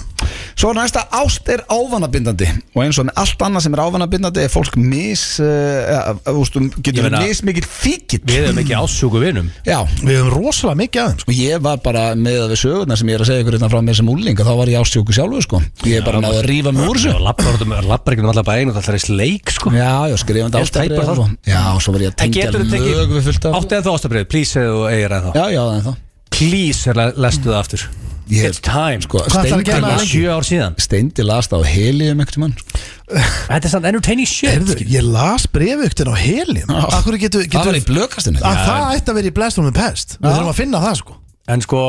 Speaker 1: Svo er næsta ást er ávanabindandi og eins og með allt annað sem er ávanabindandi er fólk mis uh, ústum,
Speaker 3: Ég
Speaker 1: getur
Speaker 3: meina-
Speaker 1: verið mis mikill fíkill
Speaker 3: við erum ekki ásjúku vinum
Speaker 1: Já,
Speaker 2: Við höfum rosalega mikið aðeins sko.
Speaker 1: og ég var bara með að við sögurna sem ég er að segja ykkur hérna frá mér sem úlinga, þá var ég ástjóku sjálfur sko Ég er bara náðu að rífa mig úr þessu
Speaker 3: lappar ekki um allar bæinn og það er sleik sko
Speaker 1: Já, já, skrifandi
Speaker 3: Ég tæpa
Speaker 1: ástabrið
Speaker 3: það.
Speaker 1: Já, og svo var ég að
Speaker 3: En
Speaker 1: tengja
Speaker 3: getur þetta
Speaker 1: lög við fullt
Speaker 3: ekki
Speaker 1: af
Speaker 3: átti eða það ástabrið please eða þú eigir eða þá
Speaker 1: Já, já, það er það
Speaker 3: please er le- lestu það aftur
Speaker 1: Ég-
Speaker 3: it's time sko
Speaker 1: Sko,
Speaker 2: Hvað ætlarðu að gera
Speaker 1: Steindi-
Speaker 2: með
Speaker 3: það er
Speaker 2: lengi?
Speaker 3: sjö ár síðan
Speaker 1: Steindi lasta á helium einhvern mann
Speaker 3: þetta er samt entertaining shit
Speaker 2: Heyrðu, Ég las brefugtin á helin Akkur getur,
Speaker 1: Það
Speaker 2: getur
Speaker 1: var í blökastinu
Speaker 2: að það ætti að vera í blæstum með pest Við þurfum að finna það sko
Speaker 3: en sko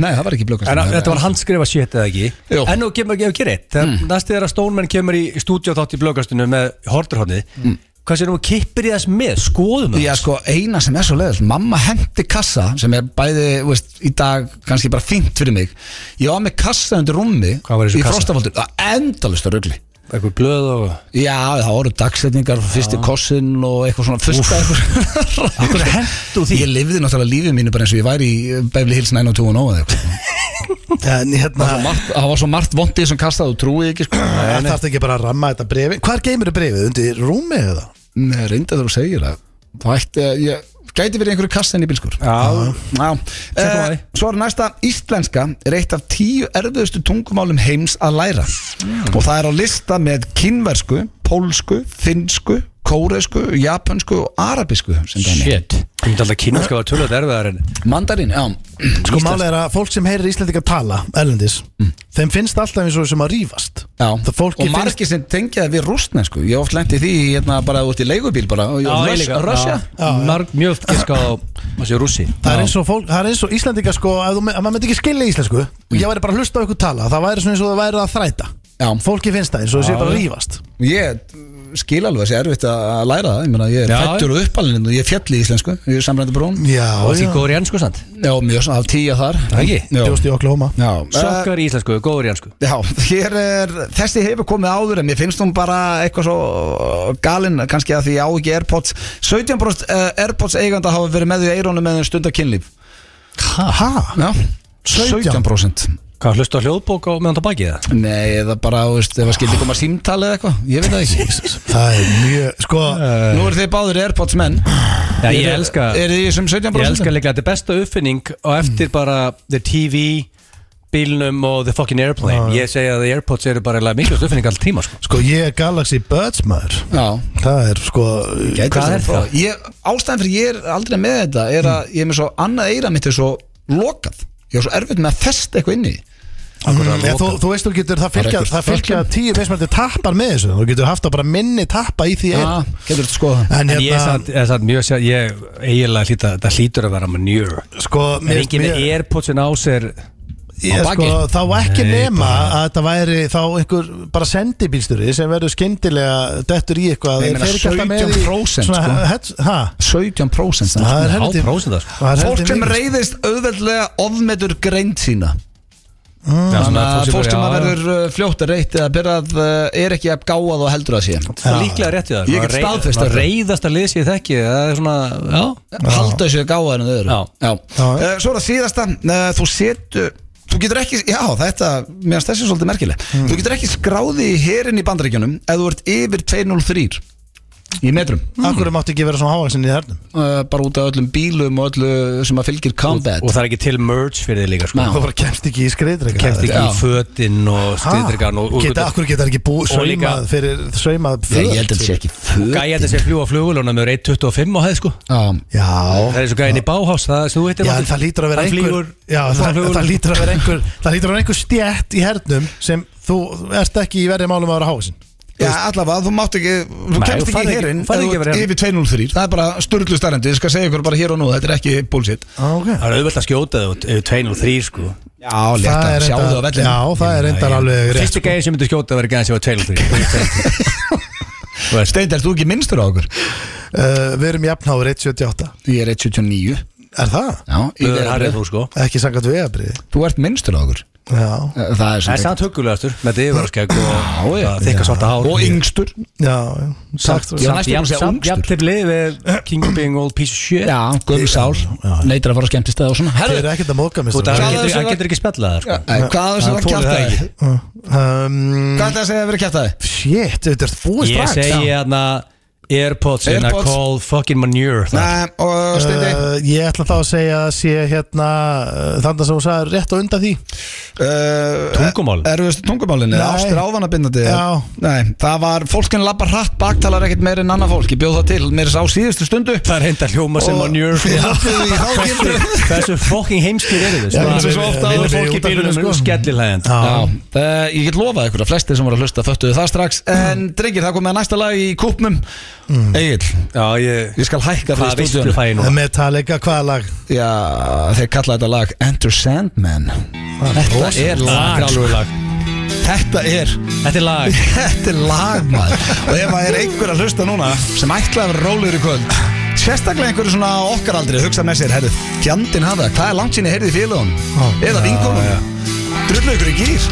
Speaker 1: Nei, það var ekki í
Speaker 3: En
Speaker 1: blökastinu
Speaker 3: að, þetta var handskrifa shit eða ekki
Speaker 1: Jú.
Speaker 3: En nú kemur ekki að gera eitt mm. Næstu þegar að Stoneman kemur í stúdíu þátt í blöggastinu með horturhornið Hvað sér nú kippir í þess með, skoðum það
Speaker 1: Mm. Já, sko, eina sem er svo leiðis Mamma hendi kassa sem er bæði, þú veist, í dag kannski bara fínt fyrir mig Ég var með kassa undir rúmi
Speaker 3: Hvað var í þessu
Speaker 1: Í
Speaker 3: kassa?
Speaker 1: frostafoldur, það endalist að rugli
Speaker 3: Eitthvað blöð og
Speaker 1: Já, það voru dagsetningar, fyrsti kossinn og eitthvað svona fullt af eitthvað
Speaker 3: Akkur hendu því
Speaker 1: Ég lifði náttúrulega lífið mínu bara eins og ég væri í Beverly Hills 90210 eða eitthvað
Speaker 2: En hérna,
Speaker 1: sko. Það var svo margt- það var svo margt vondið sem kastað og trúið ekki sko
Speaker 2: það þarf ekki bara að ramma þetta brefi Hvar geymir brefið? Undir rúmi eða?
Speaker 1: Nei, reynda þegar þú segir það Það ætti að ég Gæti verið í einhverju kassin í bílskur
Speaker 3: Já.
Speaker 1: Já.
Speaker 3: á
Speaker 1: Eh,
Speaker 3: því.
Speaker 1: Svo er næsta Íslenska er eitt af tíu erfiðustu tungumálum heims að læra Og það er á lista með kínversku, pólsku, finnsku, kóresku, japönsku og arabisku sem dæmi.
Speaker 3: Shit Þú myndi alltaf kynna sko að tölvöld erfiðar en
Speaker 1: Mandarín, já
Speaker 2: Sko málega er að fólk sem heyrir Íslendinga tala Erlendis, þeim finnst alltaf eins og sem að rífast
Speaker 1: Mm. Já,
Speaker 2: Það fólki
Speaker 1: og
Speaker 2: finnst
Speaker 1: margir sem tengja það við rústnesku Ég hef oft lenti því hérna bara út í leigubíl bara og ég- Rus- Russia
Speaker 3: Mörg mjög giska á Þessi rússi
Speaker 2: Það er eins og, fólk, það er eins og Íslendinga sko að, þú, me- að maður myndi ekki skilja íslensku
Speaker 1: Mm.
Speaker 2: og ég væri bara að hlusta á ykkur tala það væri svona eins og það væri að þræta
Speaker 1: Já.
Speaker 2: fólki finnst það eins og það sé bara að rífast
Speaker 1: Ég skil alveg þessi erfitt að að læra það Ég meina, ég er
Speaker 3: Já,
Speaker 1: fættur og uppalinn hérna og ég fjall í íslensku Ég er samrændi brún
Speaker 2: Já,
Speaker 3: Og því
Speaker 2: já,
Speaker 3: góður í ennsku sant
Speaker 1: Já, mjög svona, af tíja þar
Speaker 3: Það ekki?
Speaker 1: Já,
Speaker 2: bjóst í Oklahoma
Speaker 1: já. Eh,
Speaker 3: Sökkar í íslensku, góður í ennsku
Speaker 1: Já, hér er, þessi hefur komið áður en mér finnst hún bara eitthvað svo galinn, kannski að því ég á ekki Airpods 17% uh, Airpods eiganda hafa verið með því eirónu með þeim stundar kynlíf
Speaker 2: Hæ?
Speaker 1: Já,
Speaker 2: 17%.
Speaker 1: 17%
Speaker 3: Hvað hlustu á hljóðbók og meðan það bakið það?
Speaker 1: Nei, eða bara, þú veist, ef það skildi koma símtali eða eitthvað, ég veit það ekki Eh,
Speaker 2: Það er mjög, sko
Speaker 1: Nú eru þið báður Airpods menn
Speaker 3: Já, ég elska
Speaker 1: Er þið í þessum
Speaker 3: Ég
Speaker 1: 17%?
Speaker 3: elska líka að þetta er besta uppfinning og eftir bara the TV bílnum og the fucking airplane ég segja að the airpods eru bara eiginlega mikilvægt uppfinning alltaf tíma sko.
Speaker 2: Sko ég er Galaxy Buds maður
Speaker 1: Já,
Speaker 2: Það er sko
Speaker 3: Hvað er það?
Speaker 1: Ég, ástæðan fyrir ég er aldrei með þetta er að ég er með svo annað eira mitt er svo lokað ég er svo erfitt með að festa eitthvað inni
Speaker 2: mm, ég, þú, þú veist þú getur það fylgja,
Speaker 1: Það er ekkert
Speaker 2: það fylgja
Speaker 1: fucking-
Speaker 2: tíu mismælti tappar með þessu Þú getur haft að bara minni tappa í því eina.
Speaker 1: Ah, getur þetta skoða það
Speaker 2: En
Speaker 3: En ég er
Speaker 2: hérna,
Speaker 3: samt, ég er samt mjög sér, ég eiginlega hlýta, það hlýtur að vera manjur
Speaker 2: sko
Speaker 3: En
Speaker 2: mér-
Speaker 3: ekki með
Speaker 2: mér-
Speaker 3: airpodsin á sér
Speaker 2: Ég,
Speaker 1: baki?
Speaker 2: sko, þá ekki
Speaker 3: Nei,
Speaker 2: nema að þetta væri þá einhver bara sendibílstjóri sem verður skyndilega dettur í eitthvað
Speaker 1: Nei, ég meina,
Speaker 2: Þeir ekki alltaf með í
Speaker 1: 17%
Speaker 2: svona,
Speaker 1: sko.
Speaker 2: hets- ha,
Speaker 1: 17% sem-
Speaker 2: það er
Speaker 3: Há
Speaker 2: helviti
Speaker 3: prósenda sko.
Speaker 2: það er
Speaker 1: Fólk
Speaker 2: helviti
Speaker 1: sem
Speaker 2: mikið.
Speaker 1: reyðist auðveldlega ofmetur greind sína
Speaker 3: Já,
Speaker 1: Þannig
Speaker 3: svona
Speaker 1: að fólk sem
Speaker 3: já,
Speaker 1: að
Speaker 3: já.
Speaker 1: verður uh, fljótt að reytt eða byrjað uh, er ekki að gáað og heldur að sé
Speaker 3: Það er líklega rétt í það
Speaker 1: Ég get staðfest
Speaker 3: að
Speaker 1: þetta.
Speaker 3: Reyðast að liðs ég þekki Það er svona, já
Speaker 1: halda þessu gáðar en þau eru
Speaker 3: Já.
Speaker 2: Já.
Speaker 1: Eh, Svo er það síðasta, eh, þú setur Þú getur ekki, já þetta, meðan þessi er svolítið merkileg Þú getur ekki skráði í herin í bandaríkjunum Ef þú ert yfir 203 Í metrum
Speaker 2: Akkur mátti ekki vera svona hávaksin í hernum
Speaker 1: Eh, Bara út af öllum bílum og öllu sem að fylgir combat
Speaker 3: Og það er ekki til merch fyrir þig líka sko.
Speaker 1: Já.
Speaker 2: Það bara kemst ekki í skriðdreika
Speaker 3: Kemst ekki
Speaker 1: Já.
Speaker 3: í fötin og stiðdregan og, og,
Speaker 2: Geta, akkur geta þær ekki búið
Speaker 3: Og líka-
Speaker 2: saumað fyrir saumað
Speaker 1: Nei, Ég held að þetta sé ekki föt
Speaker 3: Gæja þetta sem fljúa flugulóna með 1.25 á hæð sko
Speaker 1: Já,
Speaker 2: Já
Speaker 3: Það er eins og gæðin í Báhás Það sem þú
Speaker 2: Já,
Speaker 3: hittir Matti.
Speaker 2: en það lítur að vera
Speaker 3: Hann
Speaker 2: einhver
Speaker 3: flýgur,
Speaker 2: Já,
Speaker 3: hann
Speaker 2: það,
Speaker 3: flugvél.
Speaker 2: það lítur að vera einhver Það lítur að vera einhver stjætt í hernum sem þú ert ekki í verði málum að vera hásin
Speaker 1: Já, allavega, þú mátt ekki, þú
Speaker 3: Nei,
Speaker 1: kemst
Speaker 3: þú
Speaker 1: ekki
Speaker 3: færð
Speaker 1: í
Speaker 3: ekki-
Speaker 1: herin
Speaker 3: færð ekki að vera herinn.
Speaker 1: yfir 203 Það er bara sturglu starrendi, ég skal segja ykkur bara hér og nú, þetta er ekki bullshit
Speaker 2: okay.
Speaker 3: Það er auðvitað að skjóta þau yfir 2 og 3 sko
Speaker 1: Já, létt
Speaker 2: Það
Speaker 1: að
Speaker 2: er
Speaker 1: sjá þau á
Speaker 2: reyndar-
Speaker 1: vellinu
Speaker 2: Já, það er reyndar alveg rétt sko.
Speaker 3: Fyrsti gæði sem myndi skjóta verið gæðin sem var 2 og 3
Speaker 1: Steint, ert þú ekki minnstur á okkur?
Speaker 2: uh, Við erum jafnháður 178
Speaker 1: Ég er 179
Speaker 2: Er það?
Speaker 1: Já, ég
Speaker 3: Það er
Speaker 1: er
Speaker 3: þú sko
Speaker 2: Ekki sangat vegabrið
Speaker 1: Þú ert minnstur á okkur
Speaker 2: Já,
Speaker 1: Það er
Speaker 3: Það er
Speaker 1: sem
Speaker 3: samt huggulegastur með þetta yfirvarskegg og það þykka svarta hár
Speaker 1: Og yngstur
Speaker 2: já, já Sagt
Speaker 1: Já,
Speaker 3: Samt
Speaker 1: næstu jafn-
Speaker 3: jafn-
Speaker 1: jafn-
Speaker 3: samt jafn til lið við King of Being Old Piece of Shit
Speaker 1: Já, gömur sál Neitar að fara að skemmtist það og svona
Speaker 2: Þeir eru ekkert að móka mér
Speaker 3: Þú veit,
Speaker 2: strákar.
Speaker 1: Hvað
Speaker 3: hann getur-
Speaker 1: þessu
Speaker 3: hann
Speaker 1: var-
Speaker 3: getur ekki spjallað það, sko.
Speaker 1: Nei, eh, Hvað er það að
Speaker 3: Hann þolir
Speaker 1: kjæfta
Speaker 3: það
Speaker 1: það?
Speaker 3: ekki
Speaker 2: um,
Speaker 1: Hvað er það að segja að vera kjæfta það?
Speaker 2: Shit, þetta er búið
Speaker 3: Ég
Speaker 2: strax
Speaker 3: segi hérna Airpods in a
Speaker 1: Airpods.
Speaker 3: call fucking manure þar.
Speaker 1: Nei, og Steindi
Speaker 2: Uh, ég ætla þá að segja að sé hérna uh, þannig sem hún sagði rétt og undan því
Speaker 1: uh,
Speaker 3: Tungumál?
Speaker 1: Erum við tungumálinu?
Speaker 2: Nei.
Speaker 1: Ástir ávanabindandi?
Speaker 2: Já.
Speaker 1: Nei, það var fólkin labbar hratt baktalar ekkert meir en annað fólk Ég bjóð það til, mér er sá síðustu stundu
Speaker 3: Það er henda hljóma sem
Speaker 1: Og-
Speaker 3: manure
Speaker 1: Já, því, þá
Speaker 3: Hversu-
Speaker 1: getur-
Speaker 3: Hversu fucking heimskir eru
Speaker 2: Já,
Speaker 3: þið? sko?
Speaker 2: eins og svo
Speaker 3: Við-
Speaker 2: oft
Speaker 3: við-
Speaker 2: áður
Speaker 3: við-
Speaker 2: fólk í
Speaker 3: fólk í
Speaker 2: útvarpinu,
Speaker 3: bílunum
Speaker 2: sko.
Speaker 3: skellilægend
Speaker 1: Já, uh, ég get lofað ykkur að flestir sem voru að hlusta föttuðu það strax En drengir, það komið að næsta lag í kúpnum mm.
Speaker 3: Já, ég
Speaker 1: ég skal hækka
Speaker 3: Hvað
Speaker 1: fyrir
Speaker 3: veistu
Speaker 1: stúdíun
Speaker 3: það ég nú?
Speaker 2: uh, Metallica, hvaða lag?
Speaker 1: Já, þeir kalla þetta lag Enter Sandman Þetta er lag
Speaker 3: Alvöru lag.
Speaker 1: Þetta er
Speaker 3: Þetta er lag
Speaker 1: Þetta er lag maður Og ef það er einhver að hlusta núna sem ætla að vera rólegur í kvöld Sérstaklega einhverju svona á okkar aldrei hugsa með sér, herru, fjandinn hafa það, hvað er langt sinni heyrði í félagun? Eða vinkonum? Drullu ykkur í gýr?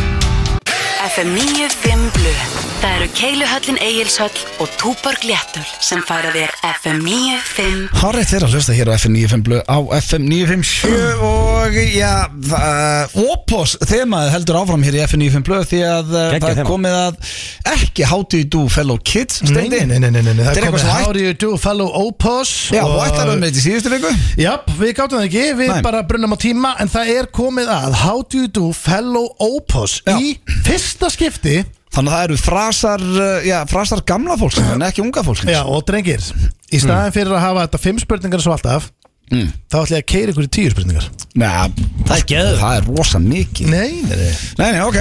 Speaker 7: FM 95 Blu Það eru Keiluhöllin Egilshöll og Túborg Léttul sem færa þér FM 95
Speaker 1: Hárið þeirra að hlusta hér á FM 95 blöð á FM 957 og já, það, Opos þemaði heldur áfram hér í FM 95 blöð því að uh,
Speaker 3: Geggjað
Speaker 1: það er
Speaker 3: þema.
Speaker 1: komið að ekki How do you do fellow kids
Speaker 2: Nei,
Speaker 1: steindi
Speaker 2: nei, nei, nei, nei, nei.
Speaker 1: Þetta
Speaker 2: Það
Speaker 1: er
Speaker 2: komið
Speaker 1: eitthvað sem
Speaker 2: How do you do fellow Opus
Speaker 1: Já, og ætlar
Speaker 2: um
Speaker 1: við með þetta í síðustu viku
Speaker 2: Japp, við gáttum það ekki, við
Speaker 1: Nei.
Speaker 2: bara brunnum á tíma En það er komið að How do you do fellow Opus
Speaker 1: Já.
Speaker 2: Í fyrsta skipti
Speaker 1: Þannig að það eru frasar, uh, já, frasar gamla fólk en ekki unga fólk
Speaker 2: Já, og drengir, í staðin fyrir að hafa þetta Fimm spurningar svo alltaf
Speaker 1: Mm.
Speaker 2: Þá ætla ég að keira ykkur í tíu spurningar
Speaker 1: það er geður Það er rosa mikið
Speaker 2: Nei, nei, nei
Speaker 1: Nei, nei, ok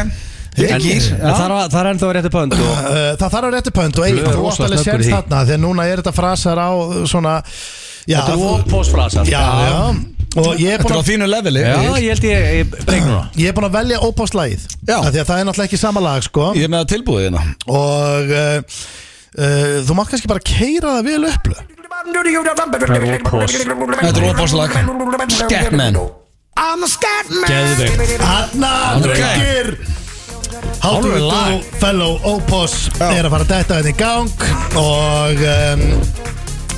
Speaker 1: Ég
Speaker 3: En-
Speaker 1: gýr
Speaker 3: en Það er- það er ennþá rétti pönd og
Speaker 2: Uh, það þarf að rétti pönt og eigin
Speaker 3: Blöð,
Speaker 2: þú átt
Speaker 3: rosalega
Speaker 2: alveg
Speaker 3: snöggur í
Speaker 2: sérst
Speaker 3: því.
Speaker 2: þarna þegar núna er þetta frasar á uh, svona já,
Speaker 3: Þetta er
Speaker 2: þú-
Speaker 3: opósfrasar
Speaker 2: já, já, og ég
Speaker 1: Þetta
Speaker 2: er búin
Speaker 1: er á
Speaker 2: að
Speaker 1: þínu leveli
Speaker 3: Já, ég held ég, ég breyk núna
Speaker 2: Ég er búin að velja ópáslægið
Speaker 1: Já.
Speaker 2: Því að það er náttúrulega ekki sama lag sko
Speaker 1: Ég er með það tilbúið hérna
Speaker 2: Og uh, uh, þú mátt kannski bara keira það vel upp
Speaker 1: Þetta er óbáslag Skatman
Speaker 3: Geðveik
Speaker 2: Anna, drengir Háttu
Speaker 3: lag.
Speaker 2: þú fellow ópás er að fara að detta þetta í gang Og um,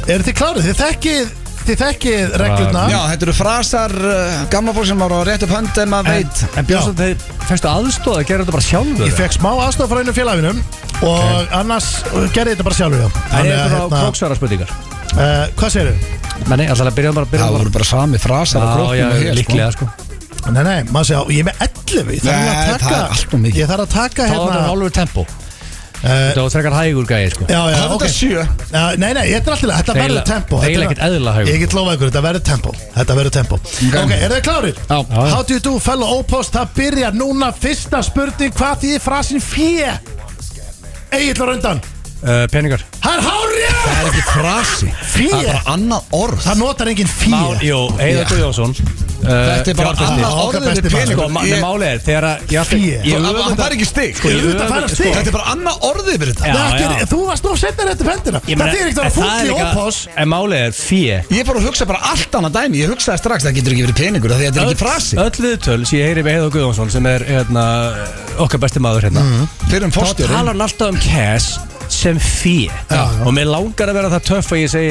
Speaker 2: eru þið klárið? Þið þekkið, þið þekkið reglurnar
Speaker 1: Já, þetta eru frasar uh, gamla fólk sem voru á rétt upp hönd en maður veit
Speaker 3: En Björnsson, þið fengstu aðstóð að gera þetta bara sjálfur
Speaker 2: Ég fekk smá aðstof frá einu félaginum og annars uh, gerði þetta bara sjálfur já.
Speaker 3: Það
Speaker 2: Þannig að,
Speaker 3: er
Speaker 2: hérna-
Speaker 3: bara króksvara spurningar
Speaker 2: uh, Hvað segirðu?
Speaker 3: Menni, alltaf að byrja bara að
Speaker 1: Það
Speaker 3: byrja
Speaker 1: voru bara sami frasar á
Speaker 3: Já,
Speaker 1: króknum
Speaker 3: já,
Speaker 1: og hér, sko.
Speaker 3: líklega sko
Speaker 2: Nei, nei, maður segja, ég er með 11 Ég þarf
Speaker 1: Nei,
Speaker 2: að taka,
Speaker 1: það er allt of mikið.
Speaker 2: Ég þarf að taka
Speaker 3: Það var
Speaker 2: hérna
Speaker 3: þetta álfur tempo
Speaker 2: uh,
Speaker 3: Þetta var frekar hægur gæði sko
Speaker 2: Já, já,
Speaker 1: Það er
Speaker 2: ok
Speaker 1: þetta sjö
Speaker 2: Já, Nei, nei, þetta er alltaf, þetta
Speaker 3: Eiginlega-
Speaker 2: verður tempo Þetta er-
Speaker 3: eiginlega ekkert eðlilega hægur.
Speaker 2: Ég get lofað ykkur, þetta verður tempo Þetta verður tempo Ok, er þið klárir?
Speaker 1: Já.
Speaker 2: How do you do, fellow opost, það byrjar núna Fyrsta spurning, hvað þýðir frasin fjö? Egil á raundan
Speaker 3: uh, peningar
Speaker 2: Það er hárið!
Speaker 1: Það er ekki frasi
Speaker 2: Fé.
Speaker 1: Það er bara annað orð
Speaker 2: Það notar enginn fí
Speaker 3: Mál, jú, Heiðar Guðjónsson
Speaker 1: Þetta er bara annað
Speaker 2: Okkar
Speaker 1: orð
Speaker 2: besti
Speaker 1: yfir
Speaker 2: maður.
Speaker 1: pening
Speaker 3: Eh, Sko, ma- nei, málið er þegar að ég alltaf-
Speaker 2: Fé.
Speaker 3: ég
Speaker 1: Það
Speaker 3: öfunda-
Speaker 1: það er ekki stig
Speaker 3: Ég
Speaker 2: auðvitað
Speaker 3: öfunda-
Speaker 2: fara að
Speaker 3: sko,
Speaker 2: stig.
Speaker 1: Þetta er bara annað orð yfir þetta
Speaker 3: Já,
Speaker 2: Þetta er-
Speaker 3: já.
Speaker 2: Þú varst of setnar eftir fendina
Speaker 3: ég
Speaker 2: Það
Speaker 3: meina,
Speaker 2: er ekkert að vera
Speaker 3: en það
Speaker 2: fúll
Speaker 3: er
Speaker 2: í
Speaker 3: líka-
Speaker 2: ófoss
Speaker 3: En málið er fíi
Speaker 1: Ég er bara að hugsa bara allt annað dæmi Ég hugsaði strax það getur ekki verið peningur af Því að þetta er ekki frasi
Speaker 3: Öll viðtöl sem ég heyri með Heiðar Guðjónsson sem er hérna, okkar besti maður hérna
Speaker 2: Mhm,
Speaker 1: Fyrir um
Speaker 3: Þá
Speaker 1: fórstjóri
Speaker 3: talar hann alltaf um cash sem fíi og mér langar að vera það töff að ég segi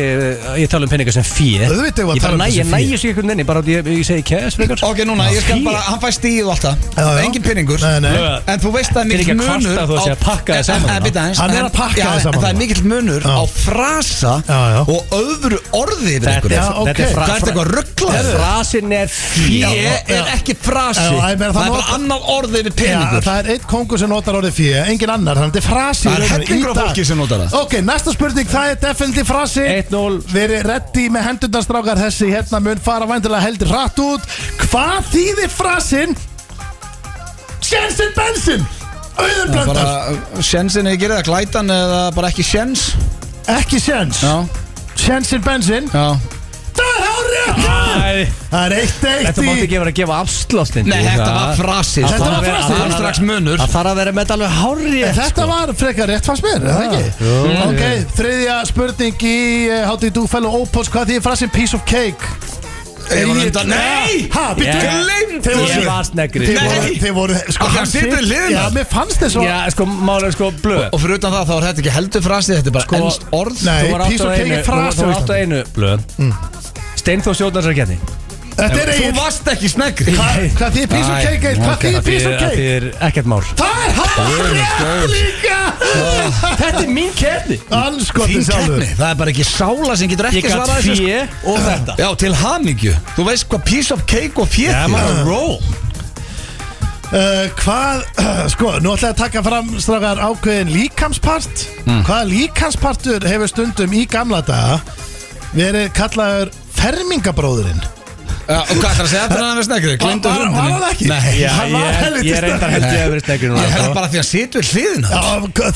Speaker 3: að ég tala um peninga sem fíi
Speaker 2: Auðvitað eigum við að
Speaker 3: ég
Speaker 2: tala
Speaker 3: bara
Speaker 2: um
Speaker 3: næ,
Speaker 2: þessi
Speaker 3: ég
Speaker 2: fé.
Speaker 3: næ þessu einhvern veginn bara að ég, ég segi cash frekar
Speaker 1: Ok, núna, ég skal bara Hann fæ stíð og allt
Speaker 2: Já,
Speaker 1: það
Speaker 2: já.
Speaker 1: Engin peningur
Speaker 2: Nei, nei.
Speaker 3: Lög-
Speaker 1: En þú veist að
Speaker 3: Þetta er
Speaker 1: mikill
Speaker 3: ekki að
Speaker 1: munur
Speaker 3: kvarta þó að
Speaker 1: á-
Speaker 3: sé að pakka þér
Speaker 1: En-
Speaker 3: saman
Speaker 1: en-
Speaker 3: þarna.
Speaker 1: en bíddu aðeins,
Speaker 2: Hann er
Speaker 1: en-
Speaker 2: að pakka
Speaker 1: já, en
Speaker 2: þér saman
Speaker 1: Það er
Speaker 2: þarna.
Speaker 1: mikill munur
Speaker 2: Já.
Speaker 1: á frasa
Speaker 2: Já, já.
Speaker 1: Og öðru orði yfir
Speaker 3: Þetta
Speaker 1: einhverju.
Speaker 3: er,
Speaker 2: Já, ok.
Speaker 3: þetta er fra-
Speaker 1: Það er eitthvað
Speaker 3: fra-
Speaker 1: rugglað
Speaker 3: Frasin Sko, er
Speaker 1: Fé
Speaker 3: fíi
Speaker 1: er ekki frasi
Speaker 2: Já,
Speaker 1: Það
Speaker 2: ég meina,
Speaker 1: er
Speaker 2: það
Speaker 1: bara
Speaker 2: notar-
Speaker 1: annað orð yfir
Speaker 2: Já,
Speaker 1: peningur
Speaker 2: það er einn kongur sem notar orðið fíja, engin annar, þannig að þetta er frasi
Speaker 1: Það er
Speaker 2: í rauninni í
Speaker 1: hellingur af
Speaker 2: dag.
Speaker 1: fólki sem notar það.
Speaker 2: Ok, næsta spurning, það er definitív frasi
Speaker 3: 1-0.
Speaker 2: Verið reddi með hendundarstrákar þessi hérna mun fara væntilega heldur rætt út Hvað þýðir frasin? Sjensin Bensin Auðun Blöndal,
Speaker 1: bara sjensin eða gerði það glætan eða bara ekki sjens
Speaker 2: ekki sjens Sjensin Bensin,
Speaker 1: já
Speaker 2: það er hárið
Speaker 3: Æ,
Speaker 2: Það er eitt eitt
Speaker 3: Þetta mátti
Speaker 2: í
Speaker 3: ekki vera að gefa afsláttindi
Speaker 1: Nei, þetta var frasi
Speaker 2: Þetta var frasi.
Speaker 1: Það er strax munur
Speaker 3: Það þarf að vera með þetta alveg hárið
Speaker 2: En Þetta var frekar rétt fannst mér, er það ekki? ok, þriðja spurning í uh, How do you do fellow opals, hvað þýðir frasin piece of cake?
Speaker 1: Ég var undan Nei!
Speaker 2: Ha, býttu
Speaker 3: Ég-
Speaker 1: Gleymdi
Speaker 2: Þeir voru-
Speaker 3: Ég var sneggri.
Speaker 2: Þeir
Speaker 1: Nei.
Speaker 2: voru, þeir voru sko,
Speaker 1: Og hann situr við hliðina.
Speaker 2: Já, mér fannst þess að
Speaker 3: Já, sko, málega sko blöð
Speaker 1: Og fyrir utan það þá er þetta ekki heldur frasi Þetta er bara
Speaker 3: Sko-
Speaker 1: ennst orð
Speaker 2: Nei.
Speaker 3: Þú var átt
Speaker 2: piece
Speaker 3: á
Speaker 2: of cake
Speaker 3: einu-
Speaker 2: er frasi
Speaker 3: Þú
Speaker 2: á
Speaker 3: var átt á
Speaker 2: Íslandi.
Speaker 3: einu blöð Steinþór Sjóðnarsarkenni
Speaker 2: Þetta er
Speaker 1: Þú
Speaker 2: eigin
Speaker 1: varst ekki snegri
Speaker 2: Hvað þýðir piece of cake? Egill? Hvað þýðir piece of
Speaker 3: Þetta
Speaker 2: cake?
Speaker 3: er ekkert mál
Speaker 2: Það er hann líka
Speaker 3: Þetta er mín kerni
Speaker 2: Anskotin
Speaker 1: Þín
Speaker 2: sko, sjálfur
Speaker 1: keppni, það er bara ekki sála sem getur
Speaker 3: Ég
Speaker 1: ekki
Speaker 3: gætt
Speaker 1: svarað þessu sko.
Speaker 3: fjö og þetta
Speaker 1: Já, til hamingju Þú veist hvað piece of cake og fjö
Speaker 3: Já, maður roll
Speaker 2: Uh, Hvað, sko, nú ætla ég að taka fram strafgar ákveðin líkamspart
Speaker 3: Hmm.
Speaker 2: Hvaða líkamspartur hefur stundum í gamla daga verið kallaður fermingabróðurinn?
Speaker 1: Og hvað ætlar að segja fyrir hann við snegri? Glindu
Speaker 2: Var- var
Speaker 1: hrundinni
Speaker 2: hann það ekki?
Speaker 1: Nei,
Speaker 3: Já,
Speaker 2: Hann var
Speaker 3: ég,
Speaker 2: helviti
Speaker 3: ég reyndar held ég að vera sneggri núna
Speaker 1: ég held
Speaker 3: sko.
Speaker 1: bara því að hann situr við hliðina
Speaker 2: Já,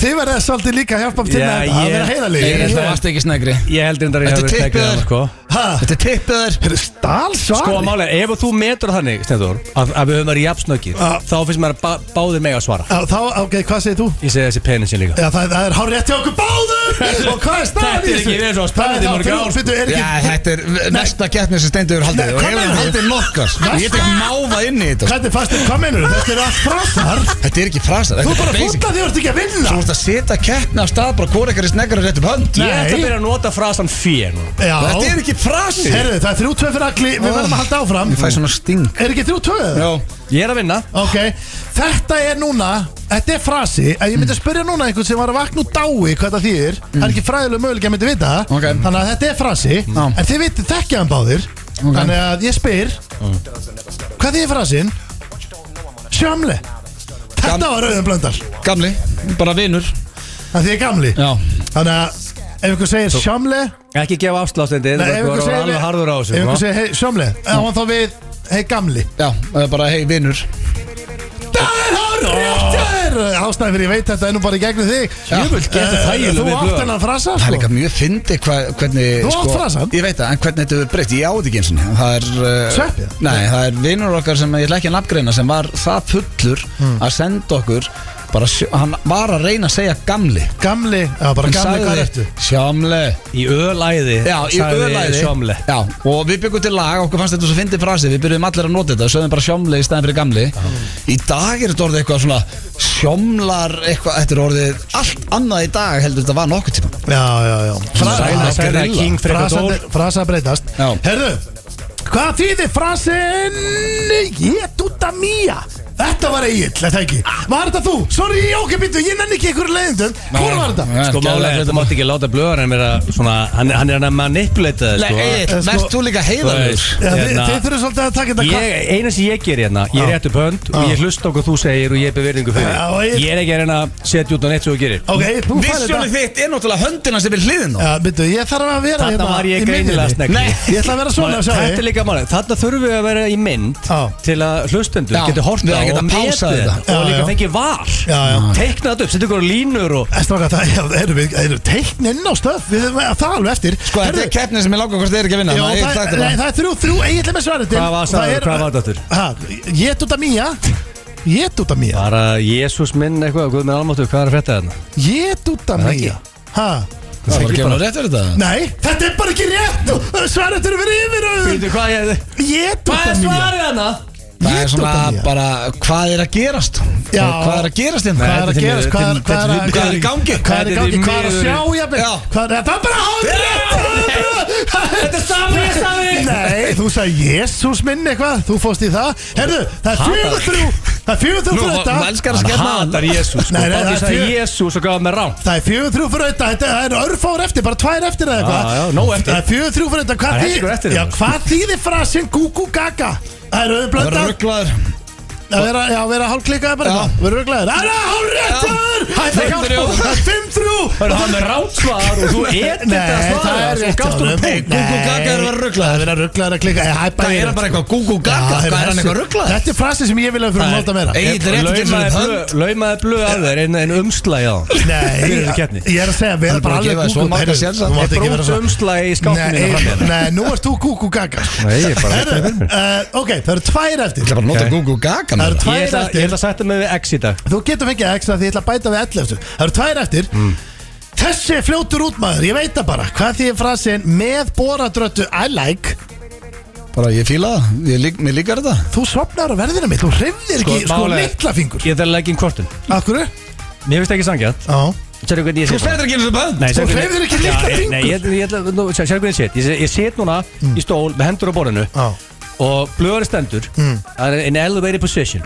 Speaker 2: þið verðið svolítið líka að hjálpa um til
Speaker 3: Já,
Speaker 2: með þetta, það
Speaker 3: ég- hérna
Speaker 2: verið
Speaker 1: Ég
Speaker 2: heiðarlegi
Speaker 1: held að varst ekki snegri
Speaker 3: Ég held reyndar að ég
Speaker 1: Þetta
Speaker 3: hef verið
Speaker 1: tippið
Speaker 3: sneggri
Speaker 1: er-
Speaker 3: núna sko
Speaker 2: Hæ,
Speaker 1: Þetta er tippið þér
Speaker 2: þetta er stálsvar
Speaker 3: Sko málega, ef þú metur þannig, Steindur að, að við höfum verið jafnsnöggir
Speaker 2: Já.
Speaker 3: Þá finnst maður að bá, báðir mig að svara
Speaker 2: Já, þá, ok, hvað segir þú?
Speaker 3: Ég segi þessi penin sín líka
Speaker 2: Já, það, það er hár rétt hjá okkur báður Og hvað er staðan
Speaker 3: Þetta er ekki verið svo spennandi í mörg ár. sko.
Speaker 2: Þetta er
Speaker 1: Já,
Speaker 2: ekki
Speaker 1: þetta er mesta keppni sem steindu yfir haldið og
Speaker 2: Nei, hvað
Speaker 1: hefur
Speaker 2: meinar þú?
Speaker 1: haldið nokkar Ég get ekki máfa inn í þetta sko.
Speaker 2: Þetta er fastir, hvað meinur Þetta er allt frásar
Speaker 1: Þetta er ekki frasa Þetta
Speaker 2: Þú er
Speaker 1: er
Speaker 2: bara fúll
Speaker 1: basic
Speaker 2: að því þú ert ekki að
Speaker 1: Þú
Speaker 2: vinna
Speaker 1: ert að setja keppni af stað bara hvort ekkert sneggar er rétt upp hönd
Speaker 3: Ég ætla að
Speaker 2: Nei.
Speaker 3: byrja að nota frasan fjö nú
Speaker 2: Já
Speaker 1: Þetta er ekki frasi
Speaker 2: Herðu, það er þrjú tvö fyrir allir Við verðum að halda áfram
Speaker 1: Ég fæ svona sting
Speaker 2: Er ekki þrjú tvö?
Speaker 1: Já
Speaker 3: Ég er að vinna
Speaker 2: Ok, þetta er núna Þetta er frasi að Ég
Speaker 1: Mm.
Speaker 2: myndi að spyrja núna einhvern sem var að vakna úr dái Hvað það þýðir Það er ekki fræðilega möguleik að myndi vita það.
Speaker 1: Ok.
Speaker 2: Þannig að þetta er frasi En þið vitið þekkja hann báðir Þannig að ég spyr Hvað þýðir frasin? Sjömle Þetta var rauðum blöndar
Speaker 1: Gamli Bara vinur
Speaker 2: Það því er gamli
Speaker 1: Já
Speaker 2: Þannig að ef einhver segir sjömle
Speaker 3: Ekki gefa afsláttindi
Speaker 2: Nei,
Speaker 3: Þú
Speaker 2: ef einhver
Speaker 3: verður
Speaker 2: segir
Speaker 3: alveg harður á
Speaker 2: Ef
Speaker 3: þessu
Speaker 2: einhver
Speaker 3: sko.
Speaker 2: segir hey, sjömle Þá hann þá við Hei gamli
Speaker 1: Já það er Bara hei vinur
Speaker 2: Það er hár rétt hjá þér Ástæðan fyrir ég veit þetta er nú bara í gegnum þig
Speaker 1: Jöfull,
Speaker 3: geta
Speaker 2: Eh,
Speaker 3: þægileg
Speaker 2: Þú
Speaker 3: við blöð.
Speaker 2: átt hennar frasa
Speaker 1: Það er
Speaker 2: sko.
Speaker 1: líka mjög fyndi hvað, hvernig sko,
Speaker 2: Þú átt frasan?
Speaker 1: Ég veit það, en hvernig þetta er breytt, ég áði ekki eins og það er uh,
Speaker 2: Sveppið?
Speaker 1: Nei, það er vinur okkar sem ég ætla ekki að nafngreina sem var það fullur
Speaker 2: Hmm.
Speaker 1: að senda okkur bara, sjö- hann var að reyna að segja gamli
Speaker 2: Gamli, já bara
Speaker 1: Hann
Speaker 2: gamli hvað ertu
Speaker 1: Sjámle
Speaker 3: Í ölæði
Speaker 1: Já, í öðlæði
Speaker 3: Sjómle
Speaker 1: Já, og við byggum til lag, okkur fannst þetta svo fyndið frasi Við byrjum allir að nota þetta, sögum bara sjámle í staðin fyrir gamli Í dag er þetta orðið eitthvað svona Sjómlar eitthvað, þetta er orðið Allt annað í dag heldur þetta var nokkuð tíma
Speaker 2: Já, já, já Fra-
Speaker 3: Sæla,
Speaker 2: Já,
Speaker 3: sæla,
Speaker 2: grilla.
Speaker 3: king, frekar
Speaker 2: Frasan
Speaker 3: dól.
Speaker 2: er- Frasa breytast
Speaker 1: Já.
Speaker 2: Herðu, hvað þýðir frasin Ég dutta mía Þetta var eigill, þetta ekki Var þetta þú? Sorry, ég ok, býttu, ég nenni ekki ykkur leiðindum Hvor var þetta?
Speaker 3: Sko málega, þetta mátti ekki láta blöðar en vera svona Hann, hann er að manipulata það
Speaker 1: Nei,
Speaker 3: sko
Speaker 1: Egill,
Speaker 2: sko-
Speaker 1: verðst þú líka heiðalur?
Speaker 3: Þú
Speaker 2: Já, þið,
Speaker 3: Hérna-
Speaker 2: þið þurfum svolítið að taka þetta
Speaker 3: Ég,
Speaker 2: kva-
Speaker 3: eina sem ég ger hérna, ég rétt upp hönd og ég hlusta okkur þú segir og ég ber virðingu fyrir
Speaker 2: Já, og ég-
Speaker 3: Ég er ekki að reyna að setja út á neitt sem þú gerir
Speaker 2: Ok, Egill, þú færði þetta
Speaker 1: Vissjónið þitt er náttúrulega höndina sem er hliðin á
Speaker 2: Já, býttu, ég þarf að vera
Speaker 3: Þarna
Speaker 2: hérna
Speaker 3: var
Speaker 2: í
Speaker 3: ég
Speaker 2: miðjunni.
Speaker 3: greinilega snegg
Speaker 1: Nei,
Speaker 2: Ég ætla að vera svona,
Speaker 3: Þetta er
Speaker 2: sjáðu
Speaker 3: líka málið, þarna þurfum við að vera í mynd
Speaker 2: Já.
Speaker 3: til að hlustendur
Speaker 1: Já,
Speaker 3: getur hort
Speaker 1: við
Speaker 3: á
Speaker 1: að geta
Speaker 3: og betur
Speaker 9: pásaði
Speaker 3: þetta
Speaker 9: þetta.
Speaker 2: Já,
Speaker 3: og líka
Speaker 2: já.
Speaker 3: fengið var
Speaker 2: Já, já.
Speaker 3: teikna þetta upp, setja ykkur á línur og
Speaker 2: En stráka, Eh, það já, erum við, erum við teikn inn á stöð Við höfum það er alveg eftir
Speaker 1: Sko, þetta er keppnið sem ég lágur hvort þið er ekki að vinna
Speaker 2: Já,
Speaker 1: þannig að ég
Speaker 2: það,
Speaker 1: ætla
Speaker 2: það,
Speaker 1: þetta
Speaker 2: nei,
Speaker 1: bara.
Speaker 2: það er þrjú, þrjú eiginlega með svaretin
Speaker 3: Hvað var sagður, hvað var þetta aftur?
Speaker 2: aftur? Ég tóta mía Ég tóta mía
Speaker 3: bara Jésús minn eitthvað, Guð minn almáttu, hvað er að frétta hérna? þarna?
Speaker 2: Ég tóta
Speaker 3: það
Speaker 2: mía Ha?
Speaker 1: Það var
Speaker 3: Ég
Speaker 1: ekki
Speaker 3: bara-
Speaker 1: alveg rétt fyrir þetta
Speaker 2: Nei, þetta er bara ekki rétt Svaretin er verið yfir og-
Speaker 3: Býtu, hvað er
Speaker 2: Ég
Speaker 3: Hvað
Speaker 2: tóta
Speaker 3: er
Speaker 2: mía
Speaker 3: svarið hérna? hana?
Speaker 1: Það
Speaker 2: Ég
Speaker 1: er
Speaker 2: tóta
Speaker 1: svona
Speaker 2: mía
Speaker 1: bara, hvað er að gerast?
Speaker 2: Já.
Speaker 1: Hvað er að gerast hérna?
Speaker 2: Hvað er að
Speaker 3: Þetta er
Speaker 2: gerast?
Speaker 3: því
Speaker 2: Hvað er-
Speaker 3: miður-
Speaker 2: hvað er að-
Speaker 1: Hvað er í gangi?
Speaker 2: Hvað er í gangi? Hvað er að sjá jafnvel?
Speaker 1: Já.
Speaker 2: Hvað er það er bara hálfrið? Þetta er sami, ég sami Nei, þú sagði Jésús minn eitthvað Þú fórst í það Herðu, það er fjögur þrjú Það er fjögur þrjú
Speaker 1: Nú,
Speaker 2: fyrir þetta
Speaker 1: hún elskar að skella
Speaker 3: Hann
Speaker 1: hann.
Speaker 3: hatar Jésús sko.
Speaker 2: Nei, nei,
Speaker 3: Bátti
Speaker 2: það er
Speaker 3: sagði
Speaker 2: fjö-
Speaker 3: Jésús og gaf mér rátt
Speaker 2: Það er fjögur þrjú fyrir þetta Þetta það er örfáður eftir, bara tvær eftir eða
Speaker 3: Já, já,
Speaker 2: eitthvað
Speaker 3: nóg eftir.
Speaker 2: Það er fjögur þrjú fyrir þetta
Speaker 3: Það
Speaker 2: Hvað
Speaker 3: er hellingur eftir
Speaker 2: þýð- Já,
Speaker 3: þetta.
Speaker 2: Hvað þýðir frasin gúgú gaga? Það er
Speaker 1: Það verður
Speaker 2: auðblöndan
Speaker 1: rugglaður
Speaker 2: að vera, já, vera hálfklikkaði bara
Speaker 1: Já.
Speaker 2: eitthvað Verður glæður Það er hálfréttur Hætti
Speaker 1: Fimm
Speaker 2: hjálpa
Speaker 1: þrjú.
Speaker 2: Það er 5-3
Speaker 3: Það er hann með rátsvar og þú edit að
Speaker 2: Nei, það er
Speaker 3: svara og
Speaker 2: rétt
Speaker 3: gafst hún
Speaker 2: honum.
Speaker 3: punkt
Speaker 2: Nei,
Speaker 1: Gúgú gaga er að vera rugglaður.
Speaker 2: Það er að rugglaður að klikka
Speaker 1: Það er hann bara eitthvað Google Gaga Hvað er hann eitthvað rugglaður?
Speaker 2: Þetta er frasi sem ég vil að fyrir að nota meira
Speaker 1: Egil er rétt að gefa
Speaker 3: Laumaði
Speaker 1: sér
Speaker 3: blöð-
Speaker 1: hönd
Speaker 3: Laumaði blöð að þér en, en umslæði á hann.
Speaker 2: Nei,
Speaker 3: Fyrir þessa keppni.
Speaker 2: ég er að segja, við
Speaker 1: Hann er
Speaker 2: erum bara
Speaker 1: búinn að gefa
Speaker 2: alveg
Speaker 1: þér svo marga
Speaker 2: Heyrðu,
Speaker 1: sénsa.
Speaker 2: þú mátt
Speaker 3: Ég
Speaker 2: ekki vera
Speaker 3: brót
Speaker 2: svona.
Speaker 3: umslagi í skápnum
Speaker 2: Nei,
Speaker 3: hérna fram hérna.
Speaker 2: Nei, nú ert þú kúkú gaga
Speaker 3: Nei, ég er bara veit það
Speaker 2: Herru, eh, Ok, það eru tvær eftir
Speaker 1: Það er bara að nota
Speaker 3: Ok.
Speaker 1: Google Gaga með
Speaker 2: Það eru
Speaker 1: það
Speaker 2: tvær
Speaker 3: Ég ætla- ég
Speaker 2: eftir
Speaker 3: ætla að setja mig við X í dag
Speaker 2: Þú getur fengið ekstra því ég ætla að bæta við 11 eftir Það eru tvær eftir
Speaker 1: Mm.
Speaker 2: Þessi er fljótur út maður, ég veit það bara Hvað því er frasin með boradröttu I like
Speaker 1: Bara ég fíla það Ég lík- Mér líkar þetta
Speaker 2: Þú sopnar á verðina mitt, þú hrifðir
Speaker 3: Sko,
Speaker 2: ekki sko
Speaker 3: málega-
Speaker 2: litla fingur
Speaker 3: Ég ætla að leggja inn kortin
Speaker 2: Akkur?
Speaker 3: Mér finnst ekki sangja
Speaker 2: Já
Speaker 3: Sérðu hvernig ég
Speaker 1: Ah. Þú
Speaker 3: set
Speaker 1: slættir ekki eins og bönn
Speaker 3: Nei,
Speaker 2: Þú
Speaker 3: sérðu
Speaker 2: hreyfðir
Speaker 3: hvernig-
Speaker 2: ekki litla
Speaker 3: Já, Nei, ég- ég ætla nú, sér- sérðu hvernig ég set Ég se- Ég set núna
Speaker 1: Mm.
Speaker 3: í stól með hendur á borðinu
Speaker 1: Ah.
Speaker 2: Já
Speaker 3: og blöður stendur
Speaker 1: Mm.
Speaker 3: Það er in elevated position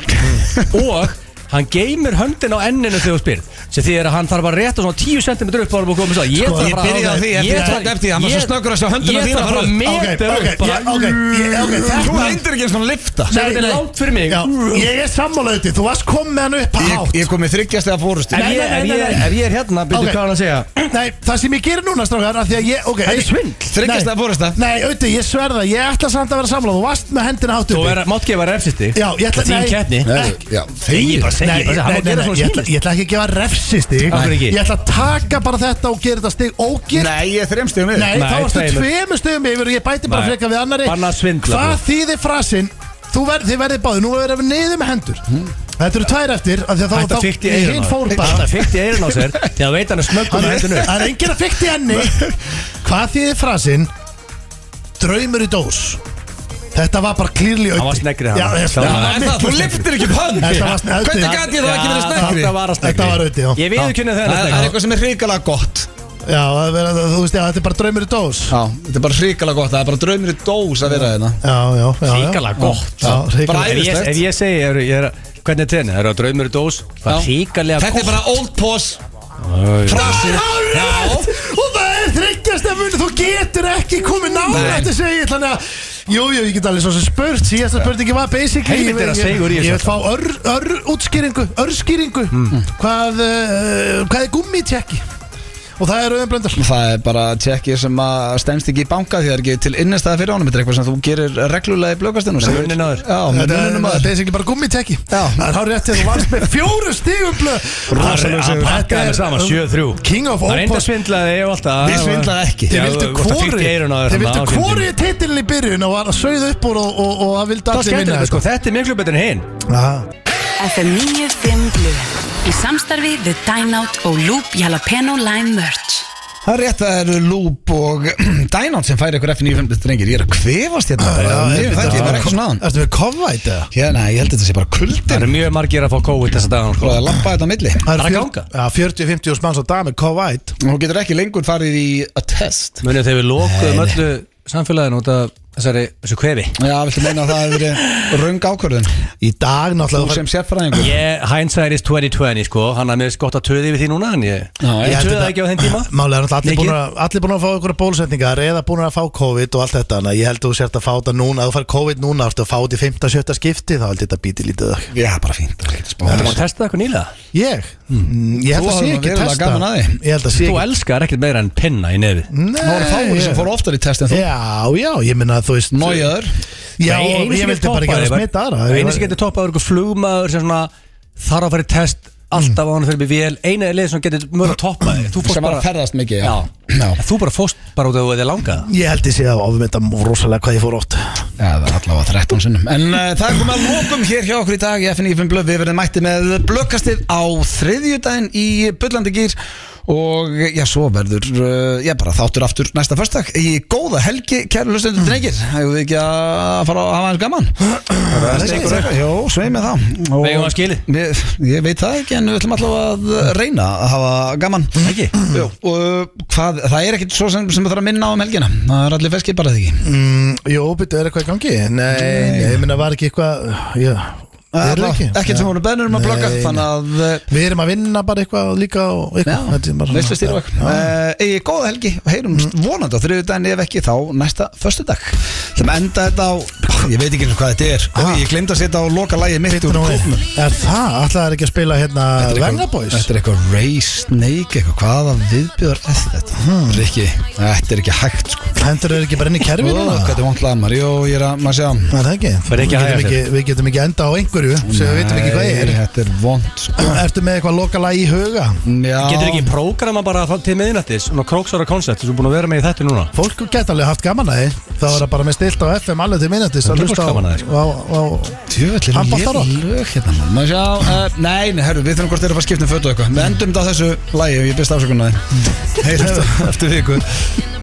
Speaker 3: og hann geymir höndin á enninu þegar þú spyrð sem því er að hann þarf að rétta svona 10 cm upp ára og koma svo ég
Speaker 2: Sko,
Speaker 3: þarf
Speaker 2: ég
Speaker 3: bara
Speaker 1: byrjaði á því
Speaker 3: ég
Speaker 1: eftir-
Speaker 3: þarf-
Speaker 1: eftir því, hann var svo
Speaker 3: ég-
Speaker 1: snöggur að sjá höndina
Speaker 3: ég
Speaker 1: þína
Speaker 3: þarf
Speaker 1: fara
Speaker 3: bara að
Speaker 1: upp.
Speaker 2: Ok,
Speaker 3: meta
Speaker 2: ok,
Speaker 3: upp bara-
Speaker 2: ég- ok, ég- ok,
Speaker 1: Þú
Speaker 2: þetta
Speaker 1: reyndir ekki eins og hann lifta
Speaker 3: Nei, þetta er langt fyrir mig.
Speaker 2: Já, Ég er sammálaðið þú varst kom með hann upp að
Speaker 1: Ég-
Speaker 2: hátt
Speaker 1: Ég kom í þryggjast eða fórustu
Speaker 3: Ef
Speaker 2: Nei,
Speaker 3: ég-
Speaker 2: nei, nei,
Speaker 3: ef
Speaker 2: nei,
Speaker 3: ég-
Speaker 2: nei.
Speaker 3: ef ég er hérna byrju
Speaker 2: Ok.
Speaker 3: hvað er hann að segja
Speaker 2: Nei, það sem ég gerir núna strákar af því að ég, ok
Speaker 3: Þetta er
Speaker 2: ég-
Speaker 3: svindl.
Speaker 1: Þryggjast
Speaker 2: Nei.
Speaker 1: eða fórusta
Speaker 2: Nei, auðvitað, ég sverða, ég ætla samt að vera sammálaðið Þú varst með hendina hátt
Speaker 3: þú
Speaker 2: uppi
Speaker 3: er að mátt gefa refsisti
Speaker 2: Já, ég ætla,
Speaker 3: þín
Speaker 2: nei,
Speaker 3: keppni
Speaker 2: ekki-
Speaker 3: Ég bara segi,
Speaker 2: Nei,
Speaker 3: ég bara
Speaker 2: nei,
Speaker 3: segi, hann má
Speaker 2: nei,
Speaker 3: gera
Speaker 2: nei,
Speaker 3: svona
Speaker 2: ég ætla-
Speaker 3: skilist
Speaker 2: ég ætla ekki að gefa refsistig
Speaker 3: Af hverju ekki?
Speaker 2: Ég ætla að taka bara þetta og gera þetta stig ógilt
Speaker 1: Nei, ég er þremstum við
Speaker 2: Nei,
Speaker 3: Nei,
Speaker 2: þá varstu
Speaker 3: tveimur.
Speaker 2: tveimur stöðum yfir og ég bæti bara
Speaker 3: Nei.
Speaker 2: freka við annari
Speaker 3: Bannað að svindla, sko.
Speaker 2: Hvað
Speaker 3: þú.
Speaker 2: þýðir frasin? Þú verð, þið verðið báðið, nú verður við niður með hendur
Speaker 3: Hmm.
Speaker 2: Þetta eru tvær eftir af því að þá-
Speaker 3: Þetta
Speaker 2: þá-
Speaker 3: fyrkt í eirun
Speaker 2: hinn
Speaker 3: á
Speaker 2: fór
Speaker 3: sér
Speaker 2: bara
Speaker 3: Þetta fyrkt í eirun á sér því að veit hann er smöggum
Speaker 2: Það
Speaker 3: með
Speaker 2: er-
Speaker 3: hendinu
Speaker 2: það er enginn að fykta í henni Hvað þýðir frasin? Draumur í dós Þetta var bara klýrli auðvitað
Speaker 3: Hann var sneggri, hann.
Speaker 2: Já, þetta
Speaker 3: Klálega.
Speaker 2: var
Speaker 1: En það, þú
Speaker 2: miklu sneggri.
Speaker 1: liftir ekki upp hönd
Speaker 2: Þetta var sneggri.
Speaker 1: Hvernig gæti ég þá ekki verið
Speaker 3: Já,
Speaker 1: sneggri?
Speaker 3: Þetta var að sneggri
Speaker 2: Þetta var auðvitað, já.
Speaker 3: Ég viðurkenni það hérna,
Speaker 1: Það það
Speaker 3: er sneggri.
Speaker 1: er eitthvað sem er hrikalega gott
Speaker 2: Já, það verður- þú veist, já, þetta er bara draumur í dós
Speaker 1: Já, þetta er bara hrikalega gott Það er bara draumir í dós að vera hérna. þeirna
Speaker 2: Já, já, já já.
Speaker 3: Ríkala gott
Speaker 2: Já,
Speaker 1: Bara
Speaker 2: ríkala
Speaker 3: Ef ég,
Speaker 1: æðislegt.
Speaker 3: ef ég segi, er, ég er, hvernig er tenni? Er það draumur í dós? Það
Speaker 1: Já.
Speaker 3: er ríkalega
Speaker 1: Þetta er bara old pause
Speaker 3: gott
Speaker 1: Frasi
Speaker 2: Hárið! Og það er þryggjast ef munið, þú getur ekki komið nála
Speaker 1: Nei.
Speaker 2: Þetta segi ég, þannig að Jú, jú, ég get alveg svo sem spurt Síðasta spurningi var basically
Speaker 3: Helviti er að segur í þessu Mm.
Speaker 2: Ég vil fá ör, ör útskýringu, örskýringu hvað, uh, hvað er gummi tjekki? Og það er auðvitað blöndar
Speaker 1: Það er bara tjekki sem að stemst ekki í banka því það er ekki til innistæða fyrir ánum Þetta er eitthvað sem þú gerir reglulega í blökastinu
Speaker 3: Með munninn á þér.
Speaker 1: Já, með
Speaker 2: Þetta er
Speaker 1: munninu maður
Speaker 2: basically bara gummi tjekki
Speaker 1: Já.
Speaker 2: Það er hár rétt til þú varst með fjóru stigum blöð
Speaker 3: Rosalega sigur.
Speaker 2: Þetta
Speaker 3: Pakkaði
Speaker 2: er
Speaker 3: þetta saman, 7-3.
Speaker 2: King of
Speaker 3: Það er enda
Speaker 2: Opos
Speaker 3: svindlaði ég og alltaf
Speaker 1: Við svindlaði ekki.
Speaker 2: Þið
Speaker 3: Já,
Speaker 2: vildu
Speaker 3: þú- þú fylgdi eyrun á
Speaker 2: hvori
Speaker 3: þér
Speaker 2: Þið
Speaker 3: þarna á
Speaker 2: vildu
Speaker 3: svindlinu.
Speaker 2: hvori titilin í byrjun og var að sauða upp úr og, og, og það vildi
Speaker 3: Það er
Speaker 2: allir vinna
Speaker 3: skemmtilegt sko, þetta er miklu betur en hinn
Speaker 2: Aha.
Speaker 7: FM 95 Blu Í samstarfi við Dine Out og Loop Jalapeno Lime Merch
Speaker 1: Það er rétt að það eru Loop og Dynon sem færi ykkur F95 drengir Ég er að kvefast hérna
Speaker 2: Já,
Speaker 1: bara,
Speaker 2: já,
Speaker 1: ég veit ekki, ég var ekki svona áðan.
Speaker 2: Ertu með kofvæt eða?
Speaker 1: Hérna, ég held að þetta sé bara
Speaker 3: Það
Speaker 1: kuldin
Speaker 3: eru mjög margir að fá COVID þessa dagan
Speaker 1: Og
Speaker 3: sko
Speaker 1: að lappa þetta á milli
Speaker 2: Það
Speaker 3: Það er að
Speaker 2: fjör-
Speaker 3: ganga.
Speaker 2: Já, 40-50 úr smanns á dag með kofvæt
Speaker 1: Þú getur ekki lengur farið í að test
Speaker 3: Munið þegar við lokuðum öllu samfélaginu út af þessari, þessu kvefi
Speaker 1: Já, viltu meina að það hefur verið röng ákvörðun
Speaker 2: Í dag
Speaker 1: Þú
Speaker 2: náttúrulega
Speaker 1: sem sérfræðingur
Speaker 3: Ég, hindsight is 2020 sko, hann er mjög gott að töði yfir því núna en ég
Speaker 1: Já,
Speaker 3: Ég
Speaker 2: held
Speaker 3: töði
Speaker 2: þetta-
Speaker 3: ekki á þenn tíma
Speaker 2: Málega er náttúrulega allir
Speaker 3: Mikið.
Speaker 2: búin, að, allir búin að fá ykkur bólusetningar eða búin að fá COVID og allt þetta Þannig að ég held að þú sért að fá þetta núna Ef þú fær COVID núna, ertu að fá þetta í 15-17 skipti Þá held ég þetta býti lítið þau
Speaker 1: Já, bara fínt, það er ekki að spá
Speaker 3: Það var að testa það eitthvað nýlega
Speaker 2: Ég? Mm, Ég held
Speaker 1: Þú
Speaker 2: að sé
Speaker 1: hafðir nú
Speaker 2: ekki
Speaker 1: verulega
Speaker 2: testa
Speaker 1: gaman að því.
Speaker 2: Ég held að sé
Speaker 3: Þú
Speaker 2: ekki
Speaker 3: elskar ekkert meira en pinna í nefið
Speaker 2: Nei,
Speaker 1: Það voru fáir sem
Speaker 2: ég-
Speaker 1: fóru oftar í test en þú
Speaker 2: Já, já, ég minna að þú veist
Speaker 1: Nójaður
Speaker 2: Já,
Speaker 3: Nei, einu
Speaker 2: ég
Speaker 3: sem
Speaker 2: vildi
Speaker 3: getur
Speaker 2: bara ekki
Speaker 3: toppað
Speaker 2: að
Speaker 3: þig
Speaker 2: smita
Speaker 3: var-
Speaker 2: aðra
Speaker 3: Einu sem getur toppað er eitthvað flugmaður sem svona þarf að fara í test alltaf á hann fyrir mig vel eina er leið sem getur mörg að toppa þig Þú fórst
Speaker 1: sem var
Speaker 3: bara
Speaker 1: að ferðast mikið
Speaker 3: Já.
Speaker 1: Já.
Speaker 3: En Þú bara fórst bara út af því að langa
Speaker 2: Ég held ég sé að ofmynda rosalega hvað ég fór ótt
Speaker 1: Já, það er allavega 13 sinnum En uh, það er komið að lókum hér hjá okkur í dag í FNF Blöð Við verðum mætti með blökkastið á þriðjudaginn í Bullandi Gýr Og já, svo verður, uh, já bara þáttur aftur næsta förstak Í góða helgi, kæru hlustendur
Speaker 3: Mm.
Speaker 1: drengir Hefur við ekki að fara að hafa hans gaman? Það er ekki Jó, svei með það Og-
Speaker 3: Við eigum það skilið.
Speaker 1: Við- Ég veit það ekki, en við ætlum allavega að reyna að hafa gaman
Speaker 3: Ekki?
Speaker 1: Jó, og hvað, það er ekkit svo sem, sem það þarf að minna á um helgina Það er allir feskið bara því ekki
Speaker 2: mm, Jó, byrju, er eitthvað í gangi? Nei, nei, ég minna var ekki eitthvað Já, er það ekki?
Speaker 1: Ah, Ekkert sem
Speaker 2: Já.
Speaker 1: voru bennur um að
Speaker 2: Nei,
Speaker 1: blokka
Speaker 2: nei.
Speaker 1: Þannig að eh,
Speaker 2: Við erum að vinna bara eitthvað líka og eitthvað Þetta er bara
Speaker 1: Já,
Speaker 2: svona-
Speaker 1: veistlu stýra vekk
Speaker 2: Já.
Speaker 1: Egið Eh, góða helgi og heyrum
Speaker 2: Mm.
Speaker 1: vonandi á þriðudaginn ef ekki þá næsta föstudag Það með enda þetta á, ég veit ekki einu hvað þetta er
Speaker 2: Ah.
Speaker 1: Ég glemd að setja á loka lægi mitt
Speaker 2: Bíddu
Speaker 1: úr
Speaker 2: nú við.
Speaker 1: kóknum
Speaker 2: Er það? Alltaf er ekki að spila hérna
Speaker 1: Þetta er
Speaker 2: Vegna
Speaker 1: eitthvað-
Speaker 2: Boys?
Speaker 1: Þetta er eitthvað Ray Snake, eitthvað hvaða viðbjör er þetta?
Speaker 2: Hmm.
Speaker 1: Rikki, þetta er ekki hægt sko
Speaker 2: Hendur er ekki bara inn í
Speaker 1: Ó,
Speaker 2: kerfinu?
Speaker 1: Hvað þetta er vond lamar, jú, ég er að, maður sjá
Speaker 2: Það er það ekki,
Speaker 3: Fer
Speaker 2: Við
Speaker 3: ekki að
Speaker 2: getum
Speaker 3: hægja
Speaker 2: ekki,
Speaker 3: sér.
Speaker 2: við getum ekki enda á einhverju sem við veitum ekki hvað
Speaker 1: Nei,
Speaker 2: er
Speaker 1: Þetta er vond sko
Speaker 2: Ertu með eitthvað lokala í huga?
Speaker 3: Getur ekki prógrama bara þá- til miðnættis Svona króksvara koncept sem þú er búin að vera með í þetta núna
Speaker 2: Fólk geta alveg haft gaman að því Þá er það bara með stilt á FM alveg til minnetis
Speaker 3: Það
Speaker 2: að
Speaker 3: er
Speaker 2: hlusta á,
Speaker 3: gaman að því, sko.
Speaker 2: á, á
Speaker 1: Djöfell
Speaker 2: Hann
Speaker 1: eru
Speaker 2: bara þarf
Speaker 1: léleg lög hérna maður. Maður sjá, uh, nei, nei, herru, við þurfum hvort þeir eru að fara að skipta um fötu og eitthvað Við endum þetta á þessu lægi og ég byrst afsökunna þið Heyrðu, eftir viku